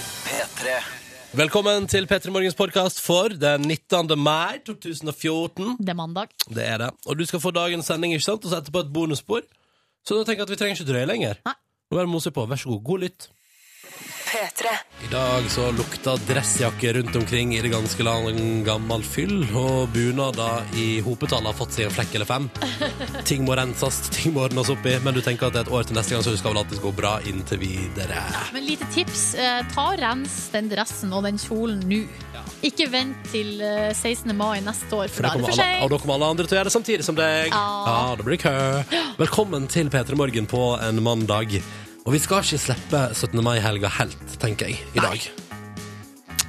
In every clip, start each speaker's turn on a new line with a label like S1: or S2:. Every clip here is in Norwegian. S1: P3.
S2: Velkommen til P3 Morgens podkast for den 19. mai 2014.
S3: Det er mandag.
S2: Det er det. Og du skal få dagens sending, ikke sant? Og så etterpå et bonusspor. Så da tenker jeg at vi trenger ikke drøye lenger.
S3: Nei.
S2: Nå er det mose på. Vær så god. God lytt.
S4: P3.
S2: I dag så lukta dressjakke rundt omkring i det ganske land gammel fyll, og bunader i hopetall har fått seg en flekk eller fem. Ting må renses, ting må ordnes opp i, men du tenker at det er et år til neste gang, så det skal vel alltid gå bra inntil videre.
S3: Men lite tips. eh, Ta og Rens den dressen og den kjolen nå. Ikke vent til eh, 16. mai neste år, for
S2: For
S3: da er
S2: da
S3: det
S2: kommer
S3: for
S2: alle, og
S3: sent.
S2: da kommer alle andre til å gjøre det samtidig som deg.
S3: Ja.
S2: Ja, da blir det kø. Velkommen til P3 Morgen på en mandag. Og vi skal ikke slippe 17. mai-helga helt, tenker jeg, i dag.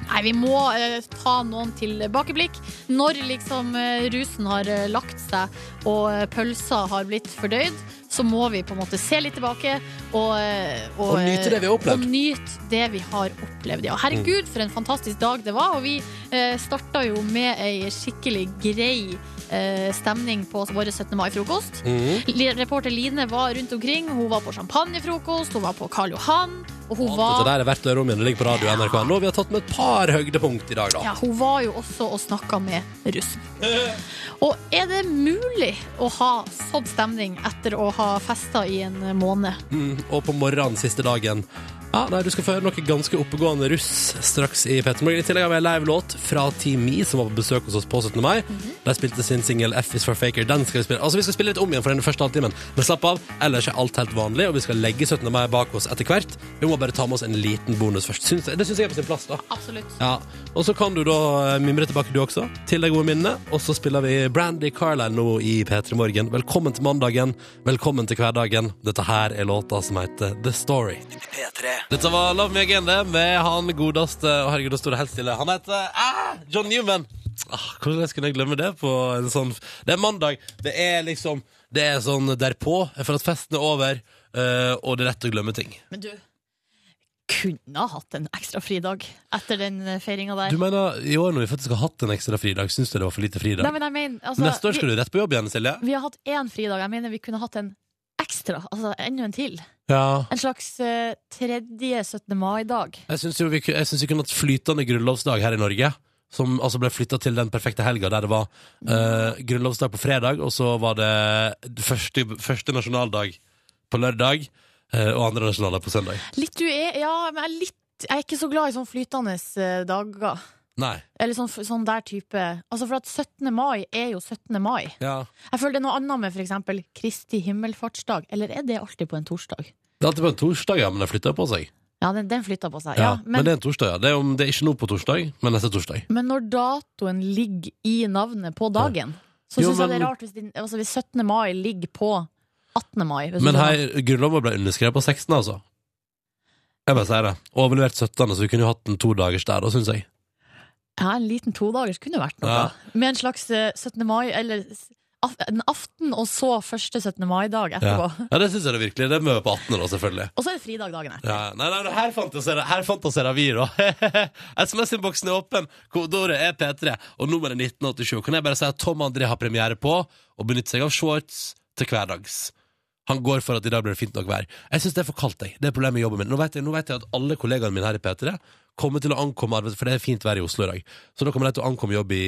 S3: Nei, vi må eh, ta noen tilbakeblikk. Når liksom eh, rusen har eh, lagt seg og eh, pølsa har blitt fordøyd, så må vi på en måte se litt tilbake og eh,
S2: Og nyte det vi har opplevd.
S3: Og nyte det vi har opplevd, ja. Herregud, for en fantastisk dag det var. Og vi eh, starta jo med ei skikkelig grei eh, stemning på vår 17. mai-frokost.
S2: Mhm.
S3: Li- Reporter Line var rundt omkring. Hun var på champagnefrokost, hun var på Karl Johan, og hun
S2: Alt
S3: var
S2: dette der er verdt øret om igjen. Det ligger på radio NRK. Nå vi har tatt med et par høydepunkt i dag, da.
S3: Ja, hun var jo også og snakka med russen. Og er det mulig å ha sånn stemning etter å ha festa i en måned?
S2: Mm, og på morgenen siste dagen. Ja, nei, Du skal få høre noe ganske oppegående russ straks i Petermorgen. I tillegg har vi en livelåt fra Team Me, som var på besøk hos oss på 17. mai. De spilte sin singel 'F is for Faker'. Den skal Vi spille Altså, vi skal spille litt om igjen for den første halvtimen, men slapp av. Ellers er alt helt vanlig, og vi skal legge 17. mai bak oss etter hvert. Vi må bare ta med oss en liten bonus først. Syns, jeg- det syns jeg er på sin plass, da.
S3: Absolutt.
S2: Ja, Og så kan du da eh, mimre tilbake, du også, til de gode minnene. Og så spiller vi Brandy Carlisle nå i P3 Morgen. Velkommen til mandagen, velkommen til hverdagen. Dette her er låta som heter The Story.
S1: P3.
S2: Dette var Love Me Again, det, med han godeste Å, herregud, da står det helt stille. Han heter ah, John Newman. Ah, hvordan skulle jeg glemme det på en sånn Det er mandag. Det er liksom Det er sånn derpå, for at festen er over, eh, og det er lett å glemme ting.
S3: Men du kunne ha hatt en ekstra fridag etter den feiringa der.
S2: Du mener, i år når vi faktisk har hatt en ekstra fridag, syns du det var for lite fridag?
S3: Nei, men jeg mener, altså,
S2: Neste år skal du rett på jobb igjen, Silje.
S3: Vi, vi har hatt én fridag. Jeg mener vi kunne hatt en ekstra. Altså enda en til.
S2: Ja.
S3: En slags eh, tredje 17. mai-dag.
S2: Jeg syns jo vi, ku- jeg syns vi kunne hatt flytende grunnlovsdag her i Norge. Som altså ble flytta til den perfekte helga, der det var eh, grunnlovsdag på fredag, og så var det første, første nasjonaldag på lørdag, eh, og andre nasjonaldag på søndag.
S3: Litt du er Ja, men jeg er litt Jeg er ikke så glad i sånn flytende eh, dager.
S2: Nei.
S3: Eller sånn, sånn der type Altså for at 17. mai er jo 17. mai
S2: Ja.
S3: Jeg føler det er noe annet med for eksempel Kristi himmelfartsdag Eller er det alltid på en torsdag?
S2: Det er alltid på en torsdag, ja, men den flytter på seg.
S3: Ja, den, den flytter på seg
S2: Ja,
S3: ja,
S2: men,
S3: men,
S2: det er en torsdag, ja. Det er, om, det er ikke nå på torsdag, men neste torsdag.
S3: men når datoen ligger i navnet på dagen Så
S2: Jo,
S3: synes jeg det
S2: men-
S3: er rart hvis, din, altså hvis 17. mai ligger på 18. mai hvis du
S2: Men
S3: skjønner.
S2: her, grunnloven ble underskrevet på 16, altså. Jeg bare sier det. Overlevert 17, så vi kunne jo hatt en todagers der, da, syns jeg.
S3: Ja, en liten todagers kunne vært noe
S2: Ja.
S3: Med en slags eh, 17. mai Eller s- af, en aften og så første 17. mai-dag etterpå
S2: Ja, det syns jeg det virkelig. Det er med på 18, da, selvfølgelig.
S3: Og så er det fridag dagen etter
S2: Ja, nei, nei, her fantaserer, her fantaserer vi, da. SMS-innboksen er åpen. Kodeordet er P3. Og nummeret er 1987. Kan jeg bare si at Tom André har premiere på å benytte seg av shorts til hverdags. Han går for at i dag blir det fint nok vær. Jeg syns det er for kaldt, jeg. Det er problemet i jobben min. Nå vet jeg, nå vet jeg at alle kollegaene mine her i P3 kommer til å ankomme arbeid, for det er fint vær i Oslo i dag. Så da kommer de til å ankomme jobb i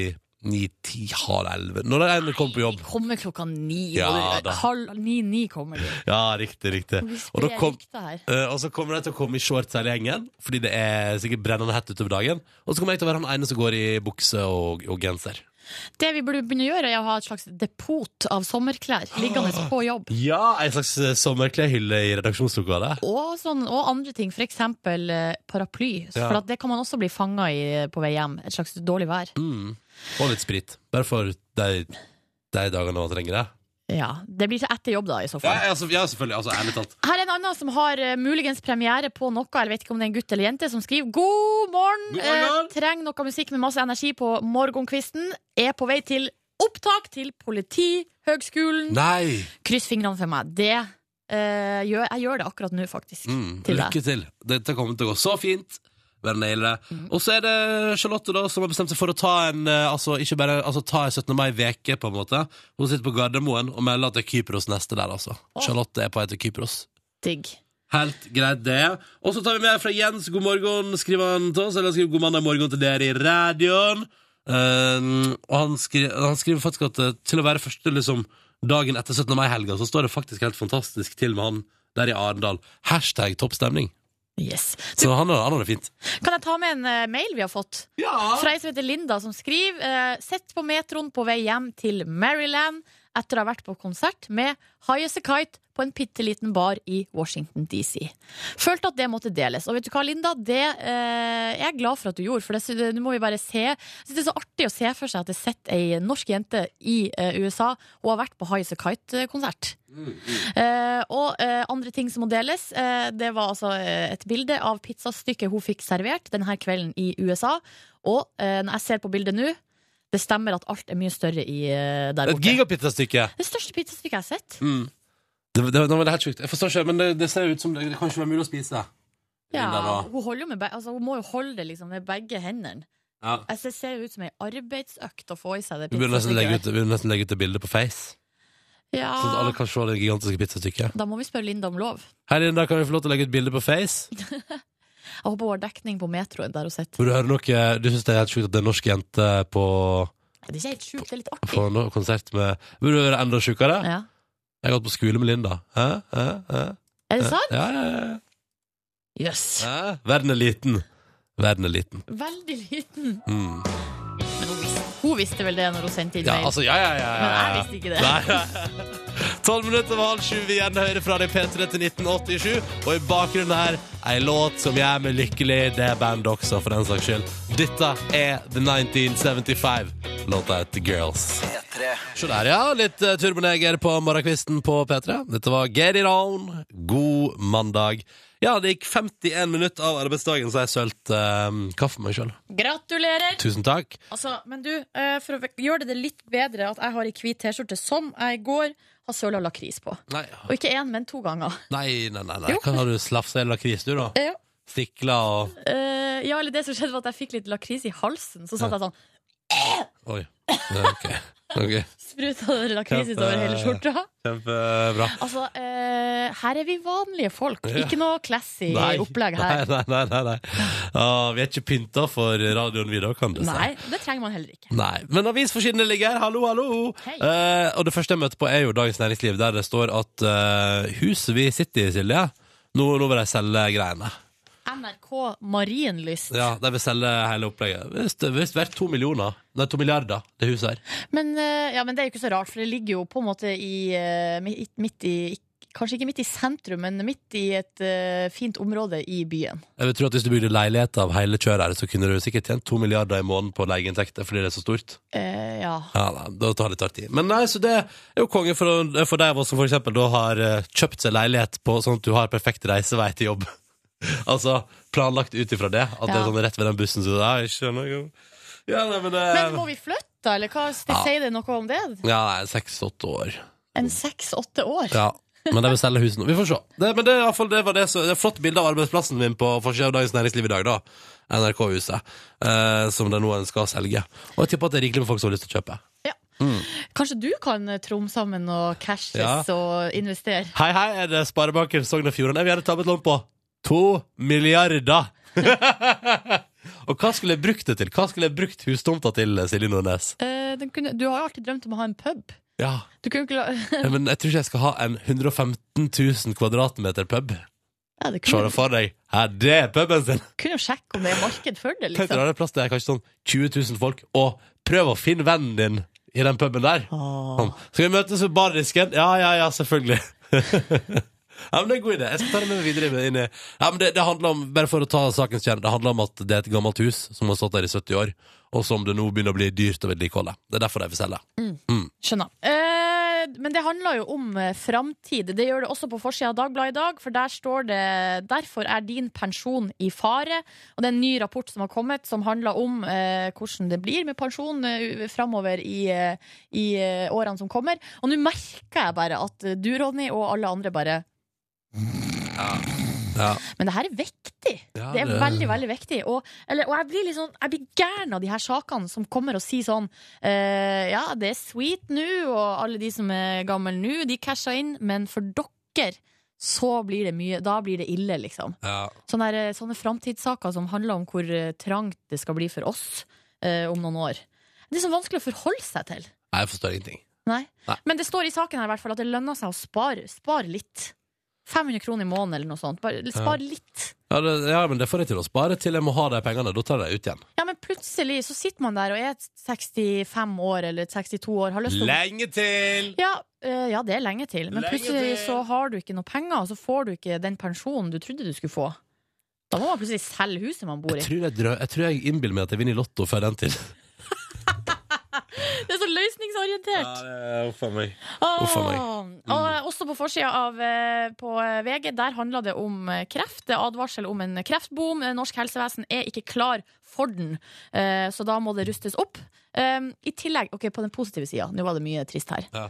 S2: ni-ti, halv elleve. Når de endelig kommer på jobb.
S3: Kommer klokka ni
S2: Ja,
S3: og det-
S2: da.
S3: Halv ni-ni kommer du
S2: Ja, riktig, riktig.
S3: Vi
S2: Og da
S3: sprer
S2: kom,
S3: rykter her.
S2: Eh, og så kommer de til å komme i shorts hele gjengen, fordi det er sikkert brennende hett utover dagen. Og så kommer jeg til å være han ene som går i bukse og, og genser.
S3: Det vi burde begynne å gjøre, er å ha et slags depot av sommerklær liggende på jobb.
S2: Ja, ei slags eh, sommerklærhylle i redaksjonslokalet.
S3: Og, sånn, og andre ting, f.eks. paraply.
S2: Ja.
S3: For at det kan man også bli fanga i eh, på vei hjem. Et slags dårlig vær.
S2: Mm. Og litt sprit. Bare for de, de dagene man trenger det.
S3: Ja, Det blir ikke etter jobb, da, i så fall.
S2: ja, selvfølgelig. Altså, ærlig talt.
S3: Her er en annen som har eh, muligens premiere på noe, jeg vet ikke om det er en gutt eller jente, som skriver God morgen! eh,
S2: God morgen!»
S3: trenger noe musikk med masse energi på morgenkvisten. Er på vei til opptak til Politihøgskolen.
S2: Nei!
S3: Kryss fingrene for meg. Det eh, gjør Jeg gjør det akkurat nå, faktisk.
S2: Mm.
S3: Til deg.
S2: Lykke til. Dette kommer til å gå så fint. Bare naile det. Og så er det Charlotte da som har bestemt seg for å ta en eh, Altså ikke bare altså, ta en 17. mai-veke, på en måte. Hun sitter på Gardermoen og melder at det er Kypros neste der, altså. Charlotte er på vei til Kypros.
S3: Digg.
S2: Helt greit, det. Og så tar vi med fra Jens. God morgen, skriver han til oss. Eller han skriver god mandag morgen til dere i radioen. Eh, og han skriver, han skriver faktisk at eh, til å være første liksom, dagen etter 17. mai-helga, så står det faktisk helt fantastisk til med han der i Arendal. Hashtag toppstemning.
S3: Yes.
S2: Så han, har- han har det fint.
S3: Kan jeg ta med en eh, mail vi har fått?
S2: Ja!
S3: Fra ei som heter Linda, som skriver uh, Sett på metroen på vei hjem til Maryland etter å ha vært på konsert med High As A Kite på en bitte liten bar i Washington DC. Følte at det måtte deles. Og vet du hva, Linda? Det eh, jeg er glad for at du gjorde, for det sy- nå må vi bare se. Jeg synes det er så artig å se for seg at jeg har sett ei norsk jente i eh, USA og har vært på High As A Kite-konsert. Eh, og eh, andre ting som må deles, eh, det var altså eh, et bilde av pizzastykket hun fikk servert denne kvelden i USA. Og eh, når jeg ser på bildet nå, det stemmer at alt er mye større i, eh, der
S2: Et
S3: borte.
S2: gigapizzastykke.
S3: Det største pizzastykket jeg har sett.
S2: Mm. Det, det, det var helt sjukt. Jeg forstår ikke, men det, det ser ut som det, det kan ikke være mulig å spise.
S3: Ja,
S2: Linda da.
S3: hun, holder jo med be altså, hun må jo holde det liksom, med begge hendene.
S2: Ja.
S3: Jeg ser- ser jo ut som ei arbeidsøkt å få i seg det
S2: Vi burde nesten legge ut,
S3: pizzastykket.
S2: vi burde nesten legge ut det bildet på Face,
S3: der.
S2: sånn at alle
S3: Ja,
S2: kan se det gigantiske pizzastykket.
S3: da må vi spørre Linda om lov.
S2: Her inne da kan vi få lov til å legge ut bilde på Face.
S3: Jeg håper hun har dekning på metroen der hun sitter.
S2: Vil du høre noe? Du syns det er helt sjukt at det er en norsk jente på,
S3: Det er ikke helt sjukt, det er litt
S2: på
S3: artig.
S2: no konsert med Vil du høre enda sjukere?
S3: Ja.
S2: Jeg har gått på skole med Linda. Hæ? Hæ? Hæ?
S3: Er det sant?
S2: Ja, ja, ja.
S3: Jøss. Yes.
S2: Hæ? Verden er liten. Verden er liten.
S3: Veldig liten.
S2: Mm.
S3: Men hun visste, hun visste vel det når hun sendte inn
S2: Ja,
S3: mail.
S2: altså, ja, ja, ja, ja.
S3: Men jeg
S2: ja.
S3: visste ikke det.
S2: Nei. Tolv minutter over halv sju. Vi gjerne hører fra deg, P3 til 1987. Og i bakgrunnen her, ei låt som gjør meg lykkelig. Det er bandet også, for den saks skyld. Dette er The 1975. Låta heter Girls. Se der, ja. Litt uh, turboneger på morgenkvisten på P3. Dette var Get It On. God mandag. Ja, det gikk 51 minutter av arbeidsdagen, så jeg sølte eh, kaffe meg sjøl.
S3: Gratulerer!
S2: Tusen takk.
S3: Altså, men du, eh, for å ve- gjøre det litt bedre at jeg har ei hvit T-skjorte som jeg i går har søla lakris på.
S2: Nei,
S3: Og ikke én, men to ganger.
S2: nei, nei. nei, nei.
S3: Jo.
S2: Hva har du slafsa i lakris, du, da?
S3: Eh, ja.
S2: Stikla og
S3: Eh, ja, eller det som skjedde var at jeg fikk litt lakris i halsen. Så satt jeg sånn,
S2: Oi. Ja, Ok. Ok.
S3: spruta det lakris utover hele skjorta.
S2: Kjempebra.
S3: Altså, eh, her er vi vanlige folk.
S2: Ja.
S3: Ikke noe classy opplegg her.
S2: Nei, nei, nei, nei. Ja, vi er ikke pynta for radioen, vi da, kan du si.
S3: Nei, det trenger man heller ikke.
S2: Nei, men avisforsidene ligger her. Hallo, hallo!
S3: Hei.
S2: Eh, og det første jeg møter på, er jo Dagens Næringsliv, der det står at eh, huset vi sitter i, Silje nå, nå vil de selge greiene.
S3: NRK Marienlyst.
S2: Ja, De vil selge hele opplegget. Visst, visst verdt to millioner. Nei, to milliarder, det huset her.
S3: Men, eh, ja, men det er jo ikke så rart, for det ligger jo på en måte i, eh, mi- midt i Kanskje ikke midt i sentrum, men midt i et eh, fint område i byen.
S2: Jeg vil tro at Hvis du bygde leilighet av hele kjøret, her, så kunne du sikkert tjent to milliarder i måneden på leieinntekter fordi det er så stort.
S3: Eh, ja.
S2: Ja, nei, da tar det litt tid. Men nei, så det er jo konge for, for deg av oss som for eksempel da har eh, kjøpt seg leilighet på sånn at du har perfekt reisevei til jobb. altså planlagt ut ifra det. At det er
S3: Ja.
S2: sånn rett ved den bussen. Så, ja, jeg skjønner jo. Ja, nei, men, eh,
S3: Men må vi flytte, da, eller hva? Det,
S2: Ja.
S3: Sier det noe om det?
S2: ja, nei, seks-åtte år.
S3: En seks-åtte år?
S2: Ja. Men de vil selge huset nå. Vi får se. Det, men det, er i hvert fall, det var det, så, det er flott bilde av arbeidsplassen min på forsida av Dagens Næringsliv i dag, da. NRK-huset. Eh, som de nå ønsker å selge. Og jeg tipper at det er rikelig med folk som har lyst til å kjøpe.
S3: Kanskje du kan eh, tromme sammen og cashes
S2: Ja.
S3: og investere?
S2: Hei, hei, er det Sparebanken Sogn og Fjordane? Jeg vil gjerne ta med et lån på to milliarder. og hva skulle jeg brukt det til? Hva skulle jeg brukt hustomta til, Silje Nordnes?
S3: Eh, den kunne, du har jo alltid drømt om å ha en pub.
S2: Ja,
S3: Du kunne ikke la
S2: Eh, men jeg tror ikke jeg skal ha en 115 000 kvadratmeter pub.
S3: ja, det
S2: Se
S3: kunne,
S2: det for deg. Her, det er puben sin.
S3: kunne jo sjekke om det er marked for det,
S2: Tenk deg,
S3: liksom.
S2: da er det plass til kanskje sånn 20 000 folk, og prøv å finne vennen din i den puben der.
S3: Åh.
S2: Sånn. Skal vi møtes ved bardisken? Ja, ja, ja, selvfølgelig. Ja, men Det er en god idé. Jeg skal ta det med meg videre. inn i- Ja, men det, det handler om, bare for å ta sakens kjerne, det handler om at det er et gammelt hus som har stått der i 70 år, og som det nå begynner å bli dyrt å vedlikeholde. Det er derfor de vil selge.
S3: Skjønner. Eh, men det handler jo om eh, framtid. Det gjør det også på forsida av Dagbladet i dag, for der står det 'Derfor er din pensjon i fare'. Og det er en ny rapport som har kommet, som handler om eh, hvordan det blir med pensjon eh, framover i, eh, i eh, årene som kommer. Og nå merker jeg bare at eh, du, Ronny, og alle andre bare
S2: Ja.
S3: Men det her er viktig!
S2: Ja,
S3: Det er
S2: det-
S3: veldig, veldig viktig. Og, eller, og jeg blir litt sånn Jeg blir gæren av de her sakene som kommer og sier sånn eh, Ja, det er sweet nå, og alle de som er gamle nå, de casha inn, men for dere så blir det mye Da blir det ille, liksom.
S2: Ja.
S3: Sånne, der, eh, sånne framtidssaker som handler om hvor eh, trangt det skal bli for oss eh, om noen år. Det er så vanskelig å forholde seg til.
S2: Nei, jeg forstår ingenting.
S3: Nei.
S2: Nei.
S3: Men det står i saken her i hvert fall at det lønner seg å spare, spare litt. 500 kroner i måneden eller noe sånt. Bare spar litt.
S2: Ja, det, ja, men det får jeg til å spare til jeg må ha de pengene. Da tar jeg det ut igjen.
S3: Ja, men plutselig så sitter man der og er 65 år eller 62 år, har lyst til å
S2: Lenge til!
S3: ja, eh, ja, det er lenge til, men
S2: Lenge
S3: plutselig
S2: til.
S3: så har du ikke noe penger, og så får du ikke den pensjonen du trodde du skulle få. Da må man plutselig selge huset man bor i.
S2: Jeg tror jeg, drø- jeg, tror jeg innbiller meg at jeg vinner i Lotto før den tid.
S3: Det er så løsningsorientert!
S2: Uff meg. uff a meg. Mm.
S3: Åh. Og også på forsida av eh, på eh, VG, der handla det om eh, kreft. Det er advarsel om en kreftboom. Eh, Norsk helsevesen er ikke klar for den, eh, så da må det rustes opp. Um, I tillegg, ok, på den positive sida, nå var det mye trist her.
S2: Ja.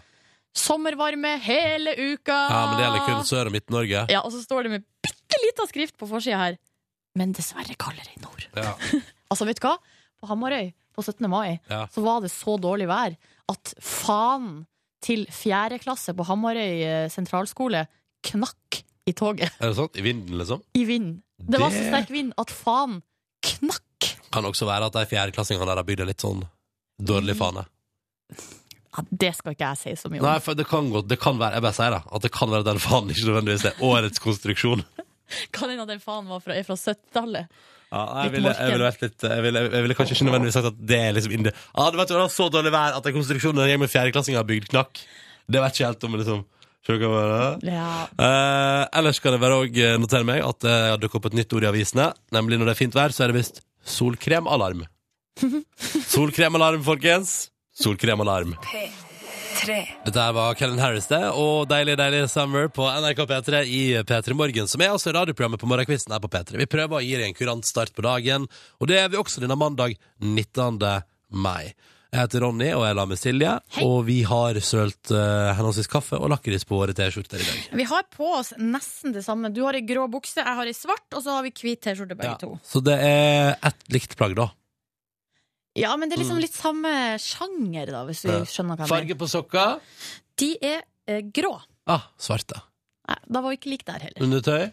S3: Sommervarme hele uka!
S2: Ja, men det gjelder kun Sør- og Midt-Norge.
S3: Ja, og så står det med bitte lita skrift på forsida her. Men dessverre kaldere i nord.
S2: Ja.
S3: Altså, vet du hva? På Hamarøy på 17. mai
S2: Ja.
S3: så var det så dårlig vær at faen til fjerde klasse på Hamarøy eh, sentralskole knakk i toget.
S2: Er det sant? I vinden, liksom?
S3: I vind. Det var så
S2: Det-
S3: sterk vind at faen knakk.
S2: Kan også være at de fjerdeklassingene der har bygd en litt sånn
S3: Mm.
S2: dårlig fane.
S3: Ja, det skal ikke jeg si så mye om.
S2: Nei, for det kan godt, det kan være, jeg bare sier det, at det kan være at den fanen ikke nødvendigvis er årets konstruksjon.
S3: Kan hende den faen var fra, er fra 70-tallet.
S2: Ja,
S3: jeg Litt ville- jeg morken. ville
S2: eh, kanskje ikke nødvendigvis sagt at det er liksom inne Ja, du vet jo, det var så dårlig vær at den konstruksjonen den med fjerdeklassinger har bygd knakk. Det vet ikke helt om, liksom. Skjønner du hva jeg mener?
S3: Ja.
S2: Eh, ellers skal det bare òg notere meg at eh, jeg har dukket opp et nytt ord i avisene. Nemlig når det er fint vær, så er det visst solkremalarm. Solkremalarm, folkens. Solkremalarm. Dette her var Kellen Harris, det, og Deilig deilig summer på NRK P3 i P3 Morgen, som er altså radioprogrammet på morgenkvisten her på P3. Vi prøver å gi deg en kurant start på dagen, og det er vi også denne mandag 19. mai. Jeg heter Ronny, og jeg er la med Silje,
S3: Hei.
S2: og vi har sølt eh, henholdsvis kaffe og lakris på våre T-skjorter i dag.
S3: Vi har på oss nesten det samme. Du har ei grå bukse, jeg har ei svart, og så har vi hvit T-skjorte begge
S2: Ja,
S3: to.
S2: Så det er ett likt plagg, da.
S3: Ja, men det er liksom litt samme sjanger, da, hvis du
S2: Mm. Ja.
S3: skjønner hva jeg mener.
S2: Farge på sokka.
S3: De er eh, grå.
S2: Ah, svarte.
S3: Nei, da var vi ikke like der heller.
S2: Undertøy.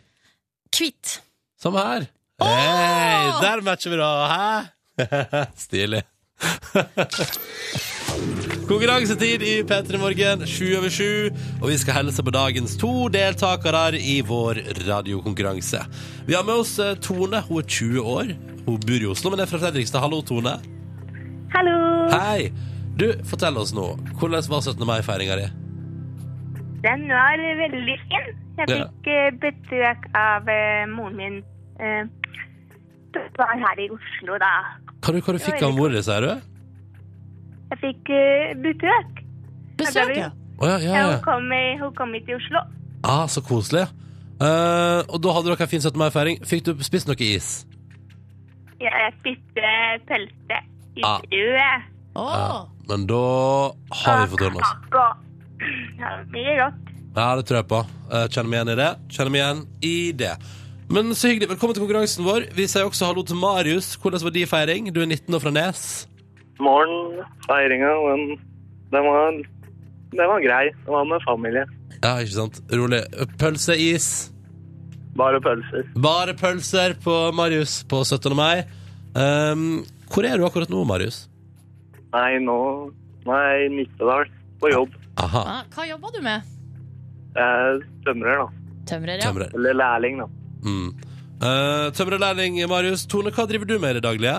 S3: Hvitt.
S2: Samme her. Hei, der matcher vi, da. Hæ? Stilig. Konkurransetid i P3 Morgen, sju over sju. Og vi skal hilse på dagens to deltakere i vår radiokonkurranse. Vi har med oss eh, Tone. Hun er 20 år. Hun bor i Oslo, men er fra Fredrikstad. Hallo, Tone.
S1: Hallo.
S2: Hei. Du, fortell oss nå. Hvordan var 17. mai-feiringa di?
S1: Den var veldig fin. Jeg
S2: Ja.
S1: fikk eh, besøk av eh, moren min. eh, Det var her i Oslo, da.
S2: Hva du, hva du fikk av mora di, sier du?
S1: Jeg fikk eh, besøk.
S3: Besøk, ja.
S1: Ja,
S2: Å ja, ja,
S1: Ja,
S2: ja.
S1: hun, kom, eh, hun kom hit til Oslo.
S2: Ah, så koselig. Eh, og da hadde dere en fin 17. mai-feiring. Fikk du spist noe is?
S1: Ja, jeg spiste pølse i
S2: Ah.
S1: brød.
S3: Åh.
S2: Men da har Ah, vi fått ordna oss.
S1: Kake. Ja, mye godt.
S2: Ja, det tror jeg på. Eh, kjenner meg igjen i det. Kjenner meg igjen i det. Men så hyggelig. Velkommen til konkurransen vår. Vi sier også hallo til Marius. Hvordan var din feiring? Du er 19 år fra Nes.
S4: morgen, feiringa, men den var, den var grei. Den var med familie.
S2: Ja, ikke sant? Rolig. Pølse, is.
S4: Bare pølser.
S2: Bare pølser på Marius på 17. mai. Ehm, hvor er du akkurat nå, Marius?
S4: Nei, nå nå er jeg i Nittedal på jobb.
S2: Aha.
S3: Ah, Hva jobba du med?
S4: Jeg er tømrer, da.
S3: Tømrer, ja.
S2: Tømrer.
S4: Eller lærling, da.
S2: Mm. Eh, Tømrerlærling Marius. Tone, hva driver du med i det daglige?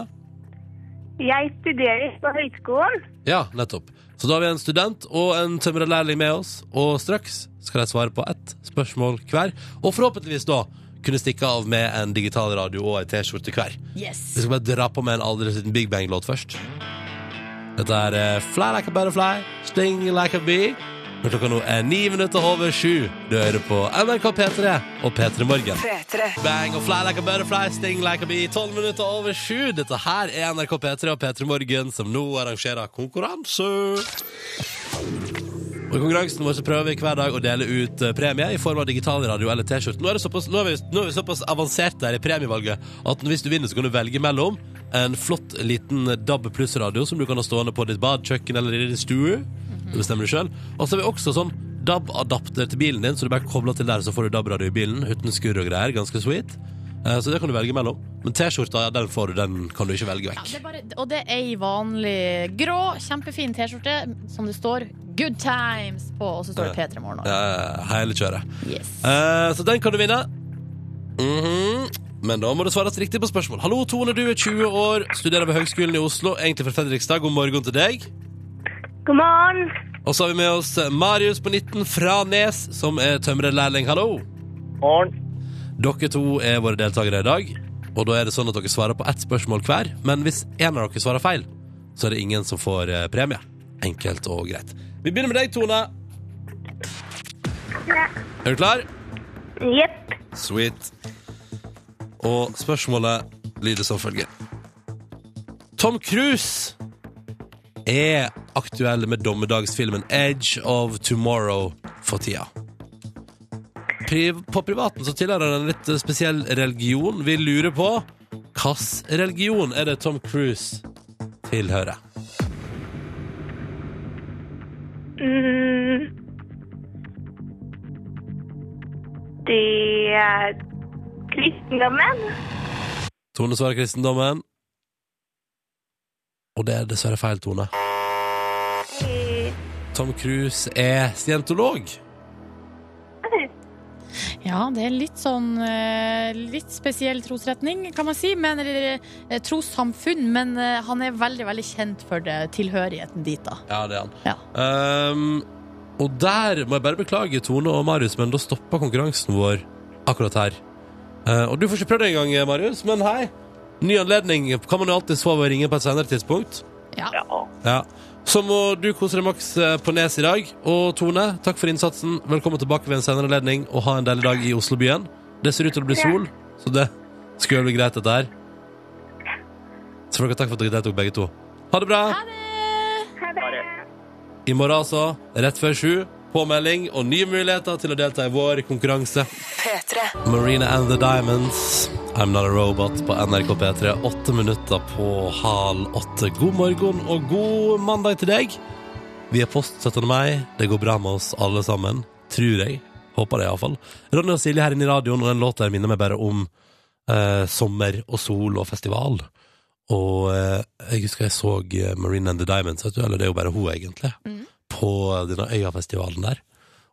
S1: Jeg studerer på høyskolen.
S2: Ja, nettopp. Så da har vi en student og en tømrerlærling med oss, og straks skal de svare på ett spørsmål hver. Og forhåpentligvis da kunne stikke av med en digital radio og ei T-skjorte hver. Vi
S3: Yes.
S2: skal bare dra på med en aldri liten Big Bang-låt først. Dette er eh, Fly Like a Butterfly, Sting Like a Bee. Men klokka nå er ni minutter over sju. Du hører på NRK P3 og P3 Morgen. Bang og Fly Like a Butterfly, Sting Like a Bee. Tolv minutter over sju. Dette her er NRK P3 og P3 Morgen som nå arrangerer konkurranse. Og I konkurransen vår så prøver vi hver dag å dele ut eh, premie i form av digitalradio eller T-skjorte. Nå, er det såpass- nå, er vi- nå er vi såpass avansert der i premievalget at hvis du vinner, så kan du velge mellom en flott liten DAB pluss-radio som du kan ha stående på ditt bad, kjøkken eller i din stue. Det bestemmer du sjøl. Og så har vi også sånn DAB-adapter til bilen din, så du bare kobler til der, så får du DAB-radio i bilen uten skurr og greier. Ganske sweet. Eh, Så det kan du velge mellom. Men T-skjorta, ja, den får du, den kan du ikke velge
S3: Ja,
S2: vekk.
S3: det er bare, og det er ei vanlig grå, kjempefin T-skjorte som det står 'Good Times' på, og så står det P3 Morgen. over.
S2: Eh, Hele kjøret.
S3: Yes.
S2: Eh, Så den kan du vinne. Mhm. Men da må det svares riktig på spørsmål. Hallo, Tone, du er 20 år, studerer ved Høgskolen i Oslo, egentlig fra Fredrikstad. God morgen til deg.
S1: God morgen.
S2: Og så har vi med oss eh, Marius på 19 fra Nes, som er tømrerlærling. Hallo.
S4: Morgen.
S2: Dere to er våre deltakere i dag, og da er det sånn at dere svarer på ett spørsmål hver. Men hvis en av dere svarer feil, så er det ingen som får eh, premie. Enkelt og greit. Vi begynner med deg, Tone. Er du klar?
S1: Jepp.
S2: Sweet. Og spørsmålet lyder som følger. Tom Cruise er aktuell med dommedagsfilmen Edge of Tomorrow for tida. Pri på privaten så tilhører han en litt spesiell religion. Vi lurer på hvilken religion er det Tom Cruise tilhører.
S1: Mm. Det er kristendommen.
S2: Tone svarer kristendommen. Og det er dessverre feil, Tone.
S1: Eh,
S2: Tom Cruise er scientolog.
S3: Ja, det er litt sånn eh, Litt spesiell trosretning, kan man si. Men, eller eh, trossamfunn, men eh, han er veldig, veldig kjent for det, tilhørigheten dit, da.
S2: Ja, det er han.
S3: Ja.
S2: Ehm, og der må jeg bare beklage, Tone og Marius, men da stoppa konkurransen vår akkurat her. Eh, og du får ikke prøvd det engang, Marius, men hei. Ny anledning kan man jo alltids få ved å ringe på et senere tidspunkt.
S3: Ja.
S2: Ja. Så må du kose deg maks eh, på Nes i dag. Og Tone, takk for innsatsen. Velkommen tilbake ved en senere anledning, og ha en deilig dag i Oslobyen. Det ser ut til å bli sol, så det skulle bli greit, dette her. Så får dere takk for at dere deltok, begge to. Ha det bra.
S3: Ha det!
S1: ha det.
S2: I morgen altså, rett før sju, påmelding og nye muligheter til å delta i vår konkurranse. Marina and the Diamonds, I'm Not a Robot på NRK P3. Åtte minutter på hal åtte. God morgen og god mandag til deg. Vi er post 17. mai. Det går bra med oss alle sammen. Tror jeg. Håper det, iallfall. Ronny og Silje her inne i radioen, og den låta her minner meg bare om eh, sommer og sol og festival. Og eh, jeg husker jeg så eh, Marine and the Diamonds, vet du, eller det er jo bare hun egentlig, på denne Øyafestivalen der.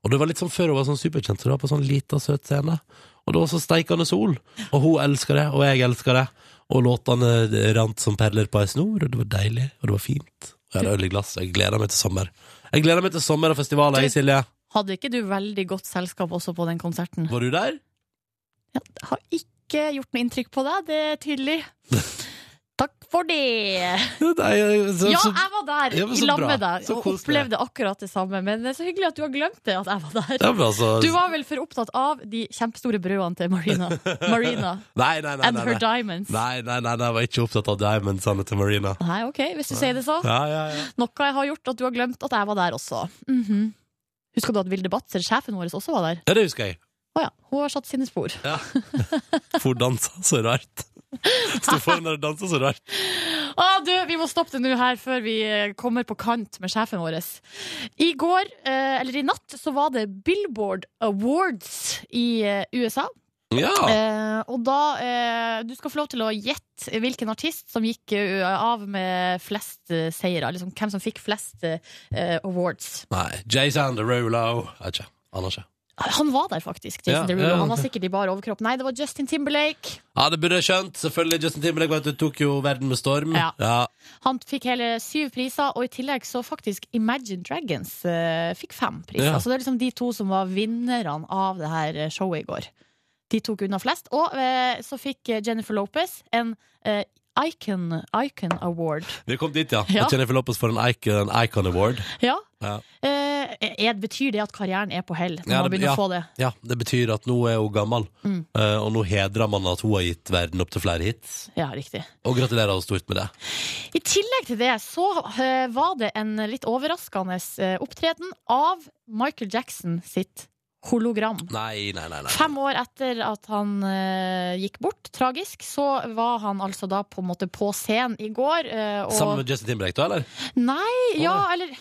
S2: Og det var litt sånn før hun var sånn superkjent, så det var på sånn lita, søt scene. Og det var så steikende sol, og hun elsker det, og jeg elsker det. Og låtene eh, rant som perler på ei snor, og det var deilig, og det var fint. Og jeg hadde øl i glass, jeg gleder meg til sommer. Jeg gleder meg til sommer og festivaler, jeg, Silje.
S3: Hadde ikke du veldig godt selskap også på den konserten?
S2: Var du der?
S3: Ja, det har ikke gjort noe inntrykk på deg, det er tydelig. Takk for det!
S2: Ja, det er- så-
S3: Ja,
S2: så-
S3: jeg var der
S2: Ja, men
S3: i
S2: så
S3: lag
S2: bra.
S3: med deg
S2: Så
S3: og
S2: koselig.
S3: opplevde akkurat det samme. Men det er så hyggelig at du har glemt det, at jeg var der.
S2: Ja, men altså-
S3: Du var vel for opptatt av de kjempestore brødene til Marina, Marina
S2: Nei, nei, nei.
S3: and
S2: nei,
S3: her
S2: nei.
S3: diamonds. Nei.
S2: Nei, nei, nei, nei, jeg var ikke opptatt av diamondsene til Marina.
S3: OK, hvis du sier det så.
S2: Ja, ja, ja.
S3: Noe jeg har gjort at du har glemt at jeg var der også. Mhm. Husker du at Vilde Batzer, sjefen vår, også var der?
S2: ja det husker jeg.
S3: Å ja, hun har satt sine spor.
S2: For dansa så rart. Sto foran der og dansa så rart.
S3: Å, du, vi må stoppe det nå her før vi eh, kommer på kant med sjefen vår. I går, eh, eller i natt, så var det Billboard Awards i eh, USA.
S2: Ja.
S3: Eh, og da eh, Du skal få lov til å gjette hvilken artist som gikk eh, av med flest eh, seire. Liksom, hvem som fikk flest eh, awards.
S2: Nei, Jason Derulo Vet ikke. Aner ikke.
S3: Han var der faktisk. Jason
S2: Ja,
S3: Derulo.
S2: ja,
S3: Han var
S2: ok.
S3: sikkert i bar overkropp. Nei, det var Justin Timberlake.
S2: Ja, det burde jeg skjønt. Selvfølgelig. Justin Timberlake vet du, tok jo verden med storm.
S3: Ja.
S2: ja.
S3: Han fikk hele syv priser, og i tillegg så faktisk Imagine Dragons eh, fikk fem priser.
S2: Ja.
S3: Så det er liksom de to som var vinnerne av det her eh, showet i går. De tok unna flest. Og eh, så fikk eh, Jennifer Lopez en eh, Icon, Icon Award.
S2: Vi kom dit, ja.
S3: Ja.
S2: Og Jennifer Lopez får en Icon, Icon Award.
S3: Ja.
S2: Ja.
S3: Eh, er, betyr det at karrieren er på hell når
S2: Ja,
S3: man
S2: det-
S3: begynner
S2: ja.
S3: å få det?
S2: Ja, Det betyr at nå er hun gammel,
S3: Mm.
S2: Eh, og nå hedrer man at hun har gitt verden opp til flere hits.
S3: Ja, riktig.
S2: Og gratulerer henne stort med det.
S3: I tillegg til det så eh, var det en litt overraskende eh, opptreden av Michael Jackson sitt hologram.
S2: Nei, nei, nei. nei.
S3: Fem år etter at han eh, gikk bort, tragisk, så var han altså da på en måte på scenen i går. eh, og
S2: Sammen med Justin Timberlake, da, eller?
S3: Nei, ja, eller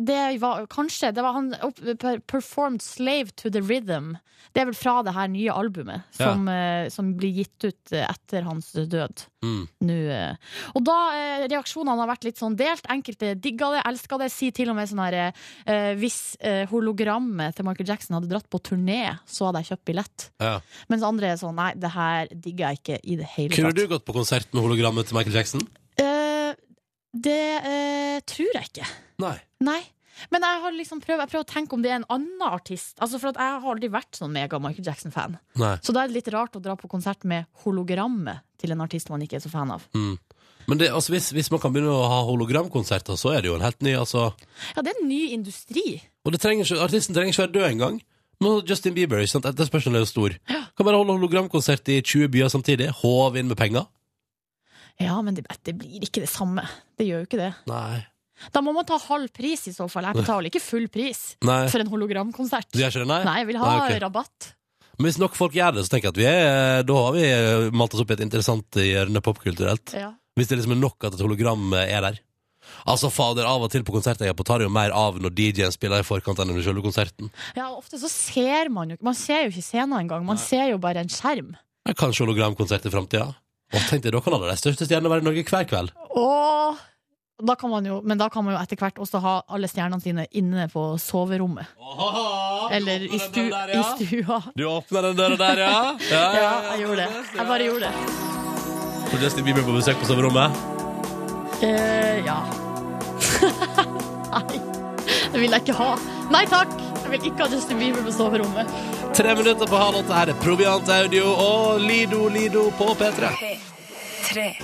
S3: det var kanskje det var han opp- per- Performed Slave to the Rhythm. Det er vel fra det her nye albumet som, eh, som blir gitt ut eh, etter hans død.
S2: Mm.
S3: Nå, eh. Og da eh, reaksjonene har vært litt sånn delt. Enkelte digga det, elska det. Si til og med sånn her eh, Hvis eh, hologrammet til Michael Jackson hadde dratt på turné, så hadde jeg kjøpt billett.
S2: Ja.
S3: Mens andre er sånn Nei, det her digger jeg ikke i det hele
S2: Kunne
S3: tatt.
S2: du gått på konsert med hologrammet til Michael Jackson?
S3: Eh, det eh, tror jeg ikke.
S2: Nei.
S3: Nei. Men jeg har liksom prøvd, jeg prøver å tenke om det er en annen artist. Altså for at Jeg har aldri vært sånn mega Michael Jackson-fan.
S2: Nei.
S3: Så da er det litt rart å dra på konsert med hologrammet til en artist man ikke er så fan av.
S2: Mm. Men det, altså, hvis, hvis man kan begynne å ha hologramkonserter, så er det jo en helt ny altså.
S3: Ja, det er en ny industri.
S2: Og det trenger ikke, artisten trenger ikke være død engang. Nå Justin Bieber, ikke sant? etterspørselen er jo stor. Kan bare holde hologramkonsert i 20 byer samtidig. Håv inn med penger.
S3: Ja, men det, det blir ikke det samme. Det gjør jo ikke det.
S2: Nei.
S3: Da må man ta halv pris i så fall. Jeg betaler ikke full pris
S2: Nei.
S3: for en hologramkonsert.
S2: Du gjør ikke det, nei?
S3: Nei, jeg vil ha
S2: Nei, ok.
S3: rabatt.
S2: Men hvis nok folk gjør det, så tenker jeg at vi er, da har vi eh, malt oss opp i et interessant hjørne popkulturelt.
S3: Ja.
S2: Hvis det liksom er nok at et hologram eh, er der. Altså, fader, av og til på konserter jeg er på, tar det jo mer av når DJ-en spiller i forkant enn under selve konserten.
S3: ja, ofte så ser man jo ikke Man ser jo ikke scenen engang. Man ser jo bare en skjerm.
S2: Det er Kanskje hologramkonsert i framtida. Og tenk deg, da kan alle de største stjernene være i Norge hver kveld.
S3: Og da kan man jo, men da kan man jo etter hvert også ha alle stjernene sine inne på soverommet. Eller i, stu, i stua.
S2: Du åpner den døra der, ja? Ja,
S3: Ja, jeg gjorde det. Jeg bare gjorde det.
S2: Så Justin Bieber på besøk på soverommet?
S3: Eh, ja. Nei, det vil jeg ikke ha. Nei takk! Jeg vil ikke ha Justin Bieber på soverommet.
S2: Tre minutter på halv åtte. Her er Proviant Audio og Lido Lido på P3.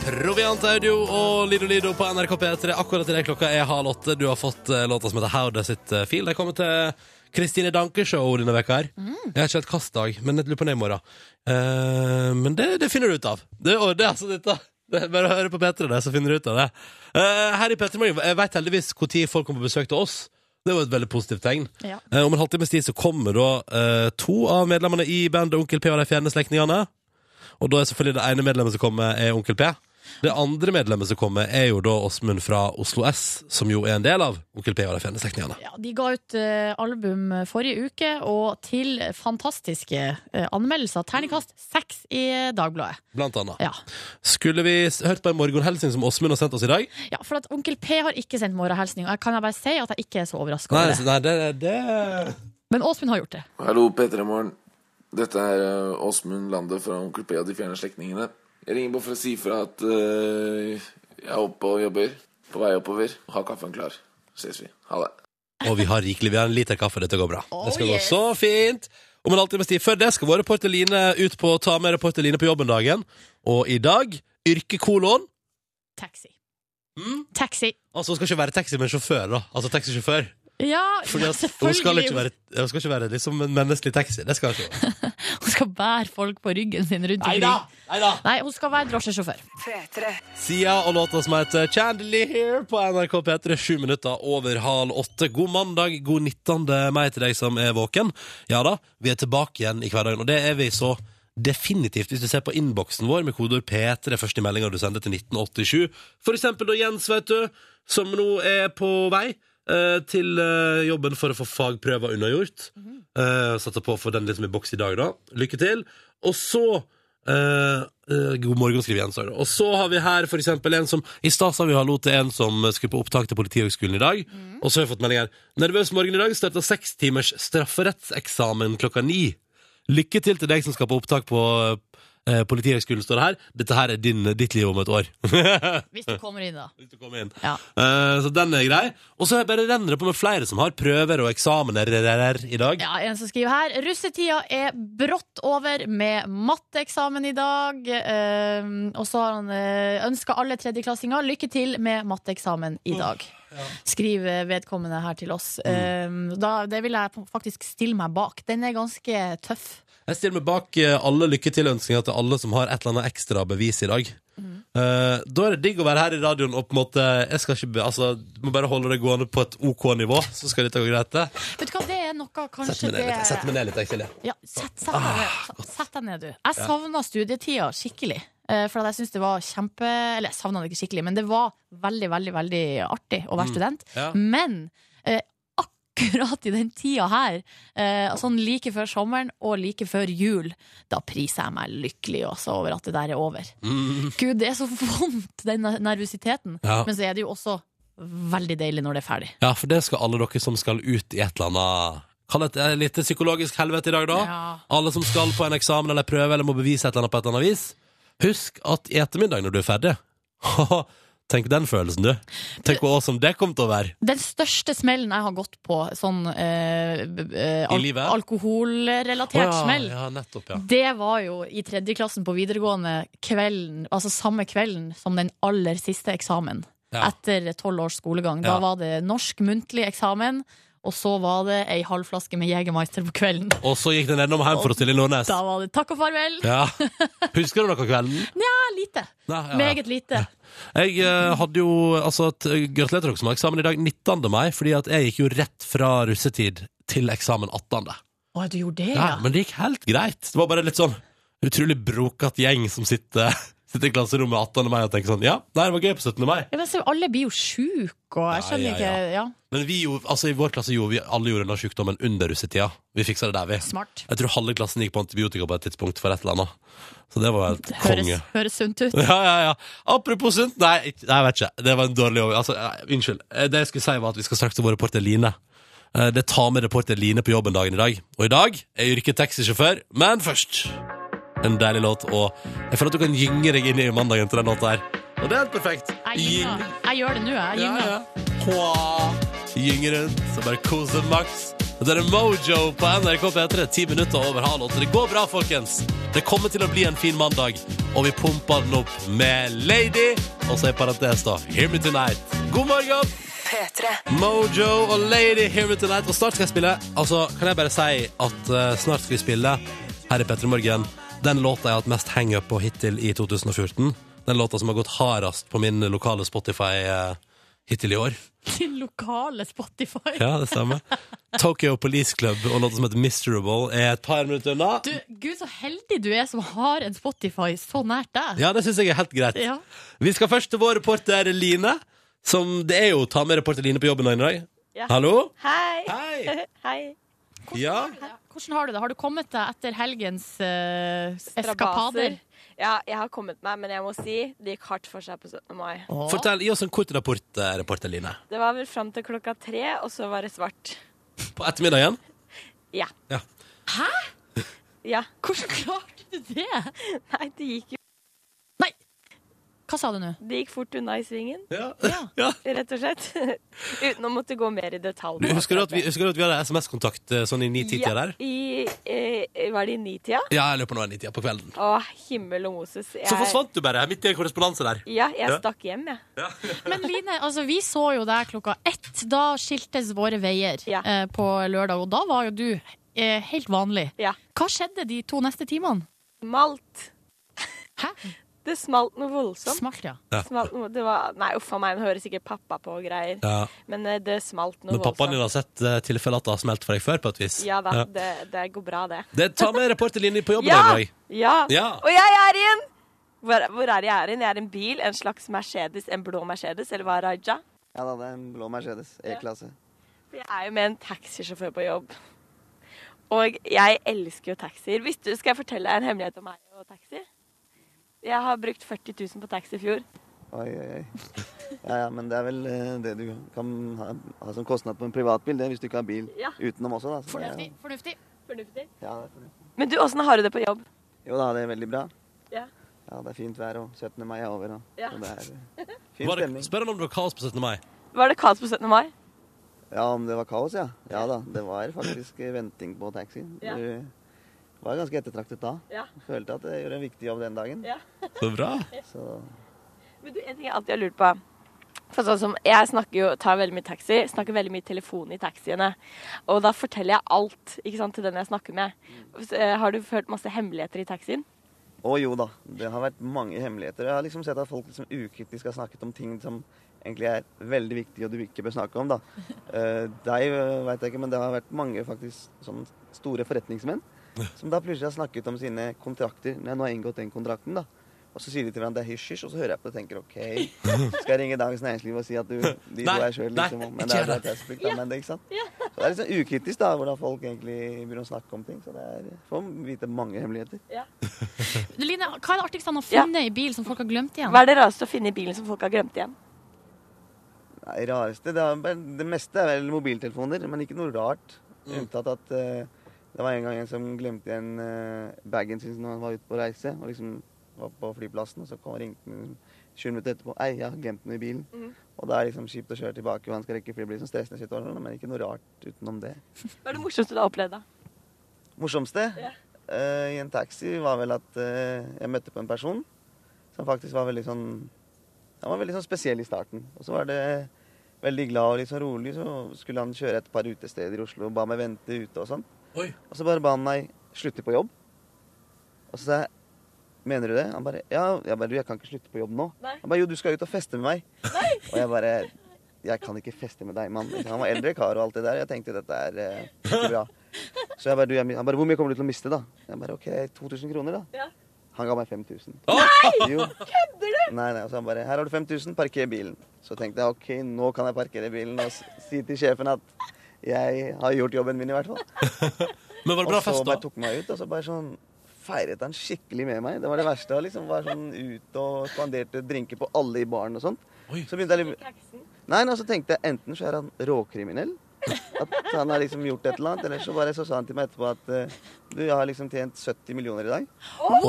S2: Proviant Audio og Lido Lido på NRK P3. Akkurat i det klokka er halv åtte. Du har fått eh, låta som heter Howda sitt eh, fil. Det kommer til Kristine Danke-show denne veka her. Jeg har ikke helt kastdag, men jeg lurer på det i morgen. Eh, men det, det finner du ut av. Det, og det er altså dette. Det er bare å høre på P3, det, så finner du ut av det. Eh, her i P3 Morgen, jeg veit heldigvis når folk kommer på besøk til oss. Det var et veldig positivt tegn.
S3: Ja.
S2: Eh, Om en halvtimes tid så kommer da eh, to av medlemmene i bandet Onkel P og de fjerne slektningene. Og da er selvfølgelig det ene medlemmet som kommer, er Onkel P. Det andre medlemmet som kommer, er jo da Åsmund fra Oslo S, som jo er en del av Onkel P og de fjerne slektningene.
S3: Ja, de ga ut eh, album forrige uke, og til fantastiske eh, anmeldelser. Terningkast seks i Dagbladet.
S2: Blant annet.
S3: Ja.
S2: Skulle vi s- hørt på en morgenhelsing som Åsmund har sendt oss i dag?
S3: ja, for at Onkel P har ikke sendt morgenhilsning, og jeg kan jeg bare si at jeg ikke er så overraska
S2: Nei,
S3: over
S2: så-
S3: det.
S2: nei det, det
S3: Men Åsmund har gjort det.
S5: Hallo, P3morgen. Dette er eh, Åsmund Lande fra Onkel P og de fjerne slektningene. Jeg ringer bare for å si fra at eh, jeg er oppe og jobber. På vei oppover. Ha kaffen klar. Ses vi. Ha det.
S2: Og vi har rikelig. Vi har en liter kaffe. Dette går bra.
S3: Oh,
S2: det skal
S3: yes.
S2: gå så fint. Om en halvtimes tid. Før det skal vår reporter Line ut på å ta med reporter Line på jobben dagen. Og i dag yrke kolon
S3: Taxi.
S2: Mm.
S3: Taxi.
S2: Altså, hun skal ikke være taxi, men sjåfør, da. Altså taxisjåfør.
S3: Ja,
S2: Fordi
S3: ja,
S2: at hun skal
S3: selvfølgelig.
S2: ikke være, hun skal ikke være liksom en menneskelig taxi. Det skal hun ikke. være.
S3: Hun skal bære folk på ryggen sin rundt omkring.
S2: Neida!
S3: Nei, hun skal være drosjesjåfør.
S2: Sia og låta som heter Chandelier på NRK P3, sju minutter over halv åtte. God mandag, god 19. mai til deg som er våken. Ja da, vi er tilbake igjen i hverdagen, og det er vi så definitivt hvis du ser på innboksen vår med kodeord P3, første meldinga du sender til 1987. For eksempel da Jens, vet du, som nå er på vei. eh, Til eh, jobben for å få fagprøver unnagjort. Eh, Satser på å få den liksom i boks i dag, da. Lykke til. Og så Eh, eh, god morgen, skriver Jens. Og så har vi her for eksempel en som I stad sa vi hallo til en som skulle på opptak til Politihøgskolen i dag. Og så har jeg fått melding her. 'Nervøs morgen i dag. Starta seks timers strafferettseksamen klokka ni'. Lykke til til deg som skal på opptak på eh, Politihøgskolen, står det her. Dette her er din, ditt liv om et år.
S3: Hvis du kommer inn, da.
S2: Hvis du kommer inn.
S3: Ja.
S2: Eh, så den er grei. Og så har jeg bare renner det på med flere som har prøver og eksamener i dag.
S3: Ja, En som skriver her Russetida er brått over med matteeksamen i dag. Eh, og så har han eh, ønska alle tredjeklassinger lykke til med matteeksamen i dag. Skriver vedkommende her til oss.
S2: Mm.
S3: Eh, da, det vil jeg faktisk stille meg bak. Den er ganske tøff.
S2: Jeg stiller meg bak eh, alle lykketillønskninger til alle som har et eller annet ekstra bevis i dag.
S3: Mhm.
S2: Eh, da er det digg å være her i radioen og på en måte Jeg skal ikke, be- altså, må bare holde det gående på et OK nivå, så skal dette gå greit. det.
S3: Vet du hva, det er noe
S2: Sett
S3: kanskje
S2: meg ned litt, jeg setter
S3: det
S2: meg ned litt, jeg, Silje.
S3: ja, sett, sett,
S2: Ah,
S3: deg ned. sett deg ned, du. Jeg savna studietida skikkelig. eh, For at jeg syns det var kjempe Eller jeg savna det ikke skikkelig, men det var veldig, veldig veldig artig å være student.
S2: Mm. Ja.
S3: Men eh, akkurat i den tida her, eh, sånn like før sommeren og like før jul, da priser jeg meg lykkelig også over at det der er over.
S2: Mm.
S3: Gud, det er så vondt, den ner- nervøsiteten.
S2: Ja.
S3: Men så er det jo også veldig deilig når det er ferdig.
S2: ja, for det skal alle dere som skal ut i et eller annet Kall det et lite psykologisk helvete i dag, da.
S3: Ja.
S2: Alle som skal på en eksamen eller prøve eller må bevise et eller annet på et eller annet vis. Husk at i ettermiddag, når du er ferdig Tenk den følelsen, du. Tenk hvor awesome det kom til å være.
S3: Den største smellen jeg har gått på, sånn eh, b- b- eh,
S2: I livet?
S3: alkoholrelatert
S2: Å,
S3: smell,
S2: ja, ja, nettopp, ja.
S3: Det var jo i tredjeklassen på videregående kvelden, altså samme kvelden som den aller siste eksamen.
S2: Ja.
S3: Etter tolv års skolegang. Da
S2: Ja.
S3: var det norsk muntlig eksamen, og så var det ei halvflaske med Jegermeister på kvelden.
S2: Og så gikk den gjennom hjem for å stille i Nordnes.
S3: Da var det takk og farvel.
S2: Ja. Husker du noe av kvelden?
S3: Ja, lite.
S2: Nei, ja, ja.
S3: Meget lite.
S2: Jeg eh, hadde jo altså, et- Gratulerer til dere som har eksamen i dag, 19. mai, fordi at jeg gikk jo rett fra russetid til eksamen 18.
S3: Å, du gjorde det,
S2: Ja,
S3: ja.
S2: men det gikk helt greit. Det var bare litt sånn utrolig brokete gjeng som sitter, sitter i klasserommet 18. mai og tenker sånn Ja, nei, det var gøy på 17. mai.
S3: Ja, men så alle blir jo sjuke, og jeg
S2: Ja,
S3: skjønner
S2: ja,
S3: ikke Ja,
S2: Men vi gjorde, altså, i vår klasse gjorde vi alle gjorde denne sykdommen under russetida. Vi fiksa det der, vi.
S3: smart.
S2: Jeg tror halve klassen gikk på antibiotika på et tidspunkt for et eller annet. Så det var jo helt
S3: Høres,
S2: konge.
S3: høres sunt ut.
S2: Ja, ja, ja. Apropos sunt Nei, ikke- nei, jeg vet ikke. Det var en dårlig over... Altså, nei, unnskyld. Eh, Det jeg skulle si, var at vi skal snakke til vår reporter Line. Eh, Det tar med reporter Line på jobben dagen i dag. Og i dag er yrket taxisjåfør, men først En deilig låt, og jeg føler at du kan gynge deg inn i mandagen til den låta her. Og det er helt perfekt.
S3: Jeg, gynger. jeg gjør det nå, jeg. jeg.
S2: Ja,
S3: gynger.
S2: ja. Hva? Gynge rundt, så bare kos deg maks. Og Det er Mojo på NRK P3, ti minutter over halv åtte. Det går bra, folkens. Det kommer til å bli en fin mandag, og vi pumper den opp med Lady. Og så i parentes, da. Hear me tonight. God morgen! Mojo og Lady Hear me tonight. Og snart skal jeg spille Altså, kan jeg bare si at eh, snart skal vi spille her i P3 Morgen den låta jeg har hatt mest hangup på hittil i 2014. Den låta som har gått hardest på min lokale Spotify eh, hittil i år.
S3: Til lokale Spotify.
S2: Ja, det stemmer. Tokyo Police Club og låta som heter Miserable er et par minutter unna.
S3: Du, Gud, så heldig du er som har en Spotify så nært deg.
S2: Ja, det syns jeg er helt greit.
S3: Ja.
S2: Vi skal først til vår reporter Line. Som det er jo å ta med reporter Line på jobben i dag.
S1: Ja.
S2: Hallo?
S1: Hei.
S2: Hei!
S1: Hei.
S2: Ja.
S3: Hvordan har du det? Har du kommet deg etter helgens eh, eskapader?
S6: Strabaser. Ja, jeg har kommet meg, men jeg må si det gikk hardt for seg på 17. mai.
S2: Fortell, Gi oss en kort rapport, eh, reporter Line.
S6: Det var vel fram til klokka tre, og så var det svart.
S2: På ettermiddagen.
S6: Ja.
S2: Ja.
S6: Ja.
S3: Hvordan klarte du det?
S6: Nei, det gikk jo
S3: Hva sa du nå?
S6: Det gikk fort unna i svingen,
S2: Ja.
S3: Ja.
S6: rett og slett. Uten å måtte gå mer i detalj.
S2: Du,
S6: på
S2: husker, du at vi,
S6: akkurat det.
S2: husker du at vi hadde SMS-kontakt eh, sånn i ni-tida der?
S6: Ja, i, eh, var det i nitida?
S2: Ja, jeg løper nå i ni-tida på kvelden.
S6: Å, himmel og Moses. Jeg,
S2: Så forsvant du bare midt i en korrespondanse der.
S6: Ja, jeg
S2: Ja.
S6: stakk hjem, jeg.
S3: Men Line, altså, vi så jo deg klokka ett. Da skiltes våre veier
S6: Ja.
S3: eh, på lørdag, og da var jo du eh, helt vanlig.
S6: Ja.
S3: Hva skjedde de to neste timene?
S6: Smalt.
S3: Hæ?
S6: Det smalt noe voldsomt.
S3: Smalt, ja.
S2: Ja.
S6: Smalt noe, det var, nei, uff a meg, nå hører sikkert pappa på og greier.
S2: Ja.
S6: Men eh, det smalt noe
S2: Men
S6: voldsomt.
S2: pappaen din har sett eh, tilfeller at det har smelt for deg før, på et vis.
S6: Ja da, Det, det går bra, det.
S2: Det tar med reporterlinje på jobben
S6: Ja!
S2: i dag.
S6: ja!
S2: Ja.
S6: Og jeg er i en hvor, hvor er jeg er i en? Jeg er i en bil, en slags Mercedes, en blå Mercedes, eller hva, Raja?
S7: Ja da, det er en blå Mercedes E-klasse.
S6: For Jeg er jo med en taxisjåfør på jobb. Og jeg elsker jo taxier. Hvis du skal jeg fortelle deg en hemmelighet om meg og taxi? Jeg har brukt 40 000 på taxi i fjor.
S7: Oi, oi, oi. Ja, ja, men det er vel eh, det du kan ha, ha som kostnad på en privatbil, det, hvis du ikke har bil
S6: Ja.
S7: utenom også, da. Så det er
S3: Fornuftig.
S7: jo-
S3: fornuftig.
S6: Fornuftig.
S7: Ja, det er fornuftig.
S6: Men du, åssen har du det på jobb?
S7: jo da, det er veldig bra.
S6: Ja.
S7: Ja, det er fint vær, og 17. mai er over, og,
S6: Ja.
S7: og det er eh, fin
S2: Var det,
S7: stemning.
S2: spør han om det var kaos på 17. mai.
S6: Var det kaos på 17. mai?
S7: Ja, om det var kaos, ja. Ja da, det var faktisk eh, venting på taxi.
S6: Ja.
S7: Du var ganske ettertraktet da.
S6: Ja.
S7: Følte at jeg gjorde en viktig jobb den dagen.
S6: Ja.
S2: Så bra.
S7: Så
S6: Men du, en ting jeg alltid har lurt på. For sånn som, jeg snakker jo, tar veldig mye taxi, snakker veldig mye telefon i taxiene. Og da forteller jeg alt ikke sant, til den jeg snakker med. Så, eh, Har du hørt masse hemmeligheter i taxien?
S7: Å jo da, det har vært mange hemmeligheter. Jeg har liksom sett at folk liksom ukritisk har snakket om ting som egentlig er veldig viktige og du ikke bør snakke om. da. Eh, deg eh, vet jeg ikke, men det har vært mange faktisk sånn store forretningsmenn som da plutselig har snakket om sine kontrakter når jeg nå har inngått den kontrakten. da. Og så sier de til hverandre det er hysj-hysj, og så hører jeg på det og tenker OK, skal jeg ringe Dagens Næringsliv og si at du, de to
S2: Nei,
S7: er sjøl,
S2: nei,
S7: liksom.
S2: ikke
S7: Men det
S2: gjør
S7: er,
S2: det.
S7: det er spilt, da, men det, ikke sant? Så det er litt sånn ukritisk da, hvordan folk egentlig begynner å snakke om ting. Så det er, får vite mange hemmeligheter.
S3: Du, Line, hva er det artigste han har funnet i bil som folk har glemt igjen?
S6: Hva er det rareste å finne i bilen som folk har glemt igjen?
S7: Nei, rareste, det, er, vel- det meste er vel mobiltelefoner, men ikke noe rart. Unntatt at eh, det var en gang en som glemte igjen eh, bagen sin når han var ute på reise. Og liksom var på flyplassen, og så kom, ringte han liksom 20 minutter etterpå. Ei, jeg har glemt den i bilen. Og da er det liksom kjipt å kjøre tilbake, og han skal rekke flyet. Blir sånn stressende situasjon, men ikke noe rart utenom det.
S6: Hva er det morsomste du har opplevd, da?
S7: morsomste eh, i en taxi var vel at eh, jeg møtte på en person som faktisk var veldig sånn Han var veldig sånn spesiell i starten. Og så var det veldig glad og litt sånn rolig, så skulle han kjøre et par utesteder i Oslo og ba meg vente ute og sånn.
S2: Oi.
S7: Og så bare ba han meg slutte på jobb. Og så sa jeg Mener du det? Han bare Ja, jeg bare Du, jeg kan ikke slutte på jobb nå.
S6: Nei.
S7: Han bare Jo, du skal ut og feste med meg. Og jeg bare Jeg kan ikke feste med deg, mann. Ikke sant? Han var eldre kar og alt det der. Jeg tenkte dette er eh, ikke bra. Så jeg bare, du, jeg, mi- han bare Hvor mye kommer du til å miste, da? Jeg bare OK, 2000 kroner, da.
S6: Ja.
S7: Han ga meg 5000.
S2: Nei!
S7: Jo. Kødder du? Nei, nei. Og så han bare Her har du 5000, parker bilen. Så tenkte jeg OK, nå kan jeg parkere bilen og s- si til sjefen at jeg har gjort jobben min, i hvert fall.
S2: Men var det
S7: Og
S2: bra
S7: så
S2: fest,
S7: bare
S2: da?
S7: tok han meg ut, og så bare sånn feiret han skikkelig med meg. Det var det verste. Han liksom var sånn ut og spanderte drinker på alle i baren og sånt.
S2: Oi.
S7: Så begynte jeg litt Nei, nei, så tenkte jeg enten så er han råkriminell. At han har liksom gjort et eller annet. Eller så bare så sa han til meg etterpå at eh, du, jeg har liksom tjent 70 millioner i dag.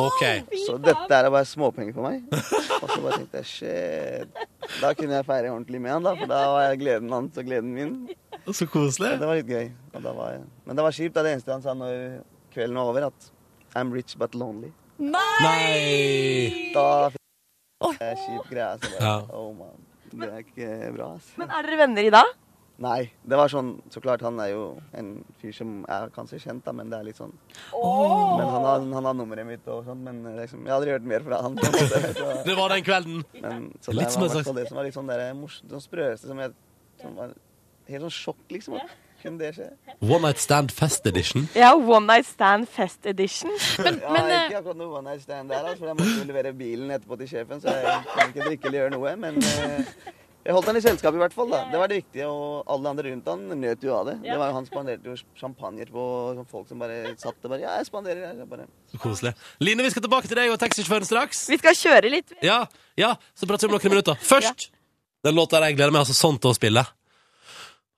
S2: OK.
S7: Så dette er bare småpenger for meg. Og så bare tenkte jeg shit. Da kunne jeg feire ordentlig med han, da. For da var jeg gleden hans og gleden min.
S2: Så koselig.
S7: Så det var litt gøy. Og da var jeg... Men det var kjipt. da. Det eneste han sa når kvelden var over, at I'm rich but lonely.
S2: Nei!
S7: Da fikk jeg kjip greie. Så bare,
S2: Ja.
S7: oh man. Det er ikke bra, ass.
S6: Men er dere venner i dag?
S7: Nei, det var sånn Så klart, han er jo en fyr som er kanskje kjent, da, men det er litt sånn Men han har, han har nummeret mitt og sånn, men liksom, jeg har aldri hørt mer fra han. på en måte, så-
S2: Det var den kvelden.
S7: Men, så
S2: Litt
S7: det
S2: som
S7: var
S2: en
S7: i hvert fall
S2: slags-
S7: det som var litt sånn der, mors, det sprøeste som jeg som var Helt sånn sjokk, liksom. At kunne det skje?
S2: One Night Stand Fest Edition.
S6: Ja, One Night Stand Fest Edition.
S3: Men,
S7: Ja,
S3: men, eh,
S7: ikke akkurat noe one night stand der, altså, for jeg måtte jo levere bilen etterpå til sjefen, så jeg kan ikke drikke eller gjøre noe, men eh, jeg holdt han i selskap i hvert fall, da. Det var det viktige, og alle andre rundt han nøt jo av det. Det var jo Han spanderte jo champagner på sånn folk som bare satt og bare Ja, jeg spanderer her. så jeg Bare.
S2: Så koselig. Line, vi skal tilbake til deg og taxisjåføren straks.
S6: Vi skal kjøre litt.
S2: Ja, ja, så prater vi om noen minutter. Først! Den låta der jeg gleder meg altså sånn til å spille.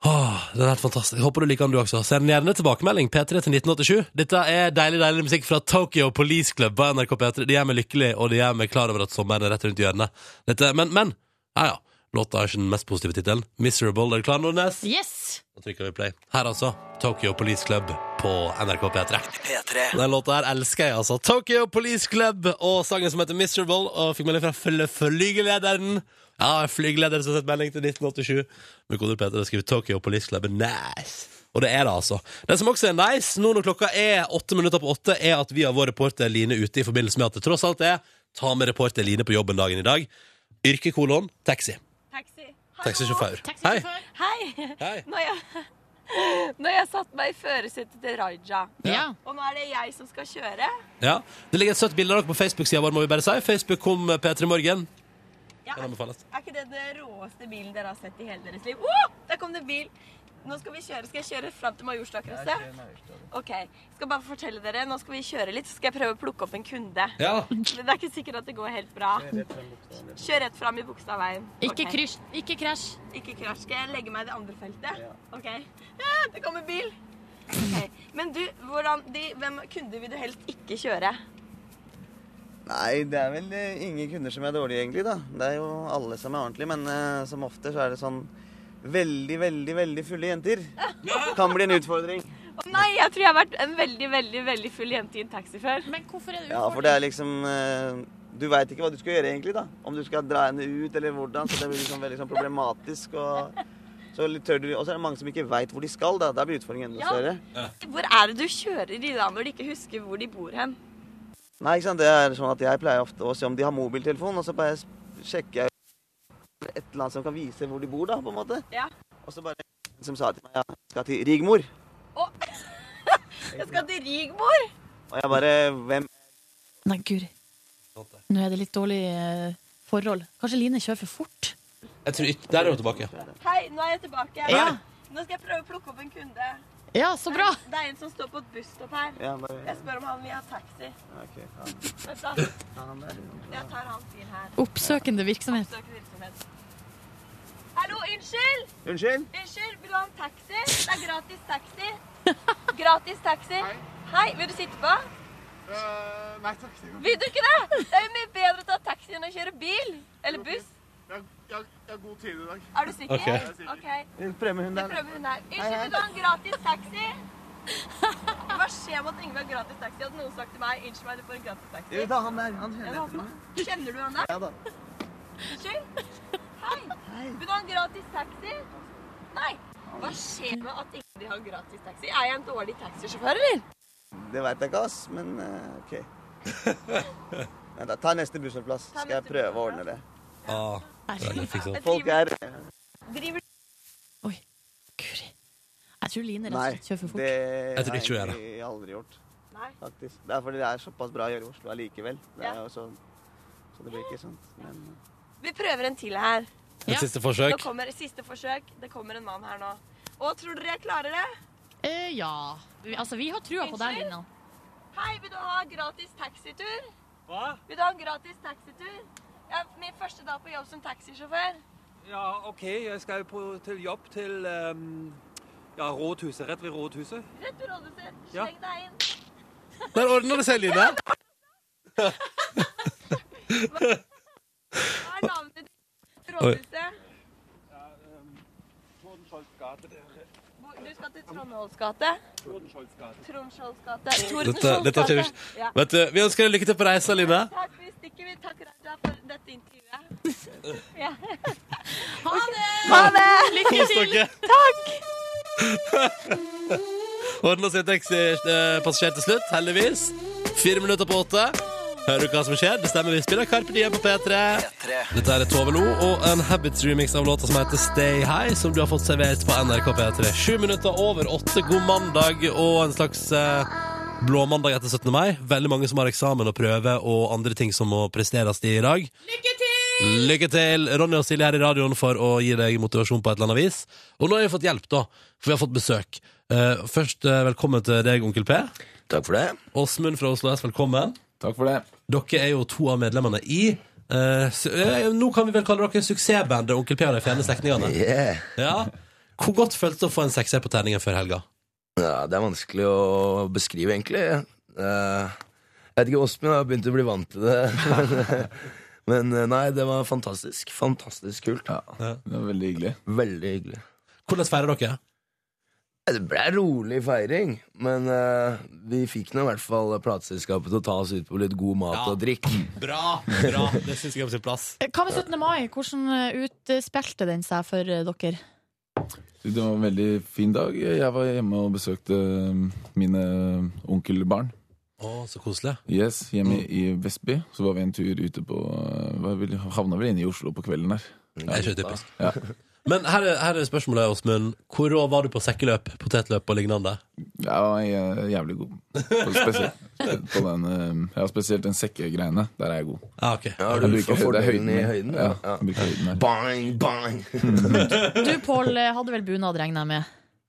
S2: Åh, den er helt fantastisk. Jeg håper du liker den du også. Send gjerne tilbakemelding P3 til 1987. Dette er deilig, deilig musikk fra Tokyo Police Club på NRK P3. De gjør meg lykkelig, og de gjør meg klar over at sommeren er rett rundt hjørnet. Dette, men, men, ja ja. Låta er ikke den mest positive tittelen. Miserable. Er du klar, Nordnes?
S3: eh, yes!
S2: Da trykker vi play. Her altså, Tokyo Police Club på NRK P3. Den låta her elsker jeg, altså. Tokyo Police Club og sangen som heter Miserable, og fikk melding fra fly- flygelederen. Ja, flygelederen som har sett melding til 1987. Med kode Peter og skriver Tokyo Police Club er nice. Og det er det, altså. Det som også er nice, nå når klokka er åtte minutter på åtte, er at vi har vår reporter Line ute i forbindelse med at det tross alt er Ta med reporter Line på jobben dagen i dag. Yrke kolon taxi.
S6: Taxi.
S2: Taxisjåfør. Hei.
S3: Taxisjåfør.
S6: Hei.
S2: Hei.
S6: Når jeg, når jeg satte meg i førersetet til Raja,
S3: Ja.
S6: og nå er det jeg som skal kjøre
S2: Ja, Det ligger et søtt bilde av dere på Facebook-sida vår. må vi bare si Facebook kom P3 Morgen.
S6: ja,
S2: Kan anbefales.
S6: Er ikke det den råeste bilen dere har sett i hele deres liv? Åh, der kom det en bil! Nå skal vi kjøre. Skal jeg kjøre fram til Majorstadkrysset? OK. Skal bare fortelle dere. Nå skal vi kjøre litt, så skal jeg prøve å plukke opp en kunde.
S2: Ja.
S6: Men det er ikke sikkert at det går helt bra. Kjør rett fram i Bogstadveien.
S3: Ikke
S6: Ok.
S3: krysj, ikke krasj.
S6: Ikke krasj. Skal jeg legge meg i det andre feltet? OK. Ah, det kommer bil! Ok. Men du, hvordan, de, hvem kunder vil du helst ikke kjøre?
S7: Nei, det er vel eh, ingen kunder som er dårlige, egentlig, da. Det er jo alle som er ordentlige, men eh, som ofte så er det sånn veldig, veldig, veldig fulle jenter. Kan bli en utfordring.
S6: Å nei, jeg tror jeg har vært en veldig, veldig veldig full jente i en taxi før.
S3: Men hvorfor er det
S7: Ja, for det er liksom eh, Du veit ikke hva du skal gjøre egentlig, da. Om du skal dra henne ut eller hvordan. Så det blir liksom veldig sånn problematisk. Og så litt tør du Og så er det mange som ikke veit hvor de skal, da. Da blir utfordringen enda
S6: Ja.
S7: større.
S6: Hvor er det du kjører i da når de ikke husker hvor de bor hen?
S7: Nei, ikke sant. Det er sånn at jeg pleier ofte å se om de har mobiltelefon, og så bare s- sjekker jeg et eller annet som kan vise hvor de bor, da, på en måte.
S6: Ja.
S7: Og så bare en som sa til meg ja, jeg skal til Rigmor.
S6: Å, jeg skal til Rigmor!
S7: Og jeg bare Hvem
S3: Nei, guri. Nå er det litt dårlig eh, forhold. Kanskje Line kjører for fort?
S2: Jeg tror ikke, Der er hun tilbake.
S6: Hei, nå er jeg tilbake.
S3: Ja.
S6: Nå skal jeg prøve å plukke opp en kunde.
S3: Ja, så bra.
S6: Det er- Det er en som står på et busstopp her.
S7: Ja, bare,
S6: Jeg spør om han vil ha taxi.
S7: ja, ok, ja.
S6: Vent da,
S7: Ta han der.
S6: jeg tar hans bil her.
S3: Oppsøkende virksomhet.
S6: Søk virksomhet. Hallo, unnskyld!
S7: Unnskyld?
S6: Unnskyld, vil du ha en taxi? Det er gratis taxi. Gratis taxi. Hei. vil du sitte på?
S8: nei takk. Jeg,
S6: Vil du ikke det? Det er jo mye bedre å ta taxi enn å kjøre bil. Eller buss.
S8: har god tid i dag.
S6: Er du sikker?
S2: Ok. Jeg
S6: Ok,
S7: Premiehund
S6: Vi
S7: der.
S6: prøver hun her. Unnskyld, vil du ha en gratis taxi? Hva skjer med at ingen vil ha gratis taxi? Hadde noen sagt til meg unnskyld meg, du får en gratis taxi.
S7: Jo, ta han der. Han
S6: Jeg
S7: hører
S6: hadde
S7: etter meg.
S6: hatt- Kjenner du han der?
S7: Ja da.
S6: Unnskyld? Hei. Vil du ha en gratis taxi? Nei. Hva skjer med at ikke de har gratis taxi? Er jeg en dårlig taxisjåfør, eller?
S7: Det veit jeg ikke, ass, men eh, OK. Nei, da, ta neste bussholdeplass.
S6: Ta
S7: Skal jeg
S6: neste
S7: prøve å
S6: bussholdeplass.
S7: ordne det.
S2: Ah, jeg fikk sånn.
S6: Jeg
S7: Folk
S6: driver,
S7: er
S6: driver
S3: Oi, guri. Jeg tror Line rett og
S7: Nei,
S3: slett kjører for fort.
S7: det
S2: Jeg tror ikke hun
S7: har
S2: gjør det.
S7: jeg egentlig aldri gjort.
S6: Nei.
S7: Faktisk. Det er fordi det er såpass bra å gjøre i Oslo allikevel. Det er
S6: Ja.
S7: jo sånn, så det blir ikke sånt. Men eh,
S6: Vi prøver en til her.
S2: Et
S3: Ja.
S2: siste
S6: Nå
S2: forsøk.
S6: kommer siste forsøk. Det kommer en mann her nå. Å, tror dere jeg klarer det?
S3: Eh, ja. Vi- Altså, vi har trua på deg,
S6: Unnskyld?
S3: Lina.
S6: Hei, vil du ha gratis taxitur?
S8: Hva?
S6: Vil du ha en gratis taxitur? Ja, min første dag på jobb som taxisjåfør.
S8: Ja, OK. Jeg skal på, til jobb til ehm, ja, rådhuset. Rett ved rådhuset.
S6: Rett ved rådhuset.
S8: Ja.
S6: Sleng deg inn.
S2: Der ordner det seg, Line.
S6: Hva er navnet ditt? Rådhuset.
S8: ehm,
S6: Hvor- Du skal til Trondholms gate. Trondholms gate.
S2: Dette, dette har ikke vi-
S6: Ja.
S2: Vet du, vi ønsker deg lykke til på reisa, Line.
S6: Takk, vi stikker. Vi takker Raja for dette intervjuet.
S3: Ha det!
S2: Kos dere. Takk. Ordna sin taxipassasjer eh, til slutt, heldigvis. Fire minutter på åtte. Hører du hva som skjer? Det stemmer, vi spiller Carpe Diem på P3. Dette er Tove Lo og en Habits-remix av låta som heter Stay High, som du har fått servert på NRK P3. Sju minutter over åtte, god mandag og en slags eh, blåmandag etter 17. mai. Veldig mange som har eksamen og prøve og andre ting som må presteres i dag. Lykke til! Ronny og Silje her i radioen for å gi deg motivasjon på et eller annet vis. Og nå har vi fått hjelp, da, for vi har fått besøk. Eh, først eh, velkommen til deg, onkel P.
S9: Takk for det.
S2: Åsmund fra Oslo S, velkommen.
S5: Takk for det.
S2: Dere er jo to av medlemmene i eh, su- eh, Nå kan vi vel kalle dere suksessbandet Onkel P og de fjerne slektningene.
S9: Yeah.
S2: Ja. Hvor godt føltes det å få en sekser på terningen før helga?
S9: Ja, det er vanskelig å beskrive, egentlig. Eh, jeg vet ikke, Åsmund har begynt å bli vant til det. Men, eh, men eh, nei, det var fantastisk. Fantastisk kult.
S5: Det var veldig hyggelig.
S9: Veldig hyggelig.
S2: Hvordan feirer dere?
S9: Eh, Det ble rolig feiring, men eh, vi fikk nå i hvert fall plateselskapet til å ta oss ut på litt god mat
S2: Ja.
S9: og drikk.
S2: Bra! bra, Det syns jeg er på sin plass.
S3: Eh, Hva med 17. mai? Hvordan eh, utspilte den seg for eh, dere?
S10: Det var en veldig fin dag. Jeg var hjemme og besøkte eh, mine onkelbarn.
S2: Å, så koselig.
S10: Yes, Hjemme i Vestby. Så var vi en tur ute på hva vil- Havna vel inne i Oslo på kvelden der.
S2: Det er ikke typisk.
S10: Ja.
S2: Men her er, her er spørsmålet, Åsmund. Hvor rå var du på sekkeløp, potetløp og lignende?
S10: Jeg var jæ- jævlig god. På spesielt, på den, eh, ja, spesielt den sekkegreiene. Der er jeg god.
S2: Ja, ok.
S9: Ja,
S10: Jeg
S9: du
S10: bruker
S9: får
S10: høy- det er
S9: fordelen i
S10: min.
S9: høyden.
S10: Ja,
S9: Ja.
S10: jeg bruker høyden der.
S9: Bang, bang!
S3: Du, Pål, eh, hadde vel bunad, regner jeg med?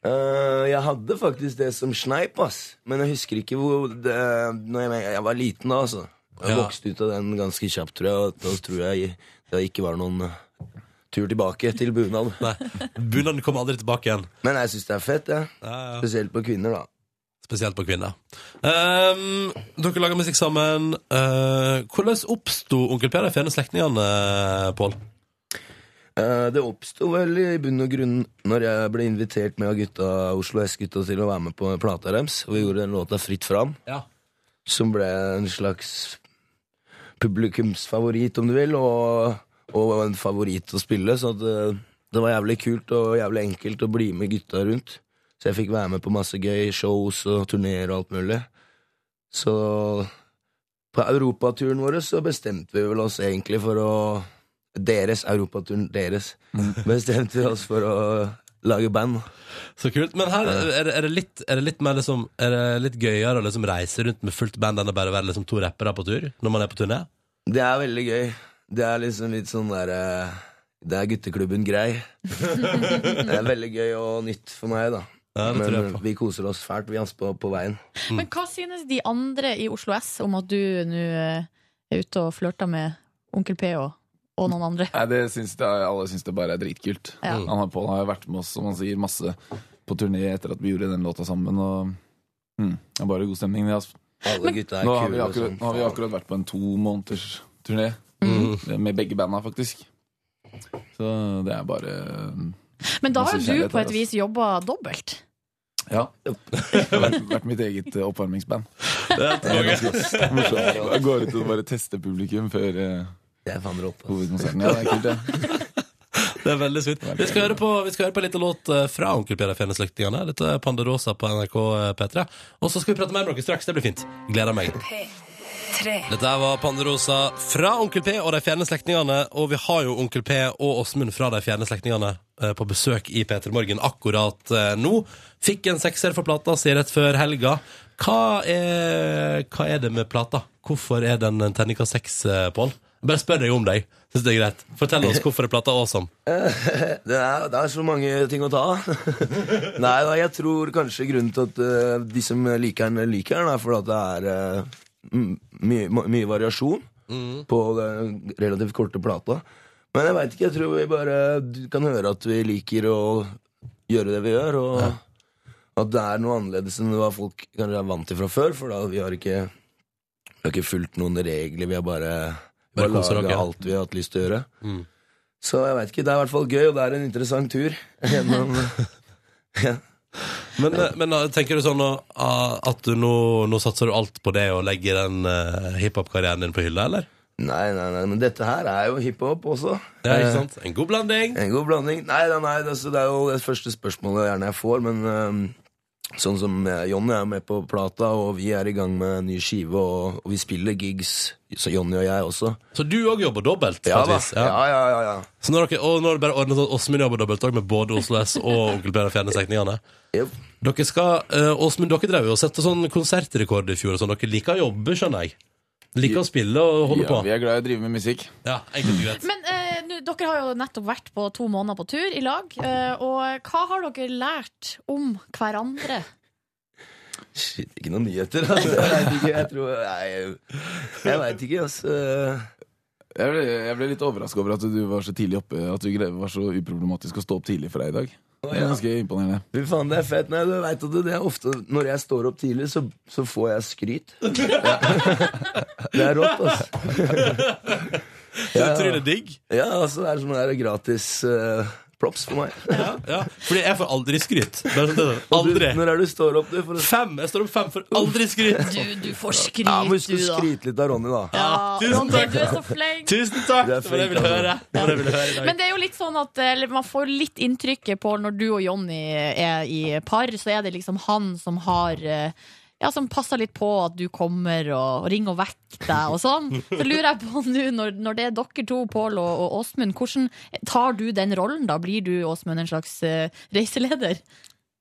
S9: Eh, jeg hadde faktisk det som sneip, ass. Men jeg husker ikke hvor det, når jeg, jeg var liten da, altså. Jeg
S2: Ja.
S9: vokste ut av den ganske kjapt, tror jeg. Og da tror jeg det ikke var noen eh, tur tilbake til bunad.
S2: Nei, Bunaden kommer aldri tilbake igjen.
S9: Men jeg syns det er fett, jeg.
S2: Eh,
S9: Spesielt på kvinner, da.
S2: Spesielt på kvinner. Ehm, dere lager musikk sammen. Eh, hvordan oppsto Onkel P og de fjerne slektningene, Pål?
S9: Eh, det oppsto vel i bunn og grunn når jeg ble invitert med av gutta, Oslo S-gutta til å være med på plata deres. Og vi gjorde den låta Fritt fram.
S2: Ja.
S9: som ble en slags publikumsfavoritt, om du vil, og, og en favoritt å spille. Så at, eh, det var jævlig kult og jævlig enkelt å bli med gutta rundt. Så jeg fikk være med på masse gøy, shows og turneer og alt mulig. Så på europaturen vår så bestemte vi vel oss egentlig for å Deres europaturen deres. Bestemte vi oss for å lage band.
S2: Så kult. Men her er det, er det, litt, er det litt mer liksom Er det litt gøyere å liksom reise rundt med fullt band enn å bare være liksom to rappere på tur når man er på turné?
S9: Det er veldig gøy. Det er liksom litt sånn der eh, Det er gutteklubben grei. Det er veldig gøy og nytt for meg, da.
S2: det tror jeg
S9: Men vi koser oss fælt, vi, altså, på, på veien.
S3: Men hva synes de andre i Oslo S om at du nå eh, er ute og flørter med onkel P og, og noen andre?
S10: Nei, det syns det, er- alle syns det bare er dritkult.
S3: Ja.
S10: Han har, Pål har jo vært med oss, som han sier, masse på turné etter at vi gjorde den låta sammen. Og mm, det er bare god stemning, det. Altså.
S9: Alle gutta er
S10: Nå har vi
S9: kule. og
S10: akkurat,
S9: sånn.
S10: nå har vi akkurat vært på en to måneders turné
S2: Mm.
S10: med begge banda, faktisk. Så det er bare eh,
S3: Men da har jo
S10: Masse
S3: du
S10: kjærlighet
S3: på
S10: der,
S3: et vis jobba dobbelt.
S10: Ja. Det har vært, vært mitt eget eh, oppvarmingsband.
S2: Det
S10: Det er ganske morsomt. Jeg går ut og bare tester publikum før eh,
S9: Det er faen rått. ass.
S10: hovedkonserten. Ja, det er kult, det.
S2: Det er veldig sweet. Vi skal høre på, vi skal høre på en liten låt eh, fra Onkel Peder Fjeneslektingene. Dette er Panderosa på NRK eh, P3. Og så skal vi prate mer med dere straks. Det blir fint. Gleder meg. Dette her var Panderosa fra Onkel P og De fjerne slektningene. Og vi har jo Onkel P og Åsmund fra De fjerne slektningene eh, på besøk i P3 Morgen akkurat eh, nå. Fikk en sekser for plata si rett før helga. Hva er, hva er det med plata? Hvorfor er den en terningkast seks, eh, Pål? Jeg Bare spør deg om deg. Synes det er greit. Fortell oss hvorfor er plata awesome.
S9: Det er, det er så mange ting å ta av. Nei da, jeg tror kanskje grunnen til at eh, de som liker den, liker den, er fordi at det er eh, m- mye ma- mye variasjon på den relativt korte plata. Men jeg veit ikke, jeg tror vi bare du kan høre at vi liker å gjøre det vi gjør, og at det er noe annerledes enn hva folk kanskje er vant til fra før, for da vi har ikke, vi har ikke fulgt noen regler, vi har bare,
S2: Bare
S9: bare
S2: koser dere.
S9: laga alt vi har hatt lyst til å gjøre. Så jeg veit ikke. Det er i hvert fall gøy, og det er en interessant tur. Gjennom,
S2: Men, eh, men eh, tenker du sånn nå, ah, at du nå, nå satser du alt på det og legger den eh, hiphop-karrieren din på hylla, eller?
S9: nei, nei, nei, men dette her er jo hiphop også.
S2: Ja, ikke sant? En god blanding.
S9: Eh, En god blanding. Nei, nei, nei det, altså, det er jo det første spørsmålet gjerne jeg får, men eh, sånn som eh, Jonny er med på plata, og vi er i gang med en ny skive, og, og vi spiller gigs, så Jonny og jeg også.
S2: Så du òg jobber dobbelt? på
S9: Ja
S2: et
S9: da.
S2: vis,
S9: Ja, ja, ja. ja.
S2: Så nå har dere, og nå har dere bare ordnet sånn at Åsmund jobber dobbelt også, med både Oslo S og Onkel Per og Fjernesekningene.
S9: Jep.
S2: Dere skal, eh, Åsmund, dere drev jo og sette sånn konsertrekord i fjor og sånn. Dere liker å jobbe, skjønner jeg. Liker å spille og holde
S10: Ja,
S2: på.
S10: vi er glad i å drive med musikk.
S2: Ja, enkelt og greit.
S3: Men eh, nå- dere har jo nettopp vært på to måneder på tur i lag. eh, og hva har dere lært om hverandre?
S9: Shit, ikke noen nyheter, altså. Jeg veit ikke. Jeg tror Nei, jeg veit ikke, altså.
S10: Jeg ble, jeg ble litt overraska over at du var så tidlig oppe At du gre- var så uproblematisk å stå opp tidlig for deg i dag. Det er ganske imponerende.
S9: Fy faen, det er fett. Nei, du vet at det er ofte Når jeg står opp tidlig, så, så får jeg skryt. det er rått, altså.
S2: Det er utrolig digg.
S9: Ja, altså, det er sånn der gratis eh, props for meg.
S2: Ja, ja. Fordi jeg får aldri skryt. Bare sånn, det-
S9: Og
S2: aldri.
S9: Du, når er det du står opp, du? For å
S2: Fem! Jeg står opp fem for aldri skryt.
S3: Du, du får skryt,
S9: ja,
S3: du,
S9: men husk å
S3: da.
S9: skryte litt av Ronny, da.
S3: Ja,
S2: tusen
S3: Ronny,
S2: takk.
S3: du er så flink.
S2: Tusen takk!
S9: Du er
S2: Det var det jeg ville
S9: flink, altså.
S2: høre. Det var det jeg ville høre i dag.
S3: Men det er jo litt sånn at eh, eller, man får litt inntrykket på når du og Jonny er i par, så er det liksom han som har eh, ja, som passer litt på at du kommer og, og ringer og vekker deg og sånn. Så lurer jeg på nå, når, når det er dere to, Pål og, og Åsmund, hvordan tar du den rollen da? Blir du, Åsmund, en slags eh, reiseleder?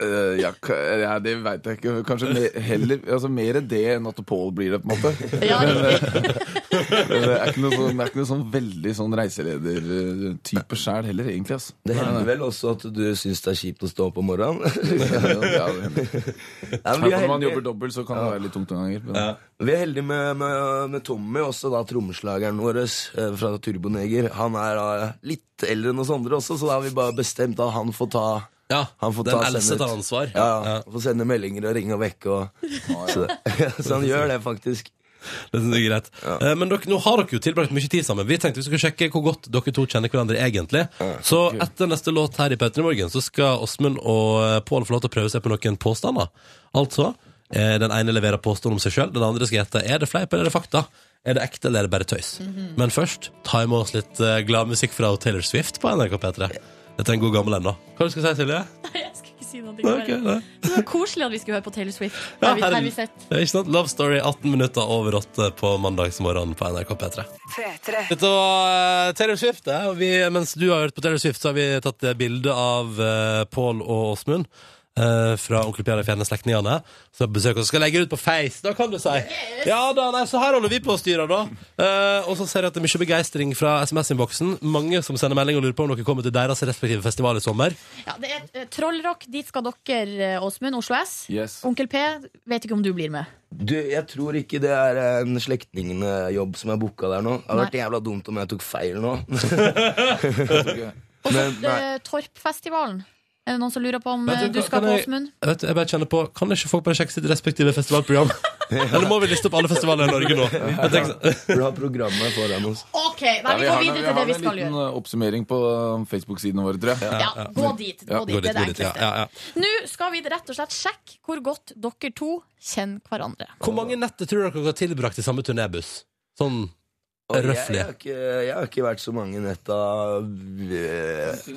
S10: Eh, ja, k- ja, det veit jeg ikke. Kanskje mer, heller, altså, mer det enn at Paul blir det, på en måte.
S3: Ja, riktig.
S10: Men Det er ikke noe sånn, det er ikke noe sånn veldig sånn reiseleder-type sjæl heller, egentlig. Altså.
S9: Det hender vel også at du syns det er kjipt å stå opp om morgenen.
S10: Ja, det hender.
S9: Ja, men vi er
S10: Når man
S9: heldige.
S10: jobber dobbelt, så kan det være litt tungt noen ganger. Men,
S9: Vi er heldige med, med, med Tommy, også da trommeslageren vår eh, fra Turboneger. Han er da litt eldre enn oss andre også, så da har vi bare bestemt at han får ta
S2: Ja,
S9: Han får
S2: den
S9: ta-
S2: eldste
S9: sende ut.
S2: tar ansvar.
S9: Ja, ja. Får sende meldinger og ringe og vekke. Og, så, så han gjør det, faktisk.
S2: Det synes jeg er greit. Eh, Men dere, nå har dere jo tilbrakt mye tid sammen. Vi tenkte vi skulle sjekke hvor godt dere to kjenner hverandre egentlig. Så etter neste låt her i Petter i morgen, så skal Åsmund og eh, Pål få lov til å prøve seg på noen påstander. Altså, eh, den ene leverer påstand om seg sjøl, den andre skal gjette er det fleip eller er det fakta. Er det ekte eller er det bare tøys?
S3: Mhm.
S2: Men først, ta i med oss litt eh, glad musikk fra Taylor Swift på NRK P3. Dette er en god gammel en, da. Hva du skal du si, Silje?
S3: Jeg skal ikke si noe.
S2: Nei, ok, nei.
S3: Det var koselig at vi skulle høre på Taylor Swift.
S2: Ja,
S3: Har vi, har vi sett.
S2: Ja, Ikke sant? Love Story 18 minutter over 8 på mandagsmorgenen på NRK P3. Dette var eh, Taylor Swift. det. Og vi, mens du har hørt på Taylor Swift, så har vi tatt eh, bilde av eh, Pål og Åsmund. eh, fra Onkel Pia og de fjerne slektningene. Som besøker oss. Skal legge det ut på Face, da kan du si! Ja da, nei, Så her holder vi på å styre, da. Eh, og så ser jeg at det er mye begeistring fra SMS-innboksen. Mange som sender melding og lurer på om dere kommer til deres respektive festival i sommer.
S3: Ja, det er eh, Trollrock, dit skal dere, eh, Åsmund, Oslo S.
S9: Yes.
S3: Onkel P, vet ikke om du blir med.
S9: Du, jeg tror ikke det er en slektningjobb som er booka der nå. Det hadde vært jævla dumt om jeg tok feil nå. Men, nei.
S3: Eh, Torpfestivalen. Er det noen som lurer på om
S2: Vet
S3: eh,
S2: hva,
S3: du skal
S2: kan
S3: på
S2: jeg-
S3: Åsmund?
S2: Vet du, jeg bare kjenner på Kan ikke folk bare sjekke sitt respektive festivalprogram? Eller må vi liste opp alle festivaler i Norge nå? Jeg tenker,
S9: har programmet foran oss.
S3: OK, nei, vi
S10: har
S3: går
S10: en-
S3: videre til det vi
S10: Vi har en
S3: skal
S10: liten
S3: gjøre.
S10: eh, oppsummering på eh, Facebook-sidene våre, tror jeg.
S3: Ja, ja. gå dit, gå dit, det er det enkleste. Nå skal vi rett og slett sjekke hvor godt dere to kjenner hverandre.
S2: Hvor mange netter tror dere dere har tilbrakt i samme turnébuss? Sånn
S9: Og jeg, jeg,
S2: røffelig.
S9: har ikke, jeg har ikke vært så mange netta øh,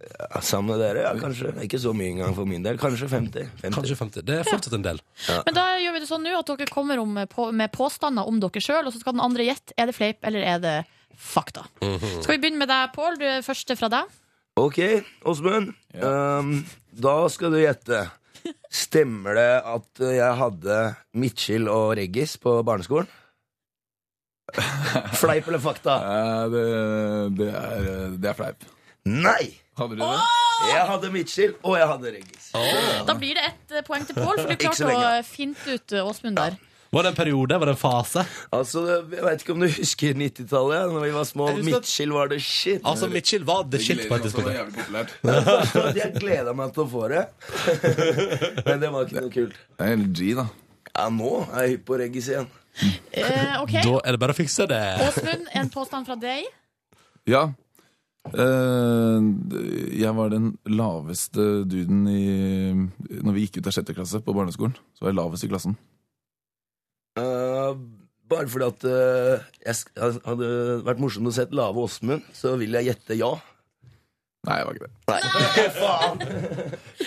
S9: ja, sammen med dere. Ja, kanskje. Ikke så mye engang for min del. Kanskje 50.
S2: Kanskje 50. Det er fortsatt en del.
S9: Ja.
S3: Men da gjør vi det sånn nå at dere kommer om, eh, på, med påstander om dere sjøl, og så skal den andre gjette. Er det fleip, eller er det fakta? Skal vi begynne med deg, Pål? Du er første fra deg.
S9: Ok, Åsmund. Ehm, da skal du gjette. Stemmer det at jeg hadde midtskill og reggis på barneskolen? Fleip eller fakta?
S10: Eh, det, er, fleip.
S9: Nei!
S10: Hadde du det?
S9: Jeg hadde midtskill, og jeg hadde reggis.
S3: Da blir det ett eh, poeng til Pål, for du
S9: Ikke så
S3: klarte å
S9: lenge, da.
S3: eh, finte ut eh, Åsmund der.
S2: Var det en periode? Var det en fase?
S9: Altså, Jeg veit ikke om du husker 90-tallet, ja, Når vi var små.
S2: husker at-
S9: Midtskill var det shit.
S2: Altså, midtskill var det shit på et tidspunkt.
S9: Jeg gleda meg til å få det. Men det var ikke noe kult.
S10: Det er LG, da.
S9: Ja, nå er jeg hypp på reggis igjen.
S3: Eh, OK.
S2: Da er det bare å fikse det.
S3: Åsmund, en påstand fra deg.
S10: Ja. Eh, jeg var den laveste duden i Når vi gikk ut av sjette klasse på barneskolen, så var jeg lavest i klassen.
S9: Eh, bare fordi at eh, jeg sk- hadde vært morsomt å se Lave Åsmund, så vil jeg gjette ja.
S10: Nei, jeg var ikke det.
S9: Nei, faen!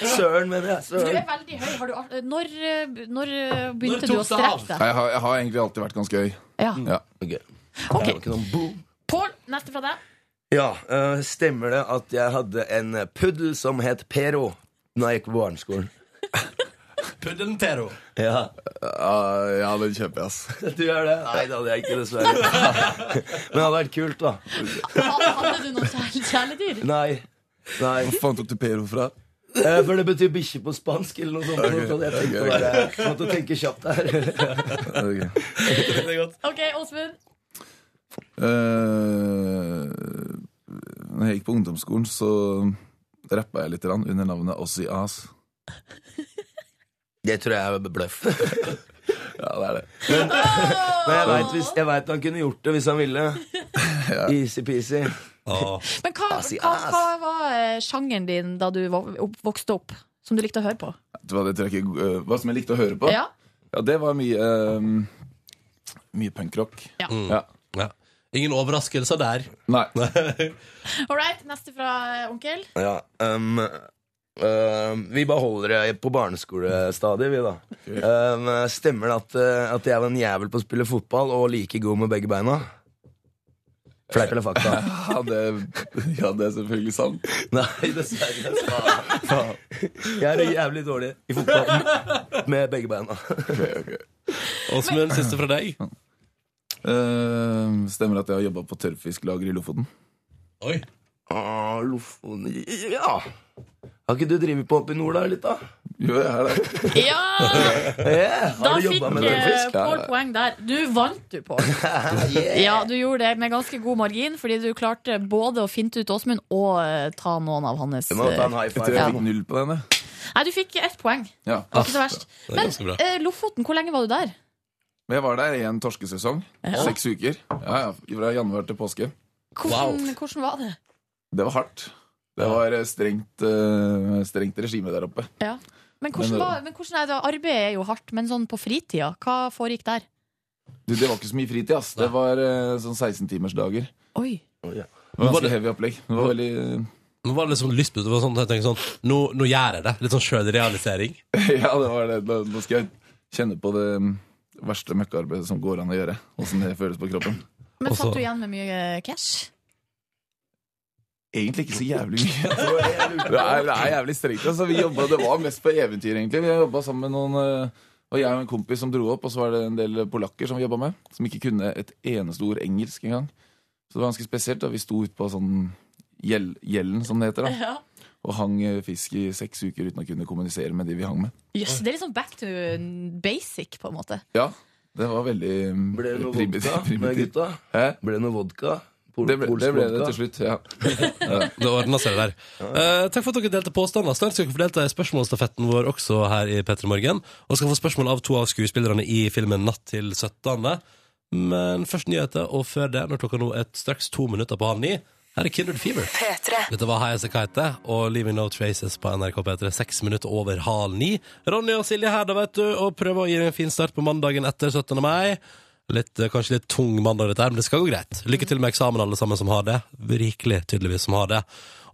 S9: Søren, mener
S3: Du er
S9: jeg. Søren.
S3: veldig høy. Har du, al- når, eh, når eh,
S2: Når
S3: begynte
S2: tok
S3: du å
S2: det av?
S3: strekke deg?
S10: Nei, jeg, har, jeg har egentlig alltid vært ganske høy.
S3: Ja.
S10: Ja.
S9: Ok.
S3: Ok.
S9: Det var ikke noen boom.
S3: Pål, neste fra deg.
S9: Ja, eh, stemmer det at jeg hadde en puddel som het Pero da jeg gikk på barneskolen?
S2: Puddelen Pero.
S9: Ja,
S10: Ah, ja, den kjøper jeg, ass.
S9: du gjør det? Nei, det hadde jeg ikke, dessverre. Men det hadde vært kult, da.
S3: Ha- Hadde du noen kjæle- kjæledyr?
S9: Nei. Nei.
S10: Hvor faen tok du Pero fra?
S9: Eh, for det betyr bikkje på spansk, eller noe sånt. så jeg tenkte
S10: ok, ok.
S9: bare- måtte tenke kjapt her.
S10: Ok.
S3: OK, Åsmund.
S10: Eh, Når jeg gikk på ungdomsskolen, så rappa jeg litt grann under navnet Ossi As.
S9: Det tror jeg er bløff.
S10: Ja, det er det.
S9: Men jeg vet hvis- jeg veit han kunne gjort det hvis han ville. Easy-peasy.
S2: Åh.
S3: Men hva,
S9: Ass i
S3: hva,
S9: Ah, ass.
S3: hva var eh, sjangeren din da du vo- opp- vokste opp, som du likte å høre på?
S10: Vet du Hva, det tror jeg ikke, eh, hva som jeg likte å høre på?
S3: Ja.
S10: Ja, det var mye ehm, Mye punkrock.
S3: Ja.
S10: Ja.
S2: Ja. Ingen overraskelser der.
S10: Nei.
S3: All right, neste fra eh, onkel.
S9: Ja, um, um, vi beholder det på barneskolestadiet, vi, da. Um, stemmer det at, uh, at jeg var en jævel på å spille fotball og like god med begge beina? Fleip eller fakta?
S10: Ja, det, ja, det er selvfølgelig sant.
S9: Nei, dessverre. faen. Jeg er jævlig dårlig i fotball med begge beina.
S10: Ok, ok.
S2: Åsmund, siste fra deg.
S10: Eh, stemmer at jeg har jobba på tørrfisklager i Lofoten?
S2: Oi.
S9: Ah, Lofoten Ja! Har ikke du drevet på oppe i nord, da? litt da?
S10: Jo, jeg er det.
S3: Ja!
S9: Yeah,
S3: Da
S9: har du
S3: fikk
S9: jobbet med
S3: eh,
S9: tørrfisk?
S3: Pål poeng der. Du vant, du, Pål. Ja, du gjorde det med ganske god margin, fordi du klarte både å finte ut Åsmund og eh, ta noen av hans
S9: Du må ta
S3: eh,
S9: en high
S10: Jeg tror jeg
S9: five.
S10: fikk null på den. jeg.
S3: Nei, du fikk ett poeng. Det
S10: Ja.
S3: var ikke så verst.
S2: Det er
S3: Men
S2: ganske bra.
S3: eh, Lofoten, hvor lenge var du der?
S10: Men jeg var der i en torskesesong. Seks uker. Ja, ja, Fra januar til påske.
S3: Hvordan, hvordan var det?
S10: Det var hardt. Det var eh, strengt, eh, strengt regime der oppe.
S3: Ja. Men hvordan,
S10: Men, eh,
S3: var, men hvordan er det? Arbeidet er jo hardt, men sånn på fritida, hva foregikk der?
S10: Du, det var ikke så mye fritid. ass. Det var eh, sånn 16-timersdager.
S3: Oi.
S10: Det var Ganske heavy opplegg. Det var veldig
S2: Nå var det liksom lyst på det. var Sånn, jeg tenker sånn, nå, nå gjør jeg det. Litt sånn sjølrealisering.
S10: Ja, det var det. Nå nå skal jeg kjenne på det mm, verste møkkaarbeidet som går an å gjøre. Åssen det føles på kroppen.
S3: Men
S2: Og så-
S3: satt du igjen med mye eh, cash?
S10: egentlig ikke så jævlig mye. Det er, det er jævlig strengt. Altså, vi jobbet, det var mest på eventyr, egentlig. Vi jobba sammen med noen eh, og jeg og en kompis som dro opp, og så var det en del polakker som vi jobba med, som ikke kunne et eneste ord engelsk engang. Så det var ganske spesielt. da Vi sto ute på sånn gjell, Gjellen, som det heter, da,
S11: Ja.
S10: og hang eh, fisk i seks uker uten å kunne kommunisere med de vi hang med.
S11: Jøss, det er liksom back to basic, på en måte.
S10: Ja, det var veldig mm,
S9: Ble det noe
S10: primi-
S9: vodka med
S10: primitivt.
S9: gutta?
S10: Hæ?
S9: Ble det noe vodka? Pol-
S10: Det ble,
S9: polsk
S10: det ble det
S9: vodka?
S10: til slutt, ja.
S2: Det ordna seg, det der. Eh, takk for at dere delte påstander. Snart skal dere få delta i spørsmålsstafetten vår også her i P3 Morgen. Og skal få spørsmål av to av skuespillerne i filmen Natt til 17. Men først nyheter, og før det, når klokka nå er straks to minutter på halv ni, her er Kindred Fever. Dette var High As A Kite og Leaving No Traces på NRK P3, seks minutter over halv ni. Ronny og Silje her, da, vet du, og prøver å gi deg en fin start på mandagen etter 17. mai. Litt, eh, kanskje litt tung mandag, dette her, men det skal gå greit. Lykke til med eksamen, alle sammen som har det. Virkelig, tydeligvis, som har det.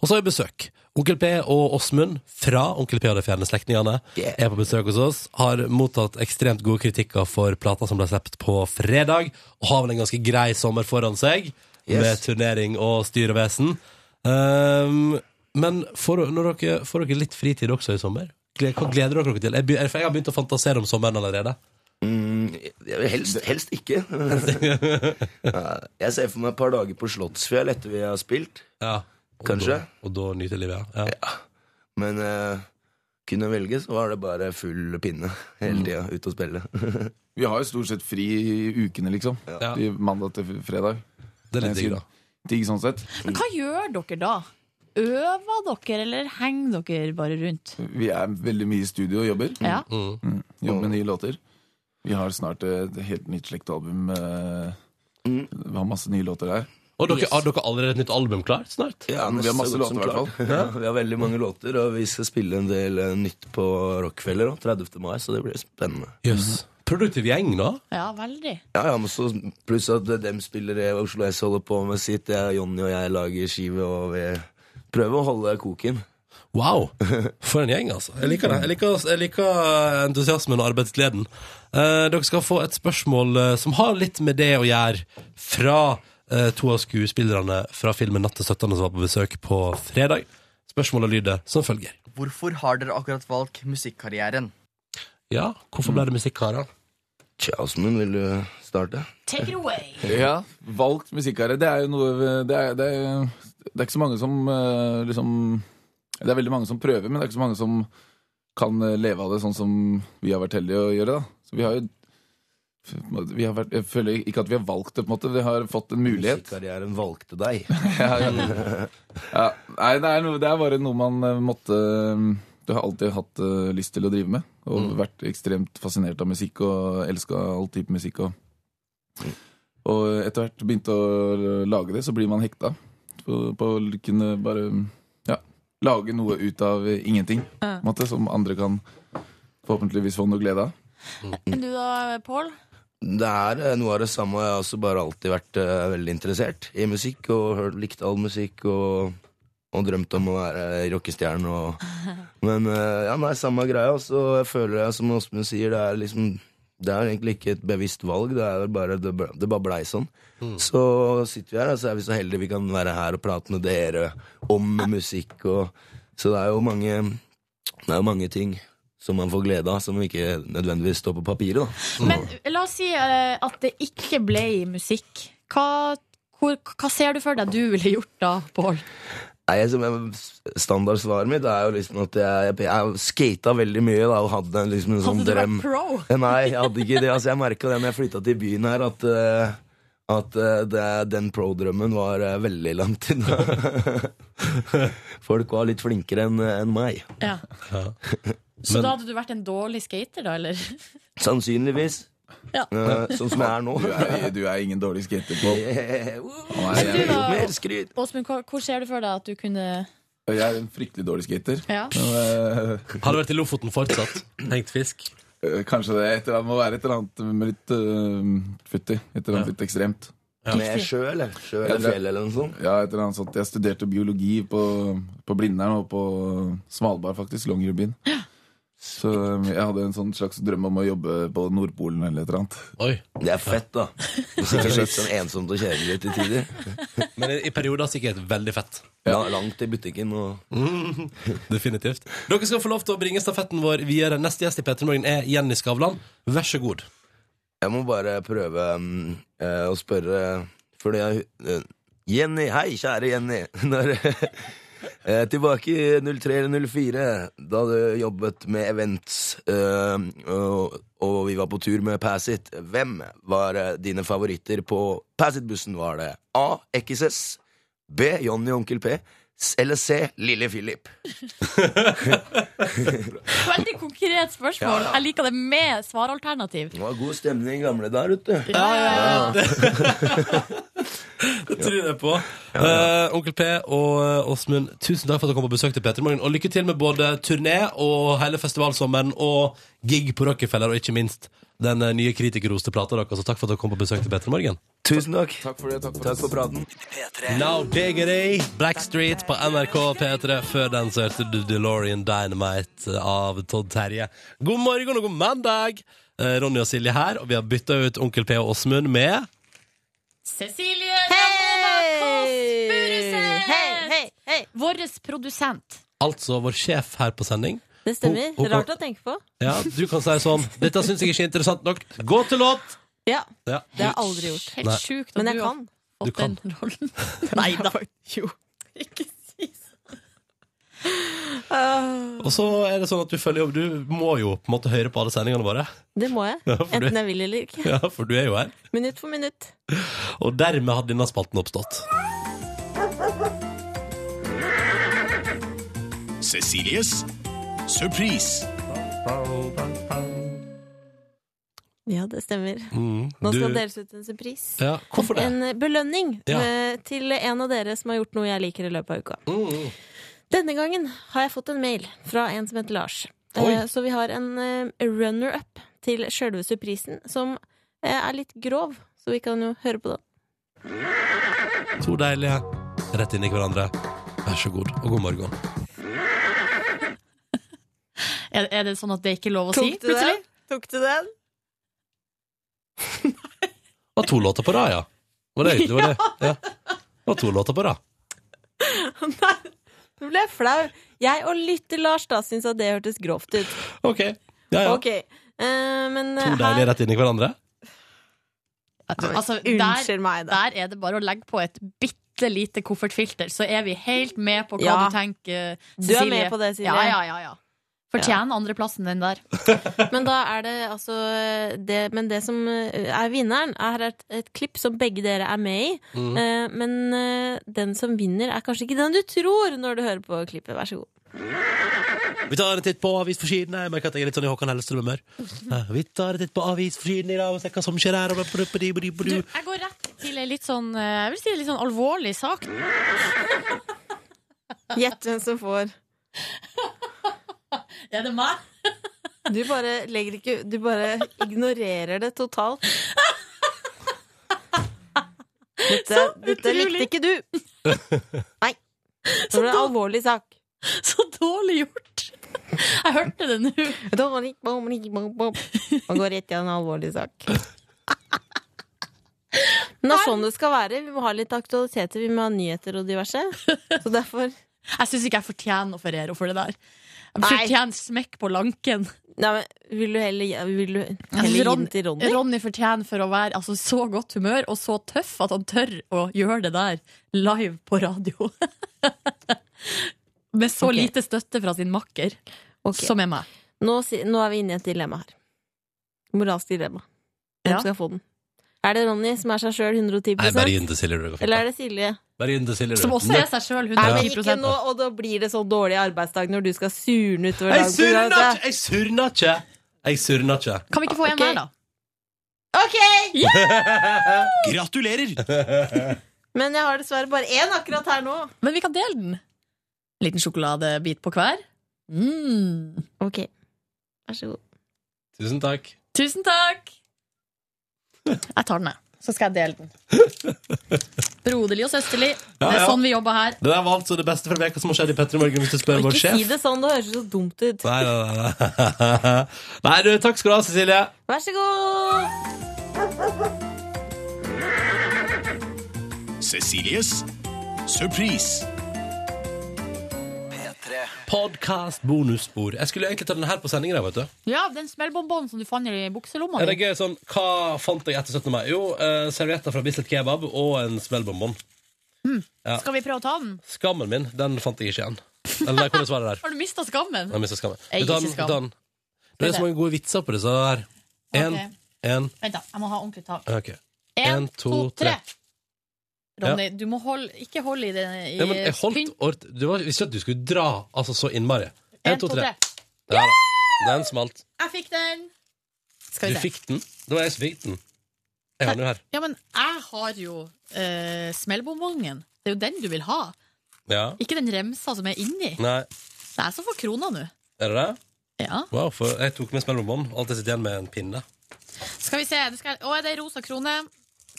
S2: Og så har vi besøk. Onkel P og Åsmund fra Onkel P og de fjerne slektningene er på besøk hos oss. Har mottatt ekstremt gode kritikker for plata som ble sluppet på fredag, og har vel en ganske grei sommer foran seg,
S9: Yes.
S2: med turnering og styrevesen. Ehm, men får, når dere, får dere litt fritid også i sommer? Gle- Hva gleder dere dere til? Jeg, be- for jeg har begynt å fantasere om sommeren allerede.
S9: Mm, jeg- helst, helst ikke. Ja, jeg ser for meg et par dager på Slottsfjell etter vi har spilt,
S2: Ja. Og
S9: kanskje.
S2: Da, og da nyter livet, ja. ja.
S9: Men eh, kunne jeg velge, så var det bare full pinne
S10: Mm.
S9: hele tida ute og spille.
S10: Vi har jo stort sett fri i ukene, liksom.
S2: Ja.
S10: I mandag til fredag.
S2: Det er
S10: Jeg
S2: litt digg,
S10: sier
S2: da.
S10: Digg sånn sett.
S11: Men hva gjør dere da? Øver dere, eller henger dere bare rundt?
S10: Vi er veldig mye i studio og jobber.
S11: Ja.
S10: Mm. Jobber med nye låter. Vi har snart et helt nytt slektalbum. eh, Vi har masse nye låter der.
S2: Og dere, har dere allerede et nytt album klart snart?
S9: Ja,
S10: men vi har masse
S9: så godt som
S10: låter i hvert
S9: klart. Ja, vi har veldig mange låter, og vi skal spille en del eh, nytt på Rockefeller også, 30. mai, så det blir spennende.
S2: Jøss. Mhm. Produktiv gjeng, da.
S11: Ja, veldig.
S9: Ja, ja, men så Pluss at dem spiller i Oslo S holder på med sitt, jeg, Jonny og jeg lager skive, og vi prøver å holde koken.
S2: Wow! For en gjeng, altså. Jeg liker det. Jeg liker, jeg liker entusiasmen og arbeidsgleden. Eh, dere skal få et spørsmål eh, som har litt med det å gjøre, fra eh, to av skuespillerne fra filmen 'Natt til 17.' som var på besøk på fredag. Spørsmålet lyder som følger.
S12: Hvorfor har dere akkurat valgt musikkarrieren?
S2: Ja, hvorfor ble det musikk, Harald?
S9: Tja, Åsmund, vil du starte?
S11: Take it away!
S10: Ja, Valgt musikkarriere. Det er jo noe Det er, det er, det er ikke så mange som eh, liksom Det er veldig mange som prøver, men det er ikke så mange som kan eh, leve av det sånn som vi har vært heldige å gjøre. da Så vi har jo vi har vært, Jeg føler ikke at vi har valgt det, på en måte. Vi har fått en mulighet.
S9: Musikkarrieren valgte deg.
S10: Ja, ja. ja. Nei, det er, noe, det er bare noe man eh, måtte Du har alltid hatt eh, lyst til å drive med. Og vært ekstremt fascinert av musikk og elska all type musikk. Og, og etter hvert begynte å lage det, så blir man hekta på, på å kunne bare ja, lage noe ut av eh, ingenting. på en Måte, som andre kan forhåpentligvis få noe glede av.
S11: Men Du da, Pål?
S9: Det er eh, noe av det samme. Jeg har også bare alltid vært eh, veldig interessert i musikk og hørt, likt all musikk og, og drømt om å være rockestjerne. Og, men eh, ja, nei, samme greia. Og så føler jeg, som Åsmund sier, det er liksom det er egentlig ikke et bevisst valg, det er bare, det ble- det bare blei sånn. Så sitter vi her, og så er vi så heldige vi kan være her og prate med dere om musikk. Og, så det er jo mange, det er jo mange ting som man får glede av, som ikke nødvendigvis står på papiret. da.
S11: Men la oss si eh, at det ikke ble musikk. Hva, hvor, hva ser du for deg du ville gjort da, Pål?
S9: Nei, som jeg- Standardsvaret mitt er jo liksom at jeg, jeg, jeg skata veldig mye da, og hadde en- liksom en sånn
S11: Hadde du vært
S9: drøm. Eh,
S11: pro?
S9: Nei, jeg hadde ikke det. Altså, jeg merka det når jeg flytta til byen her, at, eh, at eh, det, den pro-drømmen var eh, veldig langt unna. Folk var litt flinkere enn enn meg.
S11: Ja. Så
S9: Men-
S11: da hadde du vært en dårlig skater, da, eller?
S9: Sannsynligvis.
S11: Ja.
S9: Eh, Sånn som jeg er nå.
S10: Du er, du er ingen dårlig skater på.
S9: Mer
S10: jeg,
S9: skryt!
S11: Åsmund, hva- hvor ser du for deg at du kunne
S10: jeg er en fryktelig dårlig skater.
S11: Ja.
S10: Men, eh,
S2: Hadde vært i Lofoten fortsatt. Hengt fisk.
S10: Eh, Kanskje det. Et eller annet, må være et eller annet med litt uh, futti. Et eller annet litt ekstremt.
S9: Med sjø, eller? Sjø eller fjell, eller noe sånt?
S10: Ja, et eller annet sånt. Jeg studerte biologi på, på Blindern og på Svalbard, faktisk. Longyearbyen. Så um, jeg hadde en sånn slags drøm om å jobbe på Nordpolen eller et eller annet.
S9: Det er fett, da. Det er sikkert litt sånn ensomt og kjedelig til tider.
S2: Men i perioder sikkert veldig fett.
S9: La- Langt i butikken og
S2: Definitivt. Dere skal få lov til å bringe stafetten vår videre. Neste gjest i P3 Morgen er Jenny Skavlan. Vær så god.
S9: Jeg må bare prøve mm, eh, å spørre Fordi jeg eh, Jenny, hei, kjære Jenny. Når, eh, tilbake i 03 eller 04, da du jobbet med events, eh, og, og vi var på tur med Pass It. Hvem var eh, dine favoritter på Pass It-bussen? Var det A. XS, B. Johnny og Onkel P, s- eller C. Lille Philip?
S11: Veldig konkret spørsmål.
S9: Ja, ja.
S11: Jeg liker det med svaralternativ. Eh,
S9: Det var god stemning i gamle dager, vet du.
S11: Ja,
S9: ja,
S2: Det tror jeg på. Eh, Onkel P og eh, Åsmund, tusen takk for at dere kom på besøk til P3 Morgen. Og lykke til med både turné og hele festivalsommeren og gig på Rockefeller, og ikke minst den eh, nye kritikerroste plata deres. Så takk for at dere kom på besøk til P3 Morgen.
S9: Tusen takk.
S10: Takk for det, takk for,
S9: praten.
S2: Now Diggity, Blackstreet på NRK P3. Før den så hørte du DeLorean Dynamite eh, av Todd Terje. God morgen og god mandag! Eh, Ronny og Silje her, og vi har bytta ut Onkel P og Åsmund med
S11: Cecilie Ramona Kåss Furuseth! Vår produsent.
S2: altså vår sjef her på sending.
S13: Det stemmer.
S2: Hun- hun
S13: Rart
S2: kan-
S13: å tenke på.
S2: Ja, du kan si sånn Dette syns jeg ikke er interessant nok. Gå til låt!
S13: Ja.
S2: Ja.
S13: Det har jeg aldri gjort.
S2: Helt Nei. sjukt at
S13: Men
S2: du
S13: jeg
S2: har
S13: kan.
S2: Du kan.
S11: Nei da.
S13: Jo. Ikke si sånn.
S2: Og så er det sånn at du følger opp. Du må jo på en måte høre på alle sendingene våre.
S13: det må jeg.
S2: Ja, for du-
S13: Enten jeg vil eller ikke.
S2: Ja, For du er jo her.
S13: Minutt for minutt.
S2: Og dermed hadde denne spalten oppstått.
S14: Cecilies surprise.
S13: Ja, det stemmer.
S2: Mm,
S13: Nå skal
S2: du-
S13: det deles ut en surprise.
S2: Ja, hvorfor det?
S13: En belønning
S2: Ja.
S13: eh, til en av dere som har gjort noe jeg liker i løpet av uka.
S2: Mm,
S13: Denne gangen har jeg fått en mail fra en som heter Lars. Eh,
S15: Oi.
S13: Så vi har en eh, runner-up til sjølve surprisen, som eh, er litt grov, så vi kan jo høre på den.
S2: To deilige rett inn i hverandre. Vær så god, og god morgen.
S11: Er, er det sånn at det ikke er lov å si?
S13: Tok du den? Tok du den?
S2: Og to låter på rad, ja. Var det egentlig var det? Ja. Og to låter på rad.
S13: Nå ble jeg flau. Jeg og lytter-Lars da syns at det hørtes grovt ut.
S2: Ok. Ja, ja.
S13: Ok. Eh, men eh,
S2: To
S13: her
S2: deilige rett inn i hverandre.
S11: Altså, der, der er det bare å legge på et bitte lite koffertfilter, så er vi helt med på hva
S13: Ja.
S11: du tenker,
S13: Du er
S11: Cecilie.
S13: med på det, Silje.
S11: Ja, ja, ja, ja. Fortjener andreplassen den der.
S13: Men da er det altså det, Men det som eh, er vinneren, er et, et klipp som begge dere er med i.
S15: Mhm.
S13: Eh, Men eh, den som vinner, er kanskje ikke den du tror når du hører på klippet. Vær så god.
S2: Vi tar en titt på avisforsidene. Jeg merker at jeg er litt sånn i Håkan Hellstrøm-humør.
S13: Mm-hmm.
S2: Eh, Vi tar en titt på avisforsidene i dag og ser hva som skjer her. og bla, bla, bla, bla, bla.
S11: Jeg går rett til en litt sånn, eh, jeg vil si en litt sånn alvorlig sak.
S13: Gjett hvem som får.
S11: Er det meg?
S13: Du bare legger ikke Du bare ignorerer det totalt. Dette, dette likte ikke du. Nei. Det var en alvorlig sak.
S11: Så dårlig gjort. Jeg hørte det nå.
S13: Man går rett i en alvorlig sak. Men det er sånn det skal være. Vi må ha litt aktualiteter, vi må ha nyheter og diverse. Så derfor
S11: Jeg syns ikke jeg fortjener å ferere for det der. Jeg
S13: Nei.
S11: fortjener smekk på lanken.
S13: Nei, men vil du heller, vil du
S11: Jeg
S13: heller
S11: synes
S13: gi den
S11: Ronny,
S13: til Ronny?
S11: Ronny fortjener for å være altså, så godt humør og så tøff at han tør å gjøre det der live på radio. Med så
S13: Ok.
S11: lite støtte fra sin makker, som er meg.
S13: Nå, si- nå er vi inne i et dilemma her. Moralsk dilemma. Hvem
S11: Ja.
S13: skal få den? Er det Ronny som er seg sjøl 110
S2: Nei, bare gi den til Silje. det går fint,
S13: Eller
S2: da.
S13: er det Silje?
S2: Bare gi den til Silje. du.
S11: sjøl
S13: Nei, men ikke nå, og da blir det sånn dårlig arbeidsdag når du skal surne utover
S2: Jeg
S13: dagen.
S2: surner ikke! Jeg surner ikke! Jeg surner ikke.
S11: Kan vi ikke få en hver, da?
S13: Ok!
S2: Gratulerer!
S13: Men jeg har dessverre bare én akkurat her nå.
S11: Men vi kan dele den. Liten sjokoladebit på hver. Mm.
S13: Ok. Vær så god.
S2: Tusen takk.
S11: Tusen takk! Jeg tar den, jeg. så skal jeg dele den.
S3: Broderlig og søsterlig.
S2: Ja,
S3: Det er
S2: ja.
S3: sånn vi jobber her.
S2: Det der var altså det beste fra veka som har skjedd i Petter i morgen, hvis du spør vår
S13: Ikke si
S2: sjef.
S13: det sånn, det høres så dumt ut.
S2: Nei, nei, nei, nei. nei, du, takk skal du ha, Cecilie.
S13: Vær så god!
S14: Cecilies surprise.
S2: Podcast bonusspor. Jeg skulle egentlig ta den her på sendingen, jeg, vet du.
S3: Ja, den smellbonbon som du fant i bukselomma
S2: Er det
S3: di.
S2: gøy sånn, Hva fant jeg etter 17. mai? Jo, eh, servietter fra Bislett Kebab og en smellbonbon.
S3: Mm.
S2: Ja.
S3: Skal vi prøve å ta den?
S2: Skammen min, den fant jeg ikke igjen. Eller nei, hvordan var det der?
S3: Har du mista skammen?
S2: Jeg mistet skammen.
S3: Jeg
S2: Vi
S3: gir
S2: tar den,
S3: ikke skam.
S2: vi tar den. Det er så mange gode vitser på disse her. En,
S3: Ok.
S2: en,
S3: Vent, da. Jeg må ha ordentlig tak.
S2: Ah, ok.
S3: En, to, tre.
S2: Ja.
S3: Ronny, du må holde, ikke holde i det i
S2: Ja, men jeg holdt
S3: pynt.
S2: ort... Det var ikke at du skulle dra altså, så innmari. En, to, tre. Der, da. Den smalt.
S3: Jeg fikk den! Skal
S2: Du
S3: vi se.
S2: fikk den. Det var jeg som fikk den. Jeg har den jo her.
S3: Ja, men jeg har jo eh, smellbonbongen. Det er jo den du vil ha.
S2: Ja.
S3: Ikke den remsa som er inni.
S2: Nei,
S3: Det er som for krona nå.
S2: er det det?
S3: Ja.
S2: Wow, for jeg tok med smellbonbon. Alt jeg sitter igjen med, er en pinne.
S3: Skal vi se. Du skal, å, er det ei rosa krone?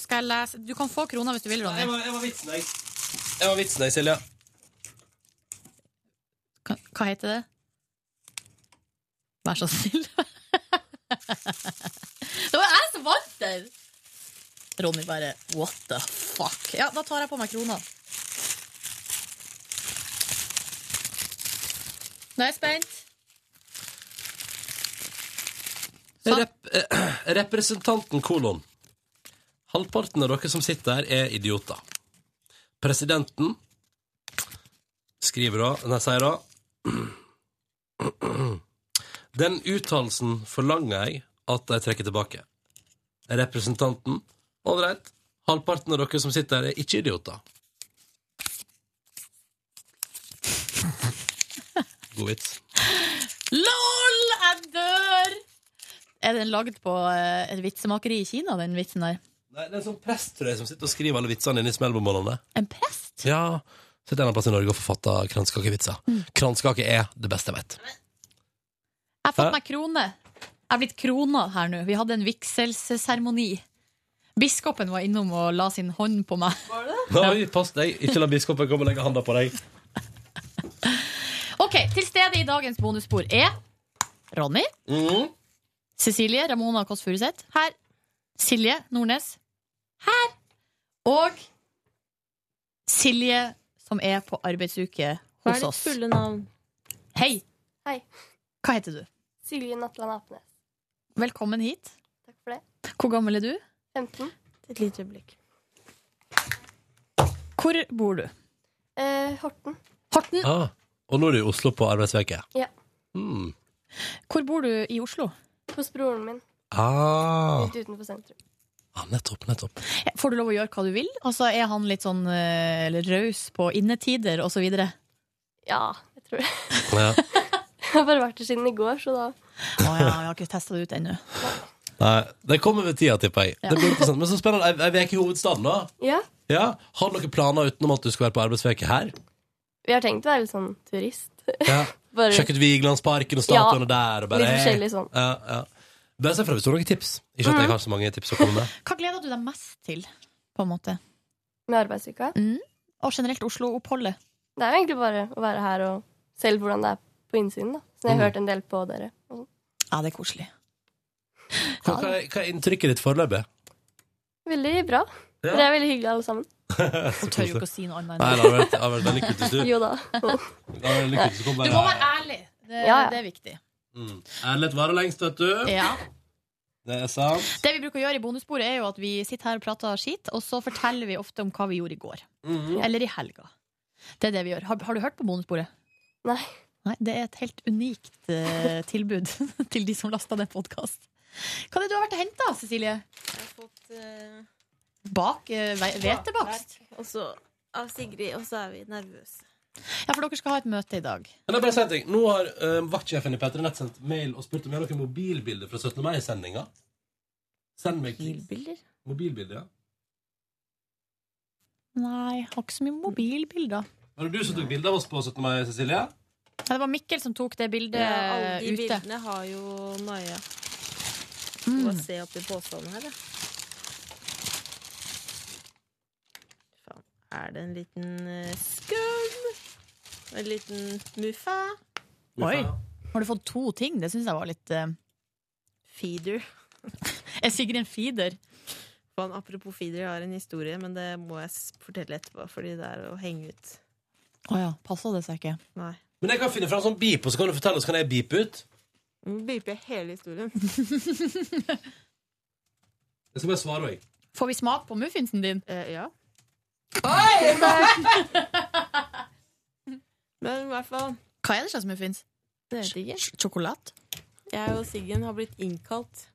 S3: Skal jeg lese Du kan få krona hvis du vil, Ronny.
S2: vitsen, jeg. Jeg var vitsen, jeg, Silja.
S3: Hva heter det? Vær så snill. det var jeg som vant den! Ronny bare What the fuck? Ja, da tar jeg på meg krona. Nå er jeg spent.
S2: Rep eh, representanten kolon. Halvparten av dere som sitter her, er idioter. Presidenten skriver da Nei, sier da Den uttalelsen forlanger jeg at de trekker tilbake. Representanten Ålreit. Halvparten av dere som sitter her, er ikke idioter. God vits.
S3: LOL! Jeg dør! Er den lagd på eh, et vitsemakeri i Kina, den vitsen der?
S2: Nei, det er en sånn prest, tror jeg, som sitter og skriver alle vitsene inne i smellbombollene.
S3: En prest?
S2: Ja, sitter en eller annen plass i Norge og forfatter kranskakevitser.
S15: Mm.
S2: Kranskake er det beste jeg vet.
S3: Jeg har fått
S2: Hæ?
S3: meg krone. Jeg er blitt krona her nå. Vi hadde en vigselsseremoni. Biskopen var innom og la sin hånd på meg.
S2: Oi, pass deg, ikke la biskopen komme og legge handa på deg.
S3: Ok, Til stede i dagens bonusspor er Ronny. Cecilie Ramona Kåss Furuseth. Her. Silje Nordnes. Her. Og Silje, som er på arbeidsuke
S13: Hva er
S3: hos
S13: ditt
S3: oss.
S13: fulle navn?
S3: Hei.
S15: Hei.
S3: Hva heter du?
S15: Silje Natland Apenes.
S3: Velkommen hit.
S15: Takk for det.
S3: Hvor gammel er du?
S15: 15.
S13: Et lite øyeblikk.
S3: Hvor bor du?
S15: Eh, Horten.
S3: Horten.
S2: Ah, og nå er du i Oslo på arbeidsveke.
S15: Ja.
S2: Mm.
S3: Hvor bor du i Oslo?
S15: Hos broren min.
S2: Ah,
S15: Litt utenfor sentrum.
S2: nettopp, nettopp.
S3: Får du lov å gjøre hva du vil? Altså, Er han litt sånn eh, eller raus på innetider osv.?
S15: Ja, jeg tror det.
S2: Ja.
S15: Jeg har bare vært der siden i går, så da
S3: Å ja, jeg har ikke testa det ut ennå.
S2: Nei, det kommer ved tida, tipper jeg.
S15: Ja.
S2: Det blir interessant. Men så spennende. Ei ei uke i hovedstaden, da.
S15: Ja.
S2: Ja. Har du noen planer utenom at du skal være på arbeidsveke her?
S15: Vi har tenkt å være litt sånn turist.
S2: Ja.
S15: Bare-
S2: Sjekket Vigelandsparken og statuene
S15: Ja,
S2: der. Og bare, eh.
S15: litt forskjellig sånn.
S2: Ja, ja. Bare se fra hvis du har noen tips. Ikke at jeg
S15: Mhm.
S2: har så mange tips å komme med.
S3: Hva gleder du deg mest til, på en måte?
S15: Med arbeidsuka.
S3: Og generelt Oslo-oppholdet.
S15: Det er jo egentlig bare å være her og se litt hvordan det er på innsiden, da. Så jeg
S2: Mm.
S15: har hørt en del på dere. og sånn.
S3: Ja, det er koselig.
S2: Hva, hva, er- hva er inntrykket ditt foreløpig?
S15: Veldig bra.
S2: Ja.
S15: Dere er veldig hyggelige alle sammen.
S2: Hun
S3: tør jo ikke å si noe annet enn
S2: Nei, det har vært, det har vært veldig kult hvis du
S15: Jo da.
S2: Det har vært veldig kult hvis du kom
S3: Du
S2: bare
S3: må være ærlig. Det,
S15: Ja, ja.
S3: det er viktig.
S2: mm. Ærlighet varer lengst, vet du.
S3: Ja.
S2: Det er sant.
S3: Det vi bruker å gjøre i bonusbordet, er jo at vi sitter her og prater skit, og så forteller vi ofte om hva vi gjorde i går.
S2: Mhm.
S3: Eller i helga. Det er det vi gjør. Har, har du hørt på bonusbordet?
S15: Nei.
S3: Nei, Det er et helt unikt eh, tilbud til de som lasta ned podkast. Hva er det du har vært og henta, Cecilie?
S13: eh,
S3: Bak eh, ve- hvetebakst?
S13: Og så av Sigrid, og så er vi nervøse.
S3: Ja, for dere skal ha et møte i dag.
S2: Men jeg bare sier en ting. Nå har eh, vaktsjefen i P3 Nett sendt mail og spurt om jeg har noen mobilbilder fra 17. mai-sendinga. Send meg
S13: Mobilbilder?
S2: Mobilbilder, ja.
S3: Nei, har ikke så mye mobilbilder.
S2: Var det du som tok bilde av oss på 17. mai, Cecilie?
S3: Ja, det var Mikkel som tok det bildet eh,
S13: Ja, alle de
S3: ute.
S13: bildene har jo Maja.
S3: Mm.
S13: Må se oppi påstanden her, da. er det en liten eh, skum. Og en liten muffa.
S3: Oi! Har du fått to ting? Det syns jeg var litt eh,
S13: Feeder.
S3: Er Sigrid en feeder?
S13: Faen, apropos feeder, jeg har en historie, men det må jeg s- fortelle etterpå, fordi det er å henge ut.
S3: Å ja, passa det seg ikke?
S13: Nei.
S2: Men jeg kan finne fram sånn beep, og så kan du fortelle, og så kan jeg beepe ut.
S13: Nå beeper jeg hele historien.
S2: Jeg skal bare svare òg.
S3: Får vi smak på muffinsen din?
S13: ja.
S3: Men i hvert fall Hva er det slags muffins?
S13: Det vet jeg ikke.
S3: Sjokolade?
S13: Jeg og Siggen har blitt innkalt.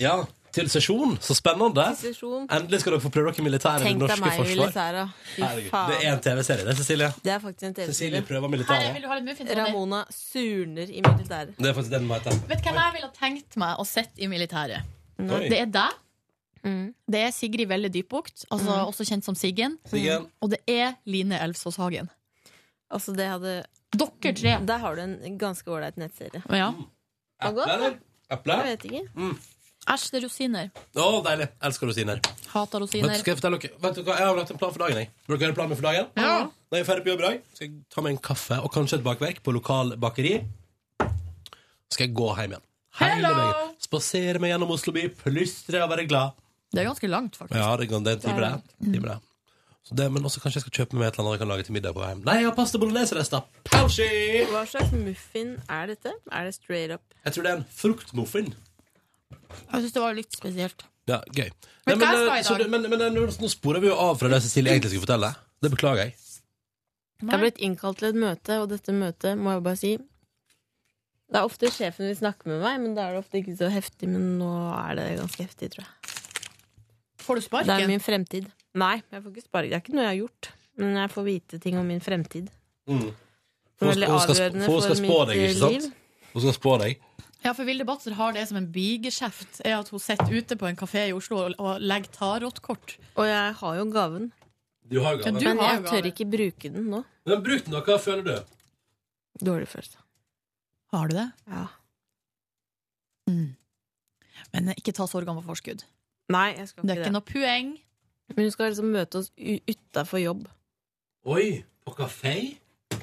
S2: Ja, til sesjon. Så spennende.
S13: Til sesjon.
S2: Endelig skal dere få prøve dere i militæret. i
S13: Tenk
S2: det
S13: deg
S2: norske
S13: meg i
S2: forsvar.
S13: militæret. Fy
S2: Herregud,
S13: faen.
S2: Det er en TV-serie, det, Cecilie.
S13: Det er faktisk en
S2: Cecilie
S13: TV-serie.
S2: prøver militæret. Herre, vil
S13: Ramona surner i militæret.
S2: Det er faktisk den maten.
S3: Vet du hvem jeg ville ha tenkt meg å sett i militæret?
S2: Nei.
S3: Det er deg.
S13: Mm.
S3: Det er Sigrid Velle Dypbukt, altså også kjent som Siggen.
S13: Siggen.
S3: Og det er Line Elvsås Hagen.
S13: Altså, det hadde
S3: Dere tre!
S13: Der har du en ganske ålreit nettserie.
S3: Ja.
S13: Hva går?
S2: Eller? Eple?
S13: Jeg vet ikke.
S2: Mm.
S3: Æsj, det er rosiner.
S2: Å, deilig. Elsker rosiner.
S3: Hater
S2: Vet du,
S3: rosiner.
S2: skal jeg fortelle dere Vet du hva, jeg har lagt en plan for dagen. jeg Vil dere høre planen min for dagen?
S3: Ja.
S2: Når jeg er ferdig på jobb i dag, skal jeg ta meg en kaffe og kanskje et bakverk på lokal bakeri. Så skal jeg gå hjem igjen. Hele dagen. Spasere meg gjennom Oslo by, plystre og være glad.
S3: Det er ganske langt, faktisk.
S2: Ja, det, kan- det er en time,
S3: Det er
S2: det. Time, det. Så det. Men også kanskje jeg skal kjøpe meg et eller annet jeg kan lage til middag på vei hjem. Nei, jeg har pasta bolognese-rester. Pausi!
S13: Hva slags muffin er dette? Er det straight up?
S2: Jeg tror det er en fruktmuffin.
S13: Jeg syns det var litt spesielt.
S2: Ja, gøy.
S13: Men
S2: Nei,
S13: hva skal jeg i
S2: så
S13: dag?
S2: det- men, men, nå, nå sporer vi jo av fra det Cecilie egentlig skulle fortelle. Det beklager jeg.
S13: Jeg har blitt innkalt til et møte, og dette møtet må jeg bare si Det er ofte sjefen vil snakke med meg, men da er det ofte ikke så heftig. Men nå er det ganske heftig, tror jeg.
S3: Får du sparken?
S13: Det er min fremtid. Nei, jeg får ikke sparken. Det er ikke noe jeg har gjort. Men jeg får vite ting om min fremtid.
S2: Mm.
S13: Det er
S2: For hun
S13: veldig
S2: skal- hun skal-
S13: avgjørende
S2: for hun skal
S13: for
S2: spå
S13: mitt eh,
S2: deg, ikke sant?
S13: liv.
S2: Hun skal spå deg.
S3: Ja, for Vilde Batzer har det som en bigeskjeft. Er at hun sitter ute på en kafé i Oslo og- og legger tarotkort.
S13: Og jeg har jo gaven.
S2: Du har gaven.
S13: Men jeg tør ikke bruke den nå.
S2: Men bruk den, da. Hva føler du?
S13: Dårlig følelse.
S3: Har du det?
S13: Ja.
S3: Mm. Men eh, ikke ta sorgene på forskudd.
S13: Nei, jeg skal ikke
S3: Det er ikke noe poeng.
S13: Men hun skal liksom møte oss utafor jobb.
S2: Oi, på kafé?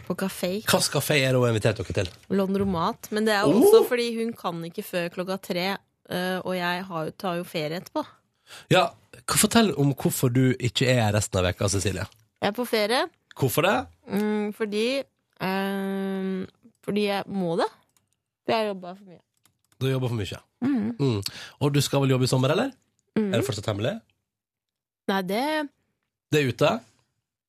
S13: På kafé.
S2: Hvilken kafé er det hun har invitert dere til?
S13: Londromat. Men det er jo
S2: Oh!
S13: også fordi hun kan ikke før klokka tre, eh, og jeg har, jo- tar jo ferie etterpå.
S2: Ja, k- Fortell om hvorfor du ikke er her resten av veka, Cecilie.
S13: Jeg er på ferie
S2: Hvorfor det?
S13: mm, fordi eh, Fordi jeg må det. For jeg har jobba for mye.
S2: Du jobber for mye.
S13: Mm.
S2: Mm. Og du skal vel jobbe i sommer, eller?
S13: Mm.
S2: Er det fortsatt hemmelig?
S13: Nei, det
S2: Det er ute?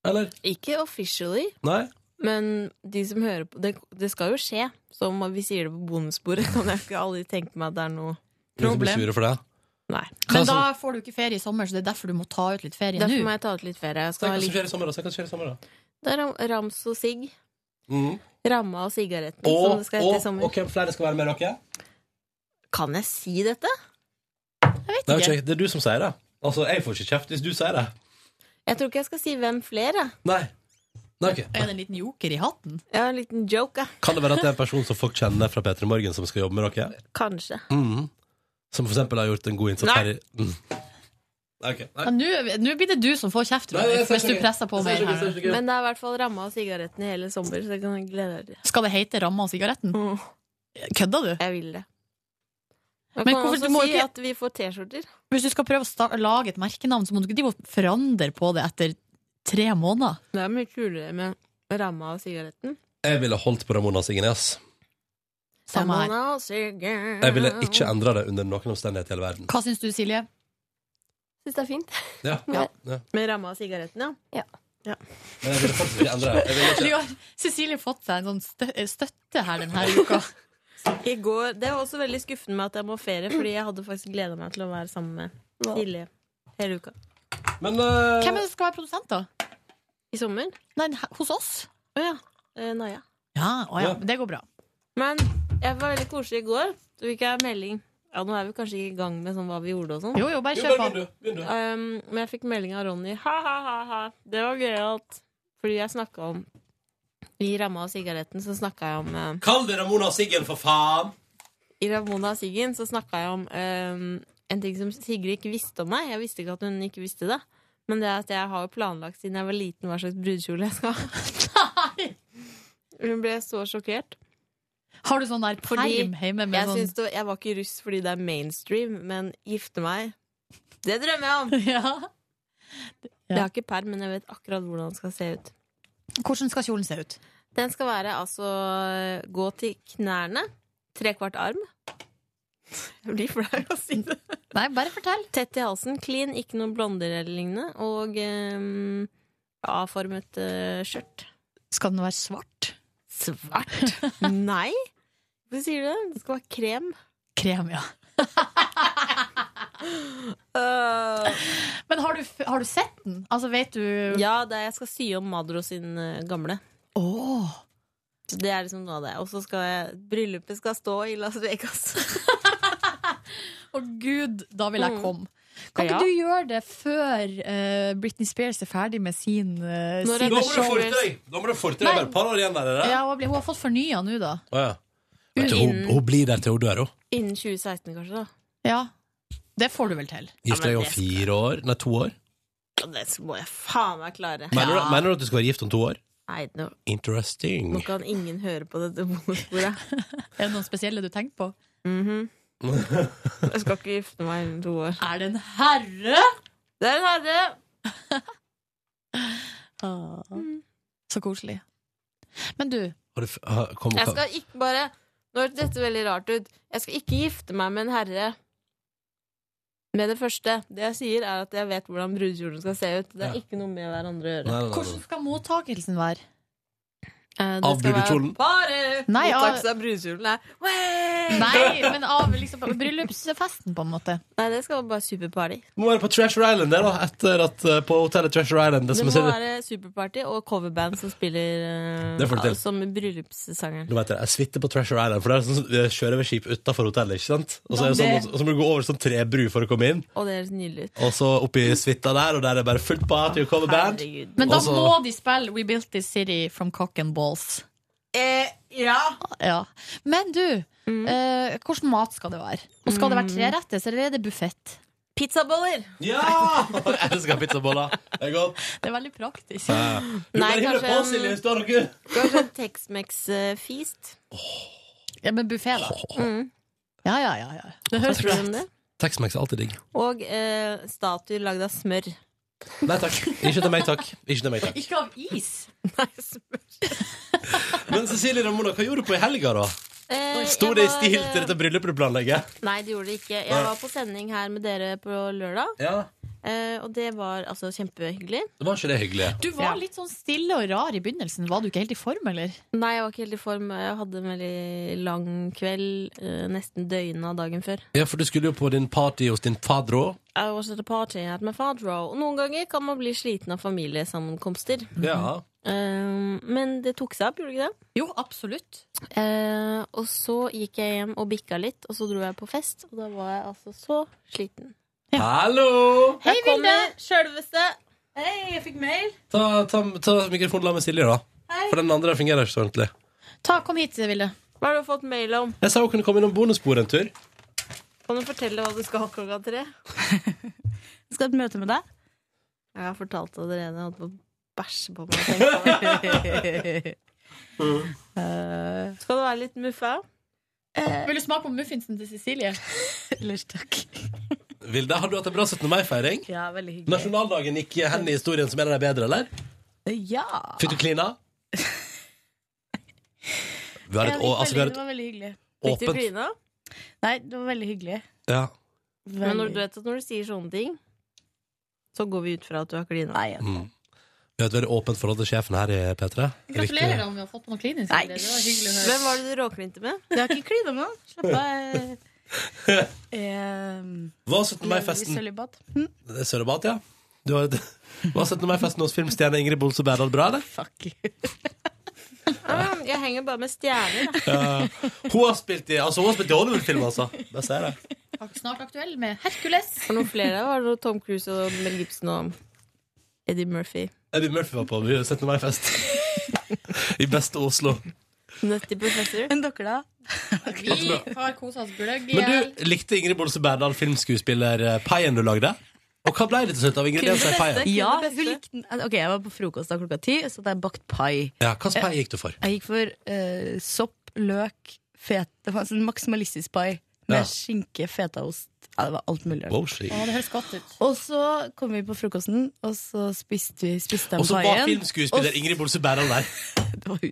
S2: Eller?
S13: Ikke officially,
S2: Nei?
S13: men de som hører på Det, det skal jo skje. Så om vi sier det på bonusbordet, kan jeg ikke aldri tenke meg at det er noe
S2: Ingen som blir sure for det?
S13: Nei.
S3: Men da får du ikke ferie i sommer, så det er derfor du må ta ut litt ferie nå.
S13: Derfor må jeg ta ut litt ferie. Jeg
S2: Så
S13: skal
S2: hva
S13: ha
S2: som skjer i
S13: litt,
S2: sommer, da? Så hva som skjer i sommer, da?
S13: det er ram- rams og sigg.
S2: Mm.
S13: Ramma og sigaretten, som
S2: Og,
S13: det skal hete i
S2: og,
S13: sommer.
S2: og hvem flere skal være med dere?
S13: Kan jeg si dette?
S2: Det er, jo ikke, det er du som sier det. Altså, Jeg får ikke kjeft hvis du sier det.
S13: Jeg tror ikke jeg skal si hvem flere.
S2: Nei. Nei, ok.
S3: Er det en liten joker i hatten?
S13: Ja, en liten joke, ja.
S2: Kan det være at det er en person som folk kjenner fra P3 Morgen, som skal jobbe med dere?
S13: Kanskje.
S2: Mhm. Som for eksempel har gjort en god innsats
S3: Nei.
S2: her i mm. Ok, nei.
S3: Ja, Nå nå blir det du som får kjeft,
S2: Nei, jeg
S3: Ronny,
S2: ser
S3: hvis du
S2: ikke.
S3: presser på
S2: Jeg
S3: mer
S2: ser ikke,
S3: her.
S2: jeg ser ikke.
S13: Men det er i hvert fall ramma av sigaretten i hele sommer, så jeg kan glede dere.
S3: Skal det hete ramma og sigaretten? Kødda du?
S13: Jeg vil det. Jeg
S3: Men
S13: kan
S3: hvorfor,
S13: også
S3: du må
S13: si
S3: jo ikke,
S13: at vi får T-skjorter.
S3: hvis du skal prøve å sta- lage et merkenavn, så må du ikke drive og forandre på det etter tre måneder.
S13: Det er mye kulere med ramma av sigaretten.
S2: Jeg ville holdt på Ramona Signes.
S3: Samme her.
S13: Ramma av sigaretten.
S2: Jeg ville ikke endra det under noen omstendighet i hele verden.
S3: Hva syns du, Silje?
S13: Syns det er fint.
S2: Ja, ja. ja.
S13: Med ramma av sigaretten, ja. ja.
S2: Men jeg ville faktisk ikke endra det. Jeg ville
S3: Du
S2: ikke.
S3: har Cecilie fått seg en sånn stø- støtte her denne uka.
S13: I går, Det er også veldig skuffende med at jeg må ferie, fordi jeg hadde faktisk gleda meg til å være sammen med Silje hele uka.
S2: Men eh,
S3: Hvem er det som skal være produsent, da?
S13: I sommer?
S3: Nei, he- hos oss.
S13: Å ja. Eh, Naja.
S3: Ja, å ja,
S13: Ja.
S3: men det går bra.
S13: Men jeg var veldig koselig i går. Så fikk jeg melding Ja, Nå er vi kanskje ikke i gang med sånn hva vi gjorde og sånn.
S3: Jo, jo, bare Jo, kjør bare på. begynn
S13: Um, men jeg fikk melding av Ronny. Ha-ha-ha. Det var gøyalt. Fordi jeg snakka om I ramma av sigaretten så snakka jeg om eh,
S2: Kall det Ramona Siggen, for faen!
S13: I Ramona og Siggen um, så snakka jeg om ehm, en ting som Sigrid ikke visste om meg. Jeg visste ikke at hun ikke visste det. Men det er at jeg har jo planlagt siden jeg var liten hva slags brudekjole jeg skal ha. Hun ble så sjokkert.
S3: Har du sånn der perm hjemme med
S13: jeg
S3: sånn-
S13: syns det, Jeg var ikke russ fordi det er mainstream, men gifte meg Det drømmer jeg om! Jeg har ikke perm, men jeg vet akkurat hvordan den skal se ut.
S3: Hvordan skal kjolen se ut?
S13: Den skal være altså gå til knærne. Trekvart arm. Jeg blir flau av å si det.
S3: Nei, bare fortell.
S13: Tett i halsen, clean, ikke noen blonder eller lignende. Og ehm, A-formet eh, skjørt.
S3: Skal den være svart?
S13: Svart? Nei! Hvorfor sier du det? Det skal være krem.
S3: Krem, ja. Men har du, f- har du sett den? Altså, vet du
S13: Ja, det er, jeg skal sy om Madro sin eh, gamle.
S3: Åh.
S13: Så det er liksom noe av det. Og så skal jeg Bryllupet skal stå i Las Vegas.
S3: Å gud, da vil jeg
S13: Mm.
S3: komme. Kan
S13: Ja.
S3: ikke du gjøre det før eh, Britney Spears er ferdig med sin, uh,
S2: Nå
S3: sine
S2: må du
S3: show?
S2: forte deg! Nå må du forte deg
S3: Nei.
S2: bare et par år igjen der. er det?
S3: Ja, hun, blir- hun har fått fornya nå, da.
S2: Å, ja. Vet du, hun, hun blir der til hun dør, hun.
S13: Innen 2016, kanskje, da.
S3: Ja. Det får du vel til.
S2: Gift deg om
S13: det
S2: fire år? Nei, to år?
S13: Ja, Det må jeg faen meg klare.
S2: Mener, du, mener du at du skal være gift om to år?
S13: Nei, nå,
S2: Interesting.
S13: nå kan ingen høre på dette bonusbordet.
S3: er det noen spesielle du tenker på?
S13: Jeg skal ikke gifte meg innen to år.
S3: Er det en herre?
S13: Det er en herre!
S3: Ah, Så koselig. Men du
S2: Har du f- har- kom,
S13: Jeg skal ikke bare Nå hørtes dette veldig rart ut. Jeg skal ikke gifte meg med en herre med det første. Det jeg sier, er at jeg vet hvordan brudekjolen skal se ut. Det er ikke noe med hverandre å gjøre.
S2: Nei, nei, nei, nei.
S3: Hvordan skal mottakelsen være?
S13: Eh, det Av skal være brudekjolen? bare
S3: Nei, av-
S13: mottakelse av brudekjolen er
S3: Nei, men av liksom, bryllupsfesten, på en måte.
S13: Nei, det skal være bare superparty.
S2: Må være på Treasure Island der, da. Etter at eh, på hotellet Treasure Island.
S13: Det
S2: Det, som
S13: må
S2: er sin-
S13: være superparty og coverband som spiller eh,
S2: Det får du til.
S13: som bryllupssangeren.
S2: Du vet det, jeg suiter på Treasure Island, for det er sånn, vi kjører ved skip utenfor hotellet. ikke sant? Og så, er det
S13: Ja,
S2: sånn,
S13: det-
S2: og så må du gå over sånn trebru for å komme inn,
S13: Og det høres nydelig ut.
S2: og så opp i suita der, og der er det bare fullt party og coverband.
S3: Men da
S2: Og så-
S3: må de spille We Built This City from Cock and Balls.
S13: Eh, ja. Mm.
S3: Ja. Men du, eh, hvordan mat skal det være? Og skal det være treretters, eller er det buffett?
S13: Pizzaboller!
S2: Ja! Jeg elsker pizzaboller. Det er godt.
S3: Det er veldig praktisk.
S2: Ja. Du
S13: Nei,
S2: bare hiver
S13: kanskje
S2: på, Silje, hvis du har noe.
S13: Kanskje en eh, Tex-Mex-feast.
S3: Ja, men buffé, da.
S13: Mm.
S3: Ja, ja, ja. ja.
S13: Det høres bra ut.
S2: Tex-Mex er alltid digg.
S13: Og eh, statuer lagd av smør.
S2: Nei takk. Ikke til meg, takk. Ikke til meg, takk.
S3: Ikke av is!
S2: Men Cecilie Ramona, hva gjorde du på i helga, da?
S13: Eh,
S2: Sto
S13: jeg
S2: det i
S13: var,
S2: stil
S13: eh,
S2: til dette bryllupet du planlegger?
S13: Nei, det gjorde det ikke.
S2: Nei.
S13: Jeg var på sending her med dere på lørdag,
S2: Ja.
S13: eh, og det var altså kjempehyggelig.
S2: Det var ikke det hyggelig?
S3: Du var litt sånn stille og rar i begynnelsen. Var du ikke helt i form, eller?
S13: Nei, jeg var ikke helt i form. Jeg hadde en veldig lang kveld, eh, nesten døgnet av dagen før.
S2: Ja, for du skulle jo på din party hos din fadro.
S13: I was at a party at my father, og noen ganger kan man bli sliten av familiesammenkomster.
S2: Mhm. Ja.
S13: Eh, men det tok seg opp, gjorde det ikke det?
S3: Jo, absolutt.
S13: Eh, og så gikk jeg hjem og bikka litt, og så dro jeg på fest, og da var jeg altså så sliten.
S2: Hallo!
S13: Hei, Vilde! kommer sjølveste. Hei, jeg fikk mail.
S2: Ta, ta, ta mikrofonen la med Silje, da. For den andre fungerer ikke så ordentlig.
S3: Ta, kom hit, Ville.
S13: Hva har du fått mail om?
S2: Jeg sa hun kunne komme innom bonusbordet en tur.
S13: Kan du fortelle hva du skal klokka tre? jeg skal ha et møte med deg. Jeg har fortalt det allerede. Jeg holdt på å bæsje på meg. tenkte jeg. Eh, skal det være litt muffa?
S3: Vil du smake på muffinsen til Cecilie? Ellers takk.
S2: Vilde, har du hatt en bra 17. mai-feiring?
S13: Ja, veldig
S2: Nasjonaldagen gikk hen i historien som en av de bedre, eller?
S13: Ja.
S2: Fikk du klina? Vi har et, å, altså, vi har et
S13: veldig hyggelig.
S2: Fikk
S13: Fikk
S2: du
S13: du
S2: åpent-
S13: klina? Nei, det var veldig hyggelig.
S2: ja.
S13: Men når du vet at når du sier sånne ting, så går vi ut fra at du har klina.
S2: mm. Vi har et veldig åpent forhold til sjefen her i P3. Riktig.
S3: da om vi har fått på noe klinisk.
S13: Nei.
S3: Vilde. Det var hyggelig å høre.
S13: Hvem var det du råklinte med?
S11: Jeg har ikke klina med han. Slapp av.
S2: Hva 17. mai-festen?
S11: Sølibat.
S2: Hm? Det er Sølibat, ja. Du har et... Hva 17. mai-festen hos filmstjerne Ingrid Bolse Berdal bra, eller?
S13: Ah, jeg henger bare med stjerner. da.
S2: Ja. Eh, hun har spilt i altså, hun har spilt i Hollywood-film, altså. Bare sier det.
S3: Snart aktuell med Hercules.
S13: For noen flere var det Tom Cruise og Mel Gibson og Eddie Murphy.
S2: Eddie Murphy var på 17. mai-fest. I beste Oslo.
S13: Nutty professor.
S11: Enn dere, da?
S3: Vi har kosa oss gløgg i
S2: Men du, likte Ingrid Bolse Berdal filmskuespiller eh, Paien du lagde? Og hva ble det til slutt av ingrediensene i paien?
S11: Ja, hun likte den. Ok, Jeg var på frokost da klokka ti, så det er bakt pai.
S2: Ja, hva slags pai gikk du for?
S11: Jeg gikk for eh, sopp, løk, fete Det var en sånn maksimalistisk pai med
S2: Ja.
S11: skinke, fetaost Ja, det var alt mulig.
S2: Wow, shit.
S3: det høres godt ut.
S11: Og så kom vi på frokosten, og så spiste vi spiste den
S2: Og så var
S11: paien.
S2: filmskuespiller
S11: Og-
S2: Ingrid Bolse Berdal der.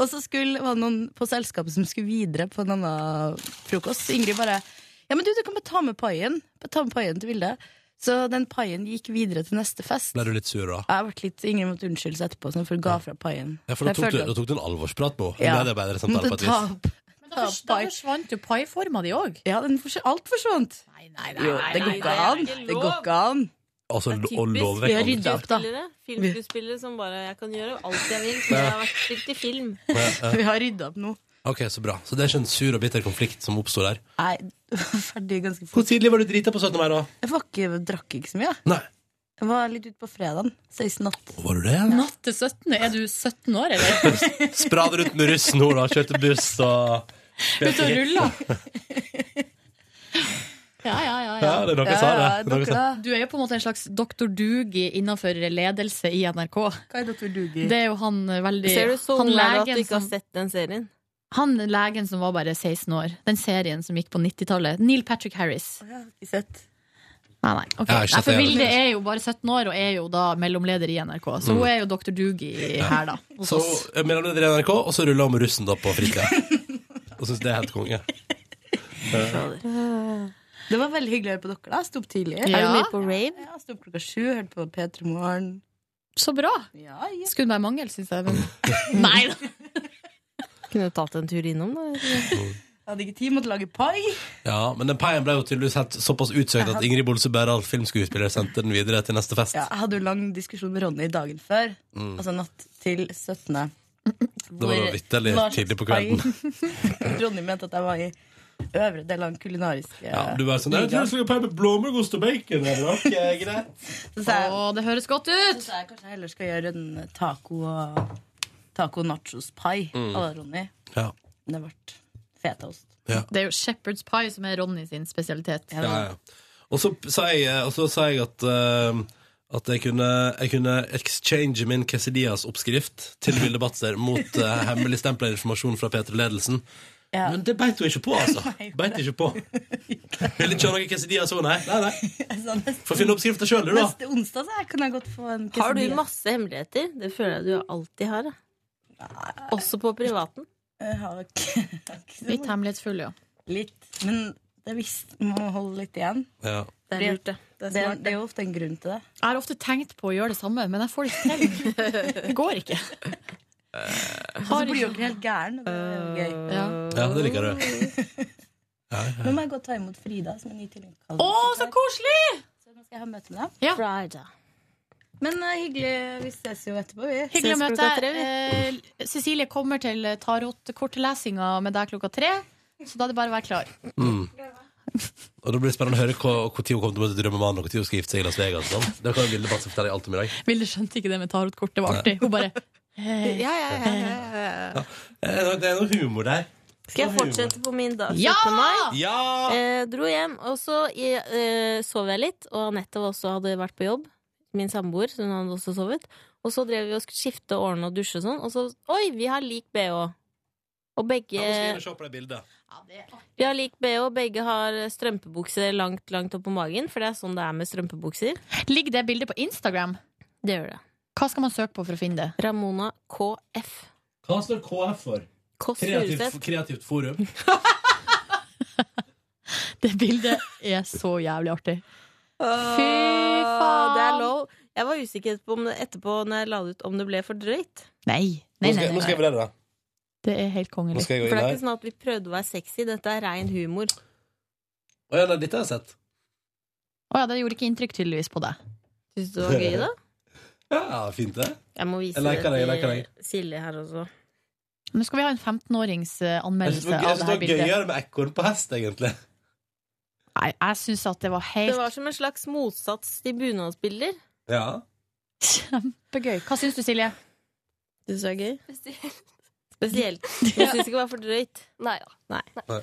S11: Og så skulle, var det noen på selskapet som skulle videre på en annen frokost. Så Ingrid bare Ja, men du, du kan bare ta med paien. Bare Ta med paien til Vilde. Så den paien gikk videre til neste fest.
S2: Ble du litt sur da?
S11: Jeg ble litt, Ingrid måtte unnskylde seg etterpå, sånn, for hun ga fra paien.
S2: Ja, for da
S11: Jeg
S2: tok, du,
S11: følte
S2: da
S11: at-
S2: tok du en alvorsprat med henne.
S11: Ja.
S2: Ja. Medarbeidersamtale på et
S11: Ta
S2: vis.
S11: opp-
S3: Da fors- da forsvant jo paiforma di òg.
S11: Ja, den forsv- alt forsvant.
S3: Nei, nei, nei.
S11: Jo, det går ikke an. Det går ikke an.
S2: Altså,
S11: Det er
S2: å
S11: typisk.
S2: love
S11: Vi
S2: vekk
S11: har
S2: alle.
S11: rydda opp, da.
S13: Skuespillere, Filmskuespillere som bare Jeg kan gjøre alt jeg vil, for jeg har vært spilt i film.
S2: Ja, ja.
S11: Vi har rydda opp nå.
S2: Ok, Så bra. Så det er ikke en sur og bitter konflikt som oppstår der?
S11: Nei, ferdig ganske fort.
S2: Hvor tidlig var du drita på 17. mai, da?
S11: Jeg var ikke, drakk ikke så mye.
S2: Nei.
S11: Jeg var litt ute på fredagen. 16-18.
S2: Var du det?
S3: Natt til 17. Er du 17 år, eller?
S2: Sprad rundt med russen nå, da. Kjørte buss og
S3: Ute og rulla. Ja, ja, ja.
S2: Ja, det er dere som sa det. Det er dere som-
S3: Du er jo på en måte en slags doktor Dugi innenfor ledelse i NRK.
S11: Hva er doktor Dugi?
S3: Det er jo han eh, veldig
S13: Ser du så
S3: han
S13: ung er du at
S3: legen
S13: du ikke har
S3: som-
S13: sett den serien?
S3: Han legen som var bare 16 år. Den serien som gikk på 90-tallet. Neil Patrick Harris. Nei, nei. ok.
S11: Jeg har ikke
S3: nei
S11: sett
S3: for
S11: det
S3: Vilde
S11: heller.
S3: er jo bare 17 år og er jo da mellomleder i NRK. Så
S2: Mm.
S3: hun er jo Dr. Doogie
S2: Ja.
S3: her, da. Hos
S2: Så
S3: oss.
S2: eh, mellom det drev NRK, og så rulla hun med russen da på fritida. Og syns det er helt konge. Ja.
S11: Det var veldig hyggelig å høre på dere. da Jeg Sto opp tidlig.
S3: Ja. Er du mye på
S11: rave? Ja, jeg sto opp klokka sju, hørte på P3 Morgen.
S3: Så bra! Skulle være mangel, syns jeg. Men... Nei da!
S13: Kunne du tatt en tur innom, da?
S11: Jeg hadde ikke tid, måtte lage pai.
S2: ja, Men den paien ble jo tydeligvis helt såpass utsøkt at Ingrid Bolse Berdal, filmskuespiller, sendte den videre til neste fest.
S11: Ja, jeg hadde jo lang diskusjon med Ronny dagen før,
S2: Mm.
S11: altså natt til 17.
S2: Det var da vitterlig
S11: Hvor-
S2: tidlig på kvelden.
S11: Ronny mente at jeg var i øvre del av den kulinariske
S2: Ja, du var sånn, jeg tror jeg skal ha pai med blåmuggost og bacon. Er det nok eh, greit?
S3: Å, det høres godt ut!
S11: Så sa jeg kanskje jeg heller skal gjøre en taco og taco nachos pai à
S3: Mm.
S11: la Ronny.
S2: Ja.
S11: Men Det ble fetaost.
S3: Det er jo shepherd's pie som er Ronny sin spesialitet.
S2: Ja, ja. Og så sa jeg, og så sa jeg at, eh, at jeg, kunne, jeg kunne exchange min quesadillas-oppskrift til Vilde Batzer mot uh, hemmeligstempla informasjon fra P3-ledelsen.
S11: Ja.
S2: Men det beit hun ikke på, altså. Beit ikke på. Vil ikke ha noe quesadillas òg, nei? nei, sånn nei. Får finne oppskrifta sjøl, du, da.
S11: Neste onsdag så kan jeg godt få en
S13: Har du
S11: quesadilla.
S13: masse hemmeligheter? Det føler jeg du alltid har. da. Også på privaten.
S11: Jeg har ikke-
S3: Litt hemmelighetsfull, ja.
S11: Litt. Men det visst, man må holde litt igjen.
S2: Ja.
S3: Det er lurt, det.
S11: Det
S3: Det
S11: er,
S3: er
S11: det,
S3: smart, det.
S11: er jo ofte en grunn til det.
S3: Jeg har ofte tenkt på å gjøre det samme, men jeg får det ikke til. Det går ikke.
S11: Og så blir jo ikke helt gæren. og Det er jo gøy.
S2: Ja, det liker du. Ja,
S11: Nå
S2: ja.
S11: må jeg gå og ta imot Frida, som er ny til Å,
S3: så koselig!
S11: Så nå skal jeg ha møte med
S3: deg.
S11: Men eh, hyggelig. Vi ses jo etterpå, vi.
S3: Hyggelig å møte deg. Eh, Cecilie kommer til tarotkortlesinga med deg klokka tre, så da er det bare å være klar.
S2: Mm. Og da blir det spennende å høre hva- hvor tid hun kommer til å møte drømmemannen, og hvor tid hun skal gifte seg i Las Vegas. Sånn. Det kan Vilde Batzer fortelle alt om i dag.
S3: Vilde skjønte ikke det med tarotkort, det var artig. Hun bare eh,
S13: Ja, ja, ja, ja, ja, ja.
S2: Eh, Det er noe humor der.
S13: Skal jeg
S2: Noe humor.
S13: fortsette på min dag?
S2: Ja!
S13: 17. mai?
S2: Ja!
S13: Eh, dro hjem, og så eh, sov jeg litt. Og Anette var også hadde vært på jobb. Min samboer, så hun hadde også sovet. Og så drev vi og skulle skifte og ordne og dusje og sånn, og så Oi, vi har lik bh! Og begge
S2: Ja, nå skal jeg inn og se på det bildet.
S13: Vi har lik bh, begge har strømpebukse langt, langt opp på magen, for det er sånn det er med strømpebukser.
S3: Ligger det bildet på Instagram?
S13: Det gjør det.
S3: Hva skal man søke på for å finne det?
S13: Ramona KF.
S2: Hva står KF for?
S13: Kåss
S2: Kreativt,
S13: Furuseth.
S2: kreativt forum.
S3: Det bildet er så jævlig artig.
S13: Fy
S3: faen!
S13: Det er lov. Jeg var usikker på om det, etterpå når jeg la det ut, om det ble for drøyt.
S3: Nei.
S2: Nå skal, nå skal jeg vurdere det.
S3: Det er helt
S2: Nå
S3: kongelig.
S2: skal jeg gå
S13: For det
S2: inn
S13: er
S2: her.
S13: ikke sånn at vi prøvde å være sexy. Dette er rein humor.
S2: Å ja, nei, dette har jeg sett.
S3: Å ja, det gjorde ikke inntrykk tydeligvis på deg.
S13: Syns du det var gøy, da?
S2: Ja, fint det.
S13: Jeg må vise
S2: Jeg liker det, jeg
S13: det
S2: liker det.
S13: til Silje her også.
S3: Nå skal vi ha en 15-årings eh,
S2: Jeg syns
S3: anmeldelse
S2: det var- jeg
S3: av det
S2: synes det
S3: her
S2: var
S3: bildet.
S2: gøyere med ekorn på hest, egentlig.
S3: Nei, jeg syns at det var helt
S13: Det var som en slags motsats til bunadsbilder.
S2: Ja.
S3: kjempegøy. Hva syns du, Silje?
S13: Syns du det er gøy? Spesielt. Du syns ikke det var for drøyt?
S16: Nei da.
S13: Nei.
S2: Nei, det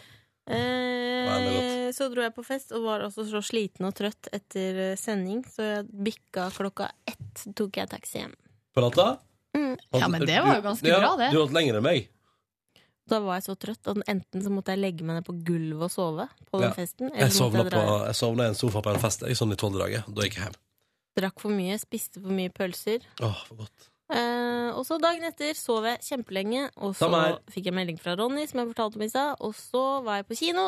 S13: Eh, så dro jeg på fest og var også så sliten og trøtt etter eh, sending, så jeg bikka klokka ett tok jeg taxi hjem.
S2: På natta?
S13: Mm.
S2: Holdt- du- ja, Du holdt lenger enn meg.
S13: Da var jeg så trøtt at enten så måtte jeg legge meg ned på gulvet og sove på den
S2: Ja.
S13: festen, eller
S2: Jeg
S13: så måtte
S2: sovna,
S13: jeg
S2: på,
S13: dra.
S2: jeg sovna i en sofa på en fest jeg, sånn i tolvdraget. Da gikk jeg hjem.
S13: Drakk for mye, spiste for mye pølser.
S2: Åh, for godt.
S13: Eh, og så dagen etter sov jeg kjempelenge, og så
S2: Samme her.
S13: fikk jeg melding fra Ronny, som jeg fortalte om i stad, og så var jeg på kino,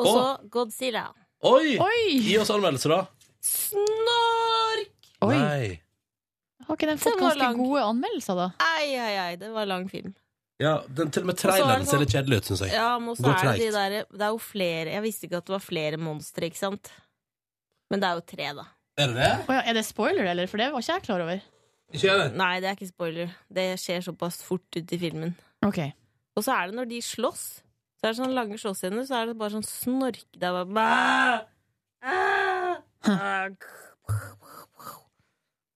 S13: og så Godzilla.
S2: Oi! Gi oss anmeldelse, da.
S13: Snork!
S2: Nei.
S13: Har ikke den
S3: fått ganske
S13: gode anmeldelser, da? Ei, ei, ei, det var lang film.
S2: Ja, den, til og med
S13: Og så er
S2: traileren
S13: det
S2: ser litt
S13: sånn-
S2: kjedelig ut, syns jeg.
S13: Ja, men også
S2: Går
S13: er det, de
S2: treigt.
S13: der, det er jo flere Jeg visste ikke at det var flere monstre, ikke sant? Men det er jo tre, da.
S2: Er det det?
S13: Oh, er det spoiler, eller? For det var ikke jeg klar over.
S2: Ikke jeg
S13: Nei, det er ikke spoiler. Det skjer såpass fort ut i filmen. Og så er det når de slåss, så er det sånne lange slåssscener, så er det bare sånn snork Det er bare "Bæ! Æ! Æ!"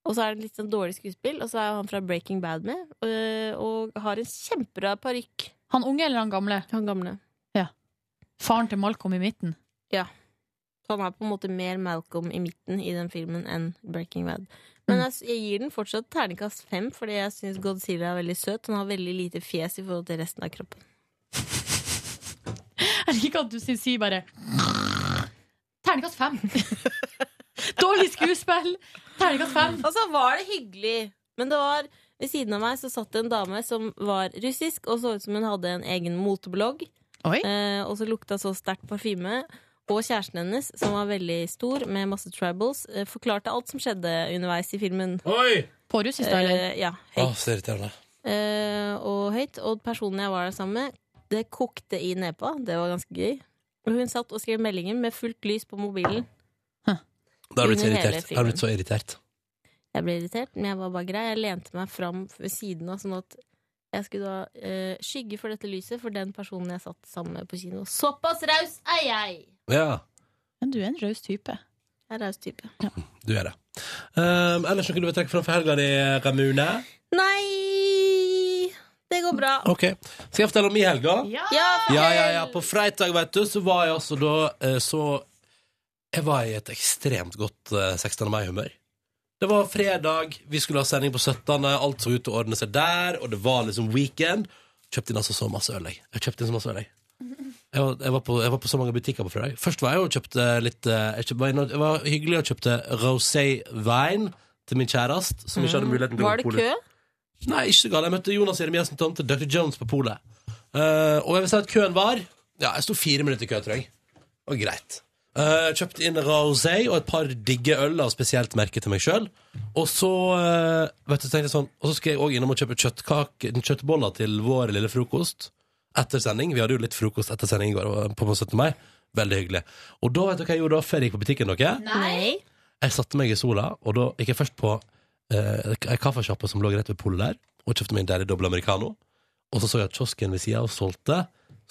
S13: Og så er det litt sånn dårlig skuespill, og så er han fra Breaking Bad med, øh, og har en kjempebra parykk. Han unge eller han gamle? Han gamle.
S3: Faren til Malcolm i midten.
S13: Ja. Så han er på en måte mer Malcolm i midten i den filmen enn Breaking Bad. Men jeg, jeg gir den fortsatt terningkast fem, fordi jeg syns Godzilla er veldig søt. Han har veldig lite fjes i forhold til resten av kroppen.
S3: Jeg liker at du sier sier bare Terningkast fem! Dårlig skuespill! Terningkast fem!
S13: Og så Altså, var det hyggelig, men det var ved siden av meg så satt det en dame som var russisk og så ut som hun hadde en egen moteblogg. Eh, og så lukta så sterkt parfyme. Og kjæresten hennes, som var veldig stor, med masse tribals, eh, forklarte alt som skjedde underveis i filmen.
S2: Oi!
S13: På russisk,
S3: da, eller?
S13: ja.
S2: Å, så irriterende.
S13: Eh, og høyt. Og personen jeg var der sammen med, det kokte i nepa. Det var ganske gøy. Og hun satt og skrev meldinger med fullt lys på mobilen.
S2: Da har du blitt så
S13: Under hele
S2: irritert. Da har du blitt så irritert.
S13: Jeg ble irritert, men jeg var bare grei. Jeg lente meg fram ved siden av, sånn at jeg skulle da eh, skygge for dette lyset for den personen jeg satt sammen med på kino. Såpass raus er jeg!
S2: Ja,
S3: Men du er en raus type.
S13: Jeg er raus type.
S2: du er det. Um, ellers noe du vil trekke fram for helga di, Ramune?
S13: Nei! Det går bra.
S2: Ok, Skal jeg fortelle om min helga?
S13: Ja!
S2: Ja, ja, ja. På fredag, vet du, så var jeg altså da eh, så Jeg var i et ekstremt godt eh, 16. mai-humør. Det var fredag, vi skulle ha sending på 17., alt så ut til å ordne seg der, og det var liksom weekend. Kjøpte inn altså så masse øl, jeg. Jeg kjøpte inn så masse øl, jeg. Jeg var, jeg, var på, jeg var på så mange butikker på fredag. Først var jeg jo og kjøpte litt eh, Jeg, kjøpte, var inne og- jeg var hyggelig og kjøpte rosé-vin til min kjæreste, som ikke hadde muligheten til å
S13: Var
S2: gå
S13: det
S2: på
S13: kø?
S2: polet. Nei, ikke så gal. Jeg møtte Jonas Jeremiassen tante Dr. Jones på polet. Eh, og jeg vil si at køen var Ja, jeg sto fire minutter i kø, tror jeg. Og greit. Eh, kjøpte inn rosé og et par digge øl av spesielt merke til meg sjøl. Og så eh, vet du, tenkte jeg sånn Og så skal jeg òg innom og kjøpe kjøttkake, kjøttboller til vår lille frokost etter sending. Vi hadde jo litt frokost etter sending i går, på 17. mai. Veldig hyggelig. Og da vet du hva jeg gjorde da før jeg gikk på butikken? Dere?
S13: Nei.
S2: Jeg satte meg i sola, og da gikk jeg først på eh, ei kaffesjappe som lå rett ved polet der, og kjøpte meg en deilig dobbel americano. Og så så jeg at kiosken ved sida av solgte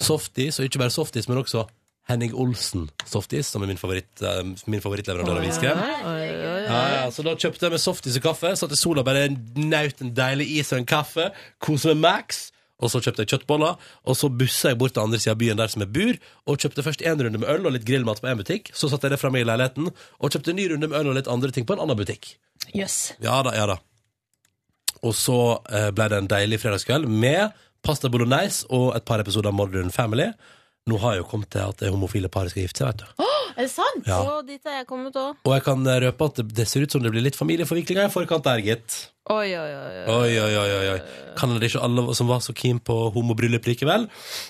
S2: softis, og ikke bare softis, men også Henning Olsen softis, som er min, favoritt, eh, min favorittleverandør av iskrem. Ja, ja, så da kjøpte jeg meg softis og kaffe, satt i sola, bare naut en deilig is og en kaffe, kose med Max. Og så kjøpte jeg kjøttboller, og så bussa jeg bort til andre sida av byen der som jeg bor, og kjøpte først en runde med øl og litt grillmat på én butikk, så satte jeg det fra meg i leiligheten, og kjøpte en ny runde med øl og litt andre ting på en annen butikk.
S3: Jøss.
S2: Ja da, ja da. Og så eh, ble det en deilig fredagskveld med pasta bolognese og et par episoder av Modern Family. Nå har jeg jo kommet til at det homofile paret skal gifte seg, vet du.
S13: er det sant?
S2: Ja.
S13: Og dit er jeg kommet òg.
S2: Og jeg kan eh, røpe at det, det ser ut som det blir litt familieforviklinger i forkant der, gitt.
S13: Oi, oi, oi. oi.
S2: Oi, oi, oi, oi, oi. Kan det ikke alle som var så keen på homobryllup likevel?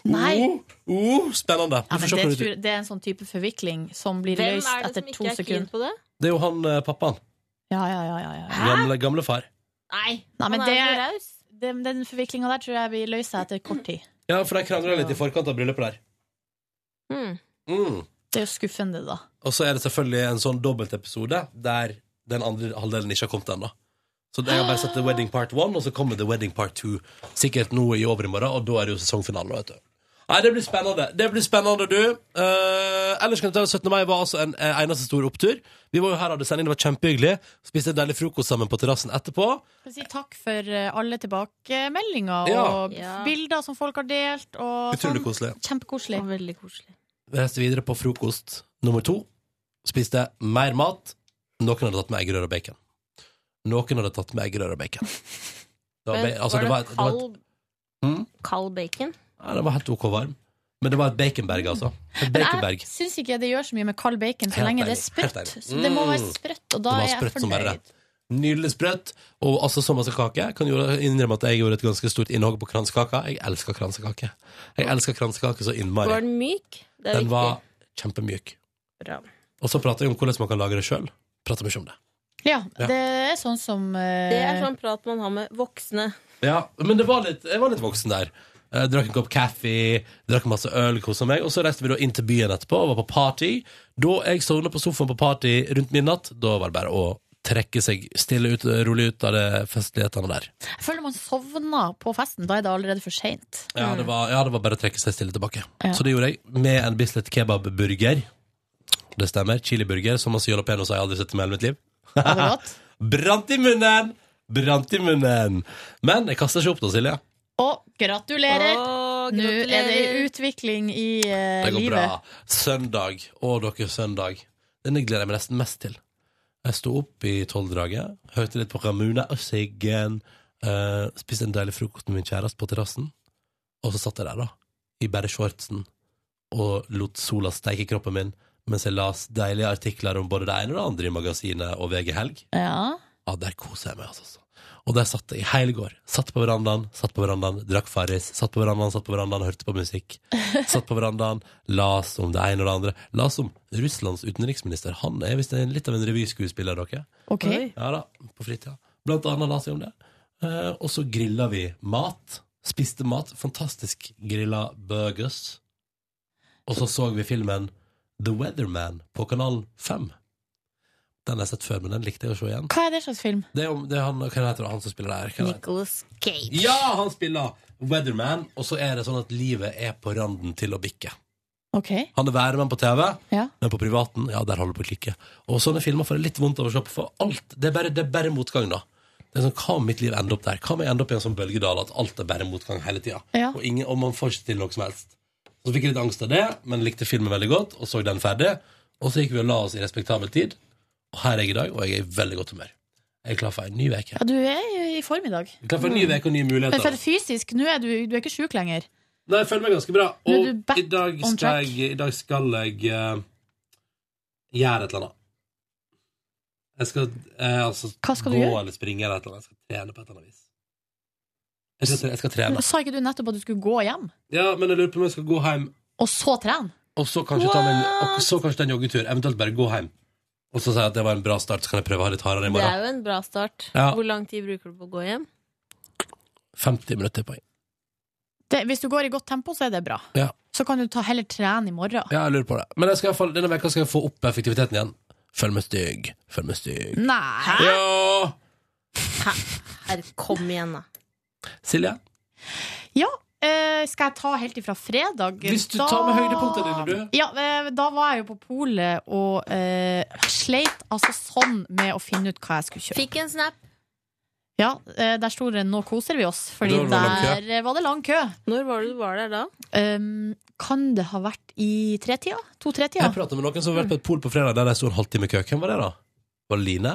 S3: Nei.
S2: Oh, oh, spennende. Du
S3: Ja,
S2: får
S3: men
S2: se
S3: det,
S2: hvordan det
S3: tror, det er en sånn type forvikling som blir
S13: Hvem
S3: løst
S13: er det
S3: etter
S13: som
S3: to
S13: ikke er keen
S3: sekunder.
S13: på det?
S2: Det er jo han eh, pappaen.
S3: Ja, ja, ja, ja, ja.
S2: Gamle, gamle far.
S13: Nei,
S3: Nei, men
S13: han er jo så
S3: det,
S13: raus.
S3: den, den forviklinga der tror jeg vi løser etter kort tid.
S2: Ja, for de krangla litt i forkant av bryllupet der. Mm.
S3: Det er jo skuffende, da.
S2: Og så er det selvfølgelig en sånn dobbeltepisode der den andre halvdelen ikke har kommet ennå. Så jeg har bare sett The Wedding Part 1, og så kommer The Wedding Part 2 sikkert nå i overmorgen, og da er det jo sesongfinale, vet du. Nei, det blir spennende. Det blir spennende, du. Eh, ellers kan du ta 17. mai var altså en eh, eneste stor opptur. Vi var jo her og hadde sending, det var kjempehyggelig. Spiste en deilig frokost sammen på terrassen etterpå.
S3: Skal vi si takk for eh, alle tilbakemeldinger
S2: Ja.
S3: og
S2: Ja.
S3: bilder som folk har delt. Og
S2: Utrolig
S3: sånn.
S2: koselig.
S3: Kjempekoselig.
S13: veldig koselig.
S2: Vi reiste videre på frokost nummer to. Spiste mer mat. Noen hadde tatt med eggerøre og bacon. Noen hadde tatt med eggerøre og bacon. Det
S17: Men
S2: ba- altså,
S17: var det,
S2: var- var et-
S17: kald,
S2: Mm?
S17: kald bacon?
S2: Nei, det var helt ok varm. Men det var et baconberg, altså. Et
S3: Men
S2: baconberg.
S3: jeg syns ikke det gjør så mye med kald bacon, så
S2: Helt
S3: lenge det
S2: enig,
S3: er
S2: helt
S3: sprøtt.
S2: enig.
S3: Så det må
S2: Mm.
S3: være sprøtt, og da
S2: det
S3: er
S2: var
S3: jeg
S2: sprøtt som bare
S3: fornøyd.
S2: det. Nydelig sprøtt. Og altså som masse kake. Kan jo innrømme at jeg gjorde et ganske stort innhogg på kransekaka. Jeg elsker kransekake. Jeg elsker kransekake så innmari.
S17: Var den myk? Det er
S2: Den
S17: viktig.
S2: var kjempemyk.
S17: Bra.
S2: Og så prater jeg om hvordan man kan lage det sjøl. Prater mye om det.
S3: Ja,
S2: Ja.
S3: det er sånn som eh,
S17: Det er sånn prat man har med voksne.
S2: Ja, men det var litt, jeg var litt voksen der. Eh, drakk en kopp kaffe, drakk masse øl, kosa meg. Og så reiste vi da inn til byen etterpå og var på party. Da jeg sovna på sofaen på party rundt midnatt, da var det bare å trekke seg stille ut, rolig ut av det festlighetene der.
S3: Jeg føler man sovna på festen. Da er det allerede for seint.
S2: Ja, det var, ja, det var bare å trekke seg stille tilbake.
S3: Ja.
S2: Så det gjorde jeg med en Bislett kebabburger. Det stemmer. Chiliburger. Så masse jalapeños har jeg aldri sett i hele mitt liv.
S3: Var det godt?
S2: Brant i munnen! Brant i munnen. Men jeg kaster ikke opp da, Silje.
S3: Og gratulerer! Nå er det en utvikling i eh,
S2: Det går
S3: livet.
S2: bra. Søndag. Å, dere, søndag. Denne gleder jeg meg nesten mest til. Jeg sto opp i tolvdraget, hørte litt på Ramune og Siggen. eh, spiste en deilig frokost med min kjæreste på terrassen. Og så satt jeg der, da, i bare shortsen, og lot sola steike kroppen min mens jeg las deilige artikler om både det ene og det andre i magasinet og VG Helg.
S3: Ja.
S2: Ja, der koser jeg meg, altså. Og der satt jeg i hele går. Satt på verandaen, satt på verandaen, drakk Farris. Satt på verandaen, satt på verandaen, hørte på musikk. Satt på verandaen, las om det ene og det andre. Las om Russlands utenriksminister. Han er visst en- litt av en revyskuespiller, dere.
S3: Ok. Oi.
S2: Ja da, på fritida. Blant annet las jeg om det. Eh, og så grilla vi mat. Spiste mat. Fantastisk grilla burgers. Og så så vi filmen The Weatherman på kanal 5. Den har jeg sett før, men den likte jeg å se igjen.
S3: Hva er det slags film?
S2: Det er, om, det er han, hva heter han som spiller der? Hva heter-
S17: Nicholas Cage.
S2: Ja, han spiller Weatherman, og så er det sånn at livet er på randen til å bikke.
S3: Ok.
S2: Han er værmann på TV,
S3: Ja.
S2: men på privaten, ja, der holder det på å klikke. Og sånne filmer får jeg litt vondt av å se på, for alt, det er bare, det er bare motgang, da. Det er sånn, Hva om mitt liv ender opp der? Hva om jeg ender opp i en sånn bølgedal at alt er bare motgang hele tida?
S3: Ja.
S2: Og, ingen- og man får ikke til noe som helst. Så fikk jeg litt angst av det, men likte filmen veldig godt, og så den ferdig. Og så gikk vi og la oss i respektabel tid, og her er jeg i dag, og jeg er i veldig godt humør. Jeg er klar for en ny uke.
S3: Ja, du er jo i form i dag.
S2: Jeg er Klar for en ny uke og nye muligheter.
S3: Mm. Men for fysisk, nå er du, du er ikke sjuk lenger.
S2: Nei, jeg føler meg ganske bra.
S3: Nå er
S2: Og
S3: du back
S2: i dag
S3: on
S2: skal jeg, i dag skal jeg eh, gjøre et eller annet. Jeg skal eh, altså
S3: Hva skal du
S2: gå
S3: gjøre?
S2: eller springe eller et eller annet. Jeg skal trene på et eller annet vis. Jeg skal, tre- jeg skal trene.
S3: Sa ikke du nettopp at du skulle gå hjem,
S2: Ja, men jeg lurer på om jeg skal gå hjem,
S3: og så trene?
S2: og så kanskje ta meg en, og så kanskje ta en joggetur. Eventuelt bare gå hjem. Og så si at det var en bra start, så kan jeg prøve å ha litt hardere i
S17: Det er
S2: morgen.
S17: jo en bra start.
S2: Ja.
S17: Hvor lang tid bruker du på å gå hjem?
S2: 50 minutter på en.
S3: Det, hvis du går i godt tempo, så er det bra.
S2: Ja.
S3: Så kan du ta heller trene i morgen.
S2: ja, jeg lurer på det. Men jeg skal, i hvert fall- denne veka skal jeg få opp effektiviteten igjen. Følg meg stygg. Følg meg stygg.
S3: Nei!
S2: Ja!
S17: Hæ? Her, kom igjen, da.
S2: Silje?
S3: Ja, eh, skal jeg ta helt ifra fredag?
S2: Hvis du tar med høydepunktene dine, du.
S3: Ja, eh, da var jeg jo på polet og eh, sleit altså sånn med å finne ut hva jeg skulle kjøpe.
S17: Fikk en snap.
S3: Ja, eh, der sto det 'nå koser vi oss', fordi
S17: Når var det lang kø?
S3: der eh, var det lang kø.
S17: Når var det du var der da?
S3: Um, kan det ha vært i tretida? To-tretida?
S2: Jeg pratet med noen som har vært på et pol på fredag der de sto en halvtime i kø. Hvem var det, da? Var det Line?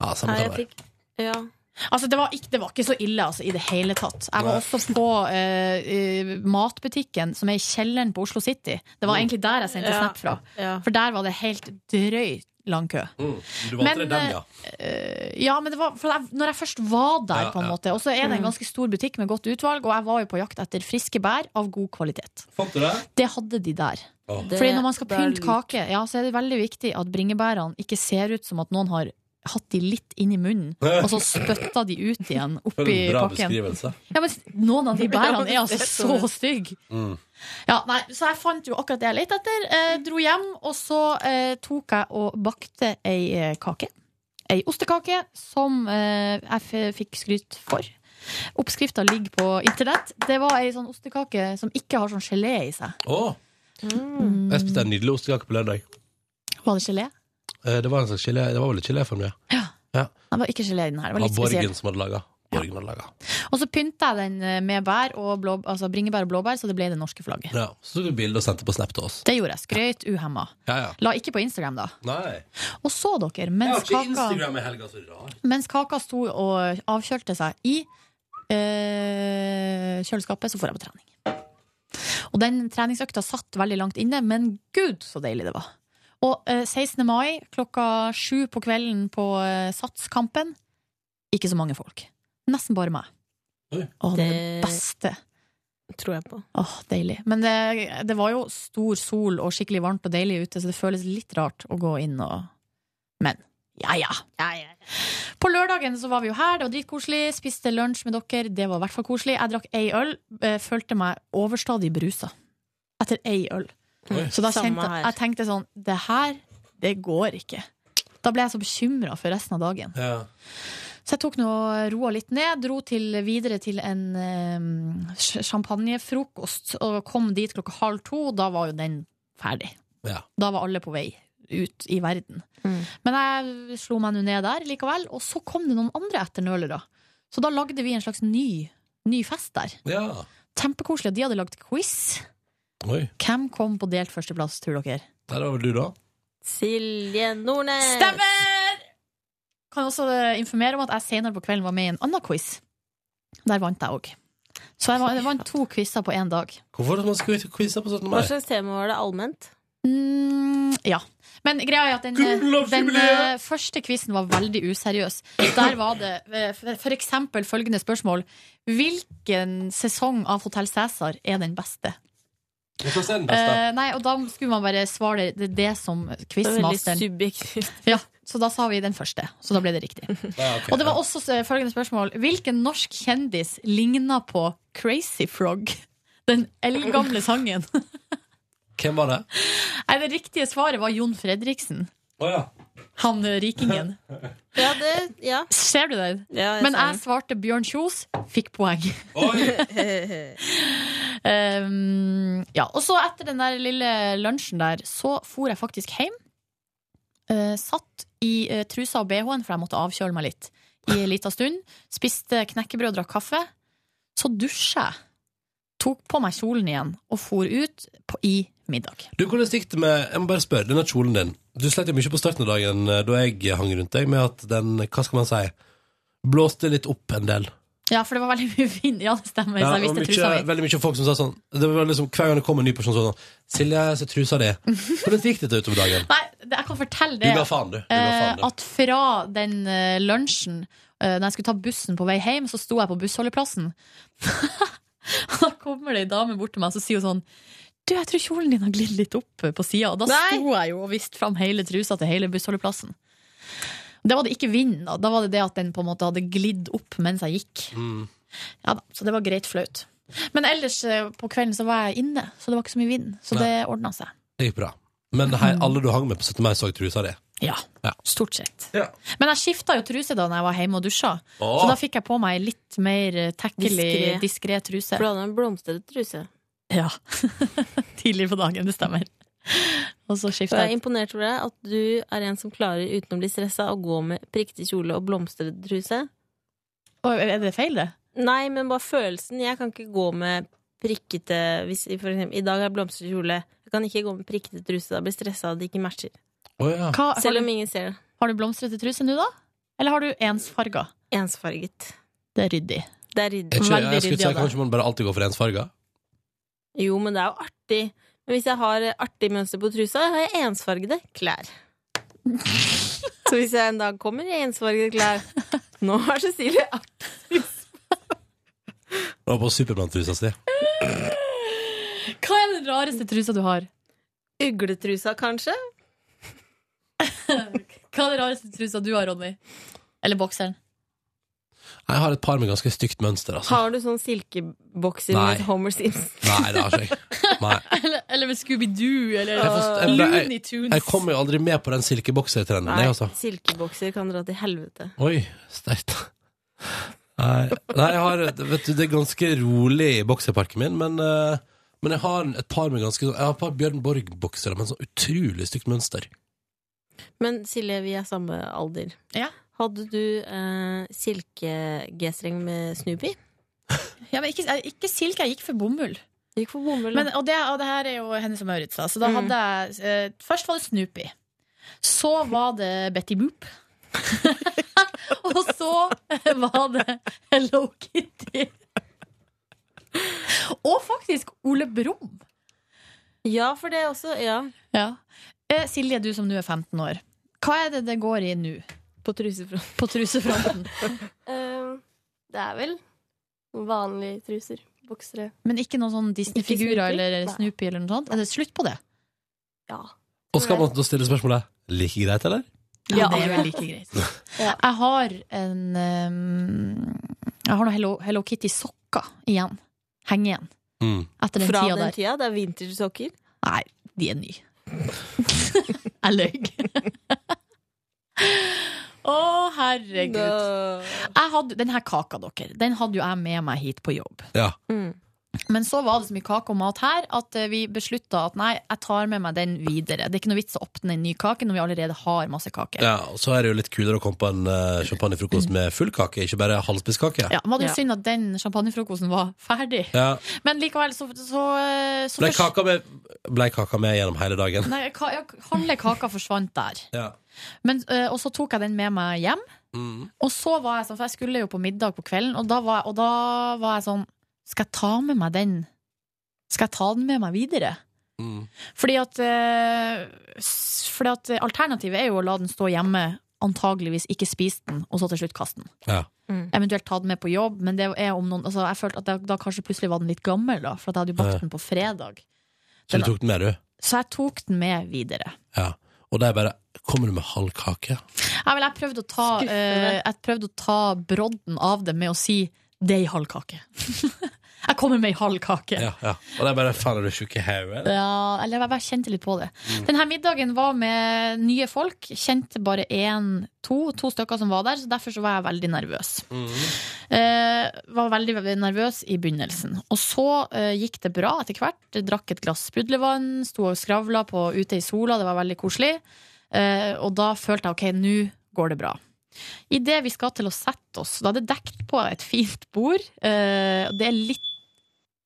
S2: Ja, samme
S3: Nei,
S2: kan
S3: jeg
S2: det være.
S3: Altså, det var, ikke, det var ikke så ille altså, i det hele tatt. Jeg var
S2: Nei.
S3: også på eh, eh, matbutikken som er i kjelleren på Oslo City. Det
S2: Mm.
S3: var egentlig der jeg sendte
S17: Ja,
S3: snap fra. For der var det helt drøy lang kø.
S2: Mm, du valgte det den, ja.
S3: eh, ja, men det var for jeg, Når jeg først var der,
S2: Ja,
S3: på en
S2: ja.
S3: måte Og så er det
S2: Mm.
S3: en ganske stor butikk med godt utvalg, og jeg var jo på jakt etter friske bær av god kvalitet.
S2: Fant du det?
S3: Det hadde de der.
S2: Åh.
S3: Fordi når man skal
S17: Det er
S3: pynte
S17: lurt.
S3: kake, ja, så er det veldig viktig at bringebærene ikke ser ut som at noen har hatt de litt inn i munnen, og så spytta de ut igjen
S2: For
S3: oppi
S2: en bra
S3: pakken.
S2: beskrivelse.
S3: Ja, men Noen av de bærene er
S17: Ja,
S3: altså
S17: det er
S3: så
S17: sånn.
S3: stygge.
S2: Mm.
S3: Ja, nei, så jeg fant jo akkurat det jeg lette etter. Eh, dro hjem, og så eh, tok jeg og bakte ei eh, kake. Ei ostekake som eh, jeg f fikk skryt for. Oppskrifta ligger på internett. Det var ei sånn ostekake som ikke har sånn gelé i seg.
S2: Åh, jeg spiste
S3: Mm.
S2: en nydelig ostekake på lørdag.
S3: Var det gelé?
S2: Eh, Det var, en slags gelé, det var vel litt geléform, ja.
S3: Nei, det var ikke gelé i den her. Det var
S2: Av
S3: litt
S2: Borgen
S3: spesielt.
S2: som hadde laga. Originallaga.
S3: Og så pynta jeg den eh, med bær og blå, altså bringebær og blåbær, så det ble det norske flagget.
S2: Ja, så tok du bilde og sendte på Snap til oss.
S3: Det gjorde jeg. Skrøyt uhemma.
S2: Ja, ja.
S3: La ikke på Instagram, da.
S2: Nei.
S3: Og så, dere, mens kaka,
S2: i helga, så rart.
S3: mens kaka sto og avkjølte seg i eh, kjøleskapet, så får jeg på trening. Og den treningsøkta satt veldig langt inne, men gud, så deilig det var. Og eh, 16. mai klokka sju på kvelden på eh, Satskampen, ikke så mange folk. Nesten bare meg. Å, det er det beste.
S17: Tror jeg på.
S3: Åh, deilig. Men det, det var jo stor sol og skikkelig varmt og deilig ute, så det føles litt rart å gå inn og Men ja, ja. På lørdagen så var vi jo her, det var dritkoselig. Spiste lunsj med dere, det var i hvert fall koselig. Jeg drakk ei øl, eh, følte meg overstadig brusa etter ei øl.
S17: Oi.
S3: Så da
S17: Samme
S3: kjente,
S17: her.
S3: jeg tenkte sånn Det her, det går ikke. Da ble jeg så bekymra for resten av dagen. Så jeg tok nå roa litt ned, dro til, videre til en eh, sj- champagnefrokost og kom dit klokka halv to. Da var jo den ferdig.
S2: Ja.
S3: Da var alle på vei ut i verden. Men jeg slo meg nå ned der likevel, og så kom det noen andre etternølere. Så da lagde vi en slags ny, ny fest der.
S2: Ja.
S3: Kjempekoselig. De hadde lagd quiz.
S2: Oi.
S3: Hvem kom på delt førsteplass, tror dere?
S2: Der var vel du, da?
S17: Silje Nordnes!
S3: Stemmer! Kan også eh, informere om at jeg senere på kvelden var med i en annen quiz. Der vant jeg òg. Så jeg vant, jeg vant to quizer på én dag.
S2: Hvorfor man skal man quize på sånn 17. mai?
S17: Hva slags tema var det allment?
S3: Mm, ja. Men greia er at den, eh, den eh, første quizen var veldig useriøs. Der var det eh, for for eksempel følgende spørsmål. Hvilken sesong av Hotell Cæsar er den beste?
S2: Hvordan er den
S3: Eh, nei, og da skulle man bare svare det, det som quizmasteren
S17: Det var veldig subjektivt.
S3: Ja, så da sa vi den første, så da ble det riktig. Og det var også eh, følgende spørsmål. Hvilken norsk kjendis ligna på Crazy Frog? Den eldgamle sangen.
S2: Hvem var det?
S3: Nei, det riktige svaret var Jon Fredriksen.
S2: Å ja.
S3: Han eh, rikingen.
S17: Ja, det, ja.
S3: Ser du den?
S17: Ja, jeg
S3: Men
S17: ser
S3: jeg
S17: den.
S3: svarte Bjørn Kjos, fikk poeng. um, ja, og så etter den der lille lunsjen der, så for jeg faktisk hjem. Eh, satt i eh, trusa og bh-en, for jeg måtte avkjøle meg litt i en liten stund. Spiste knekkebrød og drakk kaffe. Så dusja jeg. Tok på meg kjolen igjen og for ut på, i middag.
S2: Du, hvordan gikk det med Jeg må bare spørre, denne kjolen din Du slet jo mye på starten av dagen eh, da jeg hang rundt deg, med at den, hva skal man si, blåste litt opp en del.
S3: Ja, for det var veldig mye vind. Ja, det stemmer.
S2: Ja,
S3: så jeg
S2: og
S3: visste trusa
S2: mye,
S3: mi.
S2: veldig mye folk som sa sånn det var liksom, Hver gang det kom en ny person sånn Silje, jeg ser trusa di. Hvordan gikk det utover dagen?
S3: Nei, det- jeg kan fortelle det.
S2: Du ga faen, du. Du ga faen, du.
S3: eh, At fra den eh, lunsjen, eh, når jeg skulle ta bussen på vei hjem, så sto jeg på bussholdeplassen. da kommer det ei dame bort til meg, så sier hun sånn du, jeg tror kjolen din har glidd litt opp eh, på sida. Og da sto jeg jo og viste fram hele trusa til hele bussholdeplassen. Det var det ikke vind, da. Da var det det at den på en måte hadde glidd opp mens jeg gikk.
S2: Mm.
S3: Ja da, Så det var greit flaut. Men ellers eh, på kvelden så var jeg inne, så det var ikke så mye vind. Så
S2: Nei.
S3: det ordna seg.
S2: Det gikk bra. Men hei,
S3: Mm.
S2: alle du hang med på 17. mai, så trusa di.
S3: Ja, stort sett.
S2: Ja.
S3: Men jeg skifta jo truse da når jeg var hjemme og dusja.
S2: Åh.
S3: Så da fikk jeg på meg litt mer eh, tackily,
S17: Diskret.
S3: diskré truse.
S17: For du hadde en blomstrete truse.
S3: Ja. Tidlig på dagen, det stemmer. Og så
S17: Og
S3: skifta
S17: jeg er
S3: jeg.
S17: imponert over deg at du er en som klarer, uten å bli stressa, å gå med prikkete kjole og blomstrete truse.
S3: Å, er det feil, det?
S17: Nei, men bare følelsen. Jeg kan ikke gå med prikkete hvis, for eksempel, I dag har jeg blomstrete kjole. Jeg kan ikke gå med prikkete truse. Da blir jeg stressa av at det ikke matcher.
S2: Ah.
S3: Hva- har
S17: Selv om
S3: du-
S17: ingen ser det.
S3: Har du blomstrete truse nå, da? Eller har du ensfarga?
S17: Ensfarget.
S3: Det er ryddig.
S17: Det er ryddig.
S2: Er ikke, jeg
S17: Veldig
S2: skulle
S17: ryddig
S2: si,
S17: av deg.
S2: kanskje man bare alltid går for ensfarga?
S17: Jo, men det er jo artig. Men hvis jeg har artig mønster på trusa, har jeg ensfargede klær. Så hvis jeg en dag kommer i ensfargede klær Nå har Cecilie
S2: Det var på Supermann-trusa si.
S3: Hva er den rareste trusa du har?
S17: Ugletrusa, kanskje?
S3: Hva er den rareste trusa du har, Ronny? Eller bokseren?
S2: Jeg har et par med ganske stygt mønster, altså.
S17: Har du sånn silkebokser
S2: Nei.
S17: med Homer Simpson?
S2: Nei, det har ikke jeg. Nei.
S3: eller, eller med Scooby-Doo? Eller
S2: Jeg, forst- jeg, ble-
S3: Looney
S2: jeg,
S3: Tunes?
S2: jeg kommer jo aldri med på den silkeboksertrenden,
S17: Nei,
S2: jeg, altså.
S17: silkebokser kan dra til helvete.
S2: Oi, sterkt. Nei, nei, jeg har Vet du, det er ganske rolig i bokserparken min, men, eh, men jeg har et par med ganske Jeg har et par Bjørn sånn Borg-boksere med sånn utrolig stygt mønster.
S17: Men Silje, vi er samme alder.
S13: Hadde du eh, silkegestreng med Snoopy?
S3: Ja, men ikke, jeg- ikke silke, jeg gikk for bomull.
S13: Gikk for bomull
S3: men, og, det, og det her er jo Hennes og Maurits, da. Så da
S13: Mm.
S3: hadde jeg eh, Først var det Snoopy. Så var det Betty Boop. og så var det Hello Kitty. og faktisk Ole Brumm.
S13: Ja, for det også. Ja.
S3: Eh, Silje, du som nå er 15 år. Hva er det det går i nå?
S13: På trusefronten.
S3: På trusefronten.
S18: Eh, det er vel vanlige truser. Boksere.
S3: Men ikke noen sånn Disney-figurer
S18: Snoopy?
S3: eller
S18: Nei.
S3: Snoopy eller noe sånt? Er det slutt på det?
S18: Ja.
S2: Og skal man da stille spørsmålet like greit, eller?
S3: Ja, det er vel like greit. Jeg har en um, Jeg har noen Hello, Hello Kitty-sokker igjen. Henge igjen.
S2: Mm.
S3: Etter den
S13: Fra
S3: tida
S13: den
S3: der.
S13: tida? Det er vintage-sokker?
S3: Nei, de er nye. Jeg løy. Å, herregud. Jeg hadde, den her kaka, dere, den hadde jo jeg med meg hit på jobb.
S2: Ja.
S3: Mm. Men så var det så mye kake og mat her at eh, vi beslutta at nei, jeg tar med meg den videre. Det er ikke noe vits å åpne en ny kake når vi allerede har masse kake.
S2: ja. Og så er det jo litt kulere å komme på en eh, champagnefrokost med full kake, ikke bare halvspist kake.
S3: Ja, men det var jo synd at den champagnefrokosten var ferdig.
S2: Ja.
S3: Men likevel, så, så, så
S2: Ble
S3: først-
S2: kaka med, ble kaka med gjennom hele dagen?
S3: Nei, ka, ja, halve kaka forsvant der.
S2: Ja.
S3: Men, eh, og så tok jeg den med meg hjem.
S2: Mm.
S3: Og så var jeg sånn, for jeg skulle jo på middag på kvelden, og da var, jeg- og da var jeg sånn Skal jeg ta med meg den? Skal jeg ta den med meg videre?
S2: mm.
S3: Fordi at, eh, s- fordi at alternativet er jo å la den stå hjemme, antageligvis ikke spise den, og så til slutt kaste den.
S2: Ja.
S3: Eventuelt ta den med på jobb, men det er om noen, altså, jeg følte at da, da kanskje plutselig var den litt gammel, da, for at jeg hadde jo
S2: Ja.
S3: bakt den på fredag.
S2: Så du tok den med, du?
S3: Så jeg tok den med videre.
S2: Ja. Og de bare Kommer du med halv kake?
S3: Nei, men jeg prøvde å ta, eh, jeg prøvde å ta brodden av det med å si det er ei halv kake. jeg kommer med ei halv kake.
S2: Ja, ja. Og de bare Faen, er du tjukk i hodet? eller?»
S3: Ja, eller jeg bare kjente litt på det.
S2: Mm.
S3: Denne middagen var med nye folk. Kjente bare én, to, to stykker som var der, så derfor så var jeg veldig nervøs. Eh, var veldig, veldig nervøs i begynnelsen. Og så eh, gikk det bra etter hvert. Jeg drakk et glass spudlevann, sto og skravla på ute i sola, det var veldig koselig. Eh, og da følte jeg ok, nå går det bra. Idet vi skal til å sette oss, da er det dekt på et fint bord. eh, og det er litt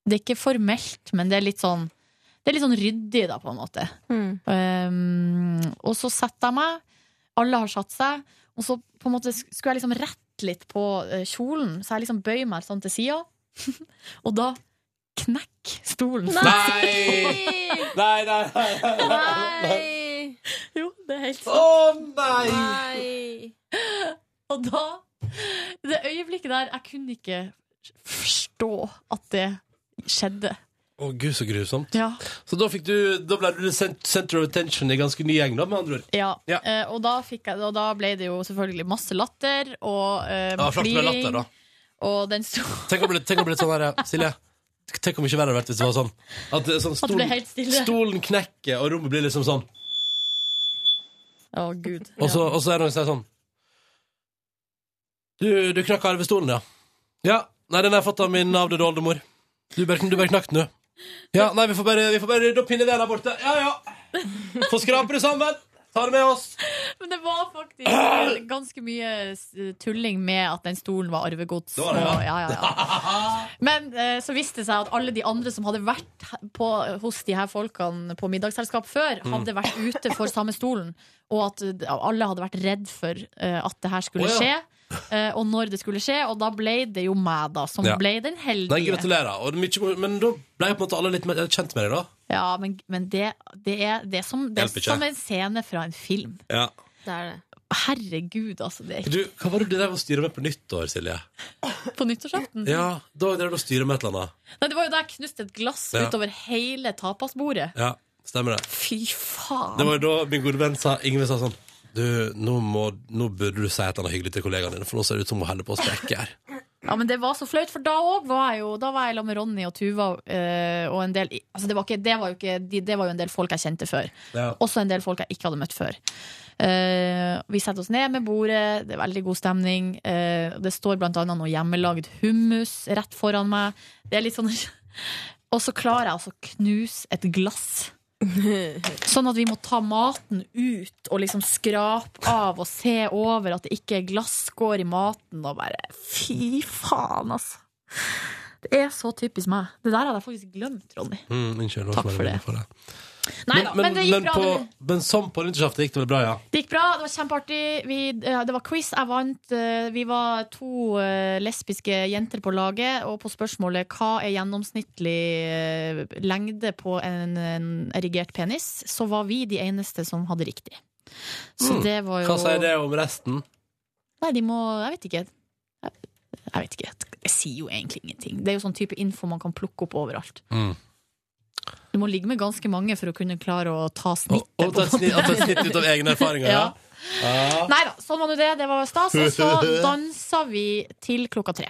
S3: Det er ikke formelt, men det er litt sånn Det er litt sånn ryddig, da, på en måte. Um, og så setter jeg meg, alle har satt seg, og så på en måte sk- skulle jeg liksom rette litt på eh, kjolen, så jeg liksom bøyer meg sånn til sida, og da knekk stolen.
S2: Nei! Nei, nei, nei,
S3: Jo, det er helt sant.
S2: Å, nei!
S3: Og da Det øyeblikket der, jeg kunne ikke forstå at det skjedde.
S2: Å gud, så grusomt.
S3: Ja.
S2: Så da fikk du Da ble du sent- center of attention i ganske ny gjeng, da, med andre ord.
S3: Ja, eh, og, da fikk jeg, og da ble det jo selvfølgelig masse latter og eh,
S2: Ja, flaks med
S3: fliring,
S2: latter, da.
S3: Og den sto
S2: Tenk om det tenk om det ble sånn her, Silje. Tenk om ikke verre hadde vært hvis det var sånn. At, det er sånn
S3: At det ble helt stille.
S2: stolen knekker, og rommet blir liksom sånn.
S3: Å, gud.
S2: Og så, og så er det noen som sier sånn Du, du knakk arvestolen, ja. Ja. Nei, den har jeg fått av min avdøde oldemor. Du bare, du bare knakk den, du. Ja, nei, vi får bare, vi får bare rydde opp pinneveden der borte. Ja, ja. Få skrape det sammen. Ta det med oss.
S3: Men det var faktisk ganske mye eh, tulling med at den stolen var arvegods.
S2: Det var det, ja.
S3: og- ja, ja, ja. Men eh, så viste det seg at alle de andre som hadde vært he- på, hos de her folkene på middagsselskap før,
S2: Mm.
S3: hadde vært ute for samme stolen, og at eh, alle hadde vært redd for eh, at det her skulle
S2: Å,
S3: skje.
S2: ja.
S3: eh, og når det skulle skje, og da ble det jo meg, da, som
S2: Ja.
S3: ble den heldige.
S2: Nei, gratulerer. Og det er mye, men da ble på en måte alle litt mer kjent med deg, da.
S3: Ja, men, men det, det er, det er, som, det
S2: Hjelper
S3: er
S2: ikke.
S3: som en scene fra en film.
S2: Ja.
S3: Herregud, altså. Det er
S2: Du, hva var det du drev og styrte med på nyttår, Silje?
S3: På nyttårsaften?
S2: Ja, da drev du og styrte med et eller annet.
S3: Nei, det var jo da jeg knuste et glass
S2: Ja.
S3: utover hele tapasbordet.
S2: Ja, stemmer det.
S3: Fy faen!
S2: Det var jo da min gode venn sa Ingvild sa sånn Du, nå, må, nå burde du si et eller annet hyggelig til kollegaen din, for nå ser det ut som hun holder på å sprekke her.
S3: Ja, men det var så flaut, for da òg var jeg jo Da var jeg sammen med Ronny og Tuva eh, og en del Altså, det var, ikke, det, var jo ikke, de- det var jo en del folk jeg kjente før.
S2: Ja.
S3: Også en del folk jeg ikke hadde møtt før. Eh, vi setter oss ned med bordet, det er veldig god stemning. Eh, det står blant annet noe hjemmelagd hummus rett foran meg. Det er litt sånn Og så klarer jeg altså å knuse et glass Sånn at vi må ta maten ut og liksom skrape av og se over at det ikke er glasskår i maten, og bare fy faen, altså. Det er så typisk meg. Det der hadde jeg faktisk glemt, Ronny.
S2: Mm, unnskyld,
S3: Takk for det. Nei
S2: Men,
S3: da,
S2: men,
S3: men det gikk
S2: men,
S3: bra,
S2: på,
S3: det.
S2: men som på nyttårsaften gikk det vel bra, ja?
S3: Det gikk bra, det var kjempeartig. Vi, eh, det var quiz, jeg vant. Eh, Vi var to eh, lesbiske jenter på laget, og på spørsmålet 'hva er gjennomsnittlig eh, lengde på en, en erigert penis', så var vi de eneste som hadde riktig. Så
S2: Mm.
S3: det var jo
S2: Hva sier det om resten?
S3: Nei, de må Jeg vet ikke. Jeg vet ikke. Jeg sier jo egentlig ingenting. Det er jo sånn type info man kan plukke opp overalt.
S2: Mm.
S3: Du må ligge med ganske mange for å kunne klare å ta snittet.
S2: Og ta et snitt, ta et snitt ut av egne erfaringer, ja? ja.
S3: Nei da, sånn var nå det. Det var stas. Og så dansa vi til klokka tre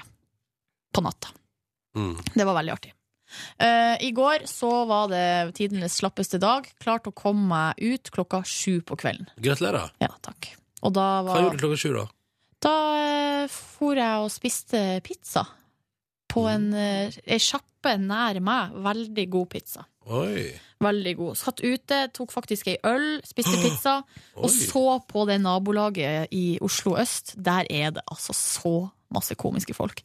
S3: på natta.
S2: Mm.
S3: Det var veldig artig. Eh, I går så var det tidenes slappeste dag. Klarte å komme meg ut klokka sju på kvelden.
S2: Gratulerer.
S3: Ja, takk. Og da
S2: Hva
S3: var
S2: gjorde du klokka sju, da?
S3: Da eh, for jeg og spiste pizza. På
S2: Mm.
S3: en eh, ei sjappe nær meg. Veldig god pizza.
S2: Oi.
S3: Veldig god. Satt ute, tok faktisk ei øl, spiste pizza,
S2: Oi.
S3: og så på det nabolaget i Oslo øst. Der er det altså så masse komiske folk.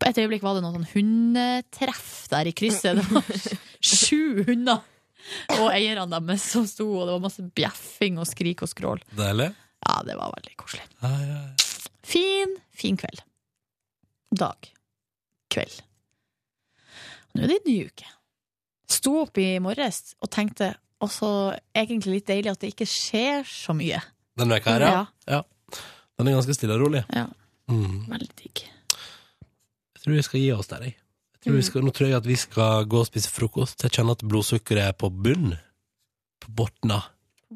S3: På et øyeblikk var det noe sånn hundetreff der i krysset. Det var sju hunder og eierne deres som sto, og det var masse bjeffing og skrik og skrål.
S2: Deilig.
S3: Ja, det var veldig koselig.
S2: Ja, ja, ja.
S3: Fin, fin kveld. Dag. Kveld. Nå er det en ny uke. Sto opp i morges og tenkte også egentlig litt deilig at det ikke skjer så mye.
S2: Den veka her, ja. ja. Den er ganske stille og rolig.
S3: Ja.
S2: Mm.
S3: Veldig digg.
S2: Jeg tror vi skal gi oss der, jeg. jeg tror vi skal, nå tror jeg at vi skal gå og spise frokost. Jeg kjenner at blodsukkeret er på bunn. På botna.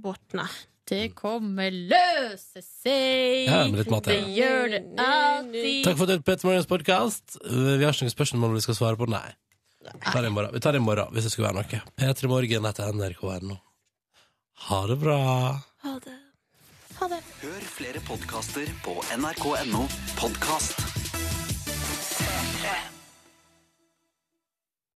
S3: Bortna. Det kommer løse seg.
S2: Ja, men litt mat
S3: det
S2: igjen.
S3: gjør det alltid.
S2: Takk for at du hørte på Petter Morgens podkast. Vi har ikke noen spørsmål vi skal svare på, nei. Vi tar det i morgen, vi tar det i morgen hvis det skulle være noe. P3 Morgen etter nrk.no. Ha det bra.
S19: Hør flere podkaster på nrk.no podkast.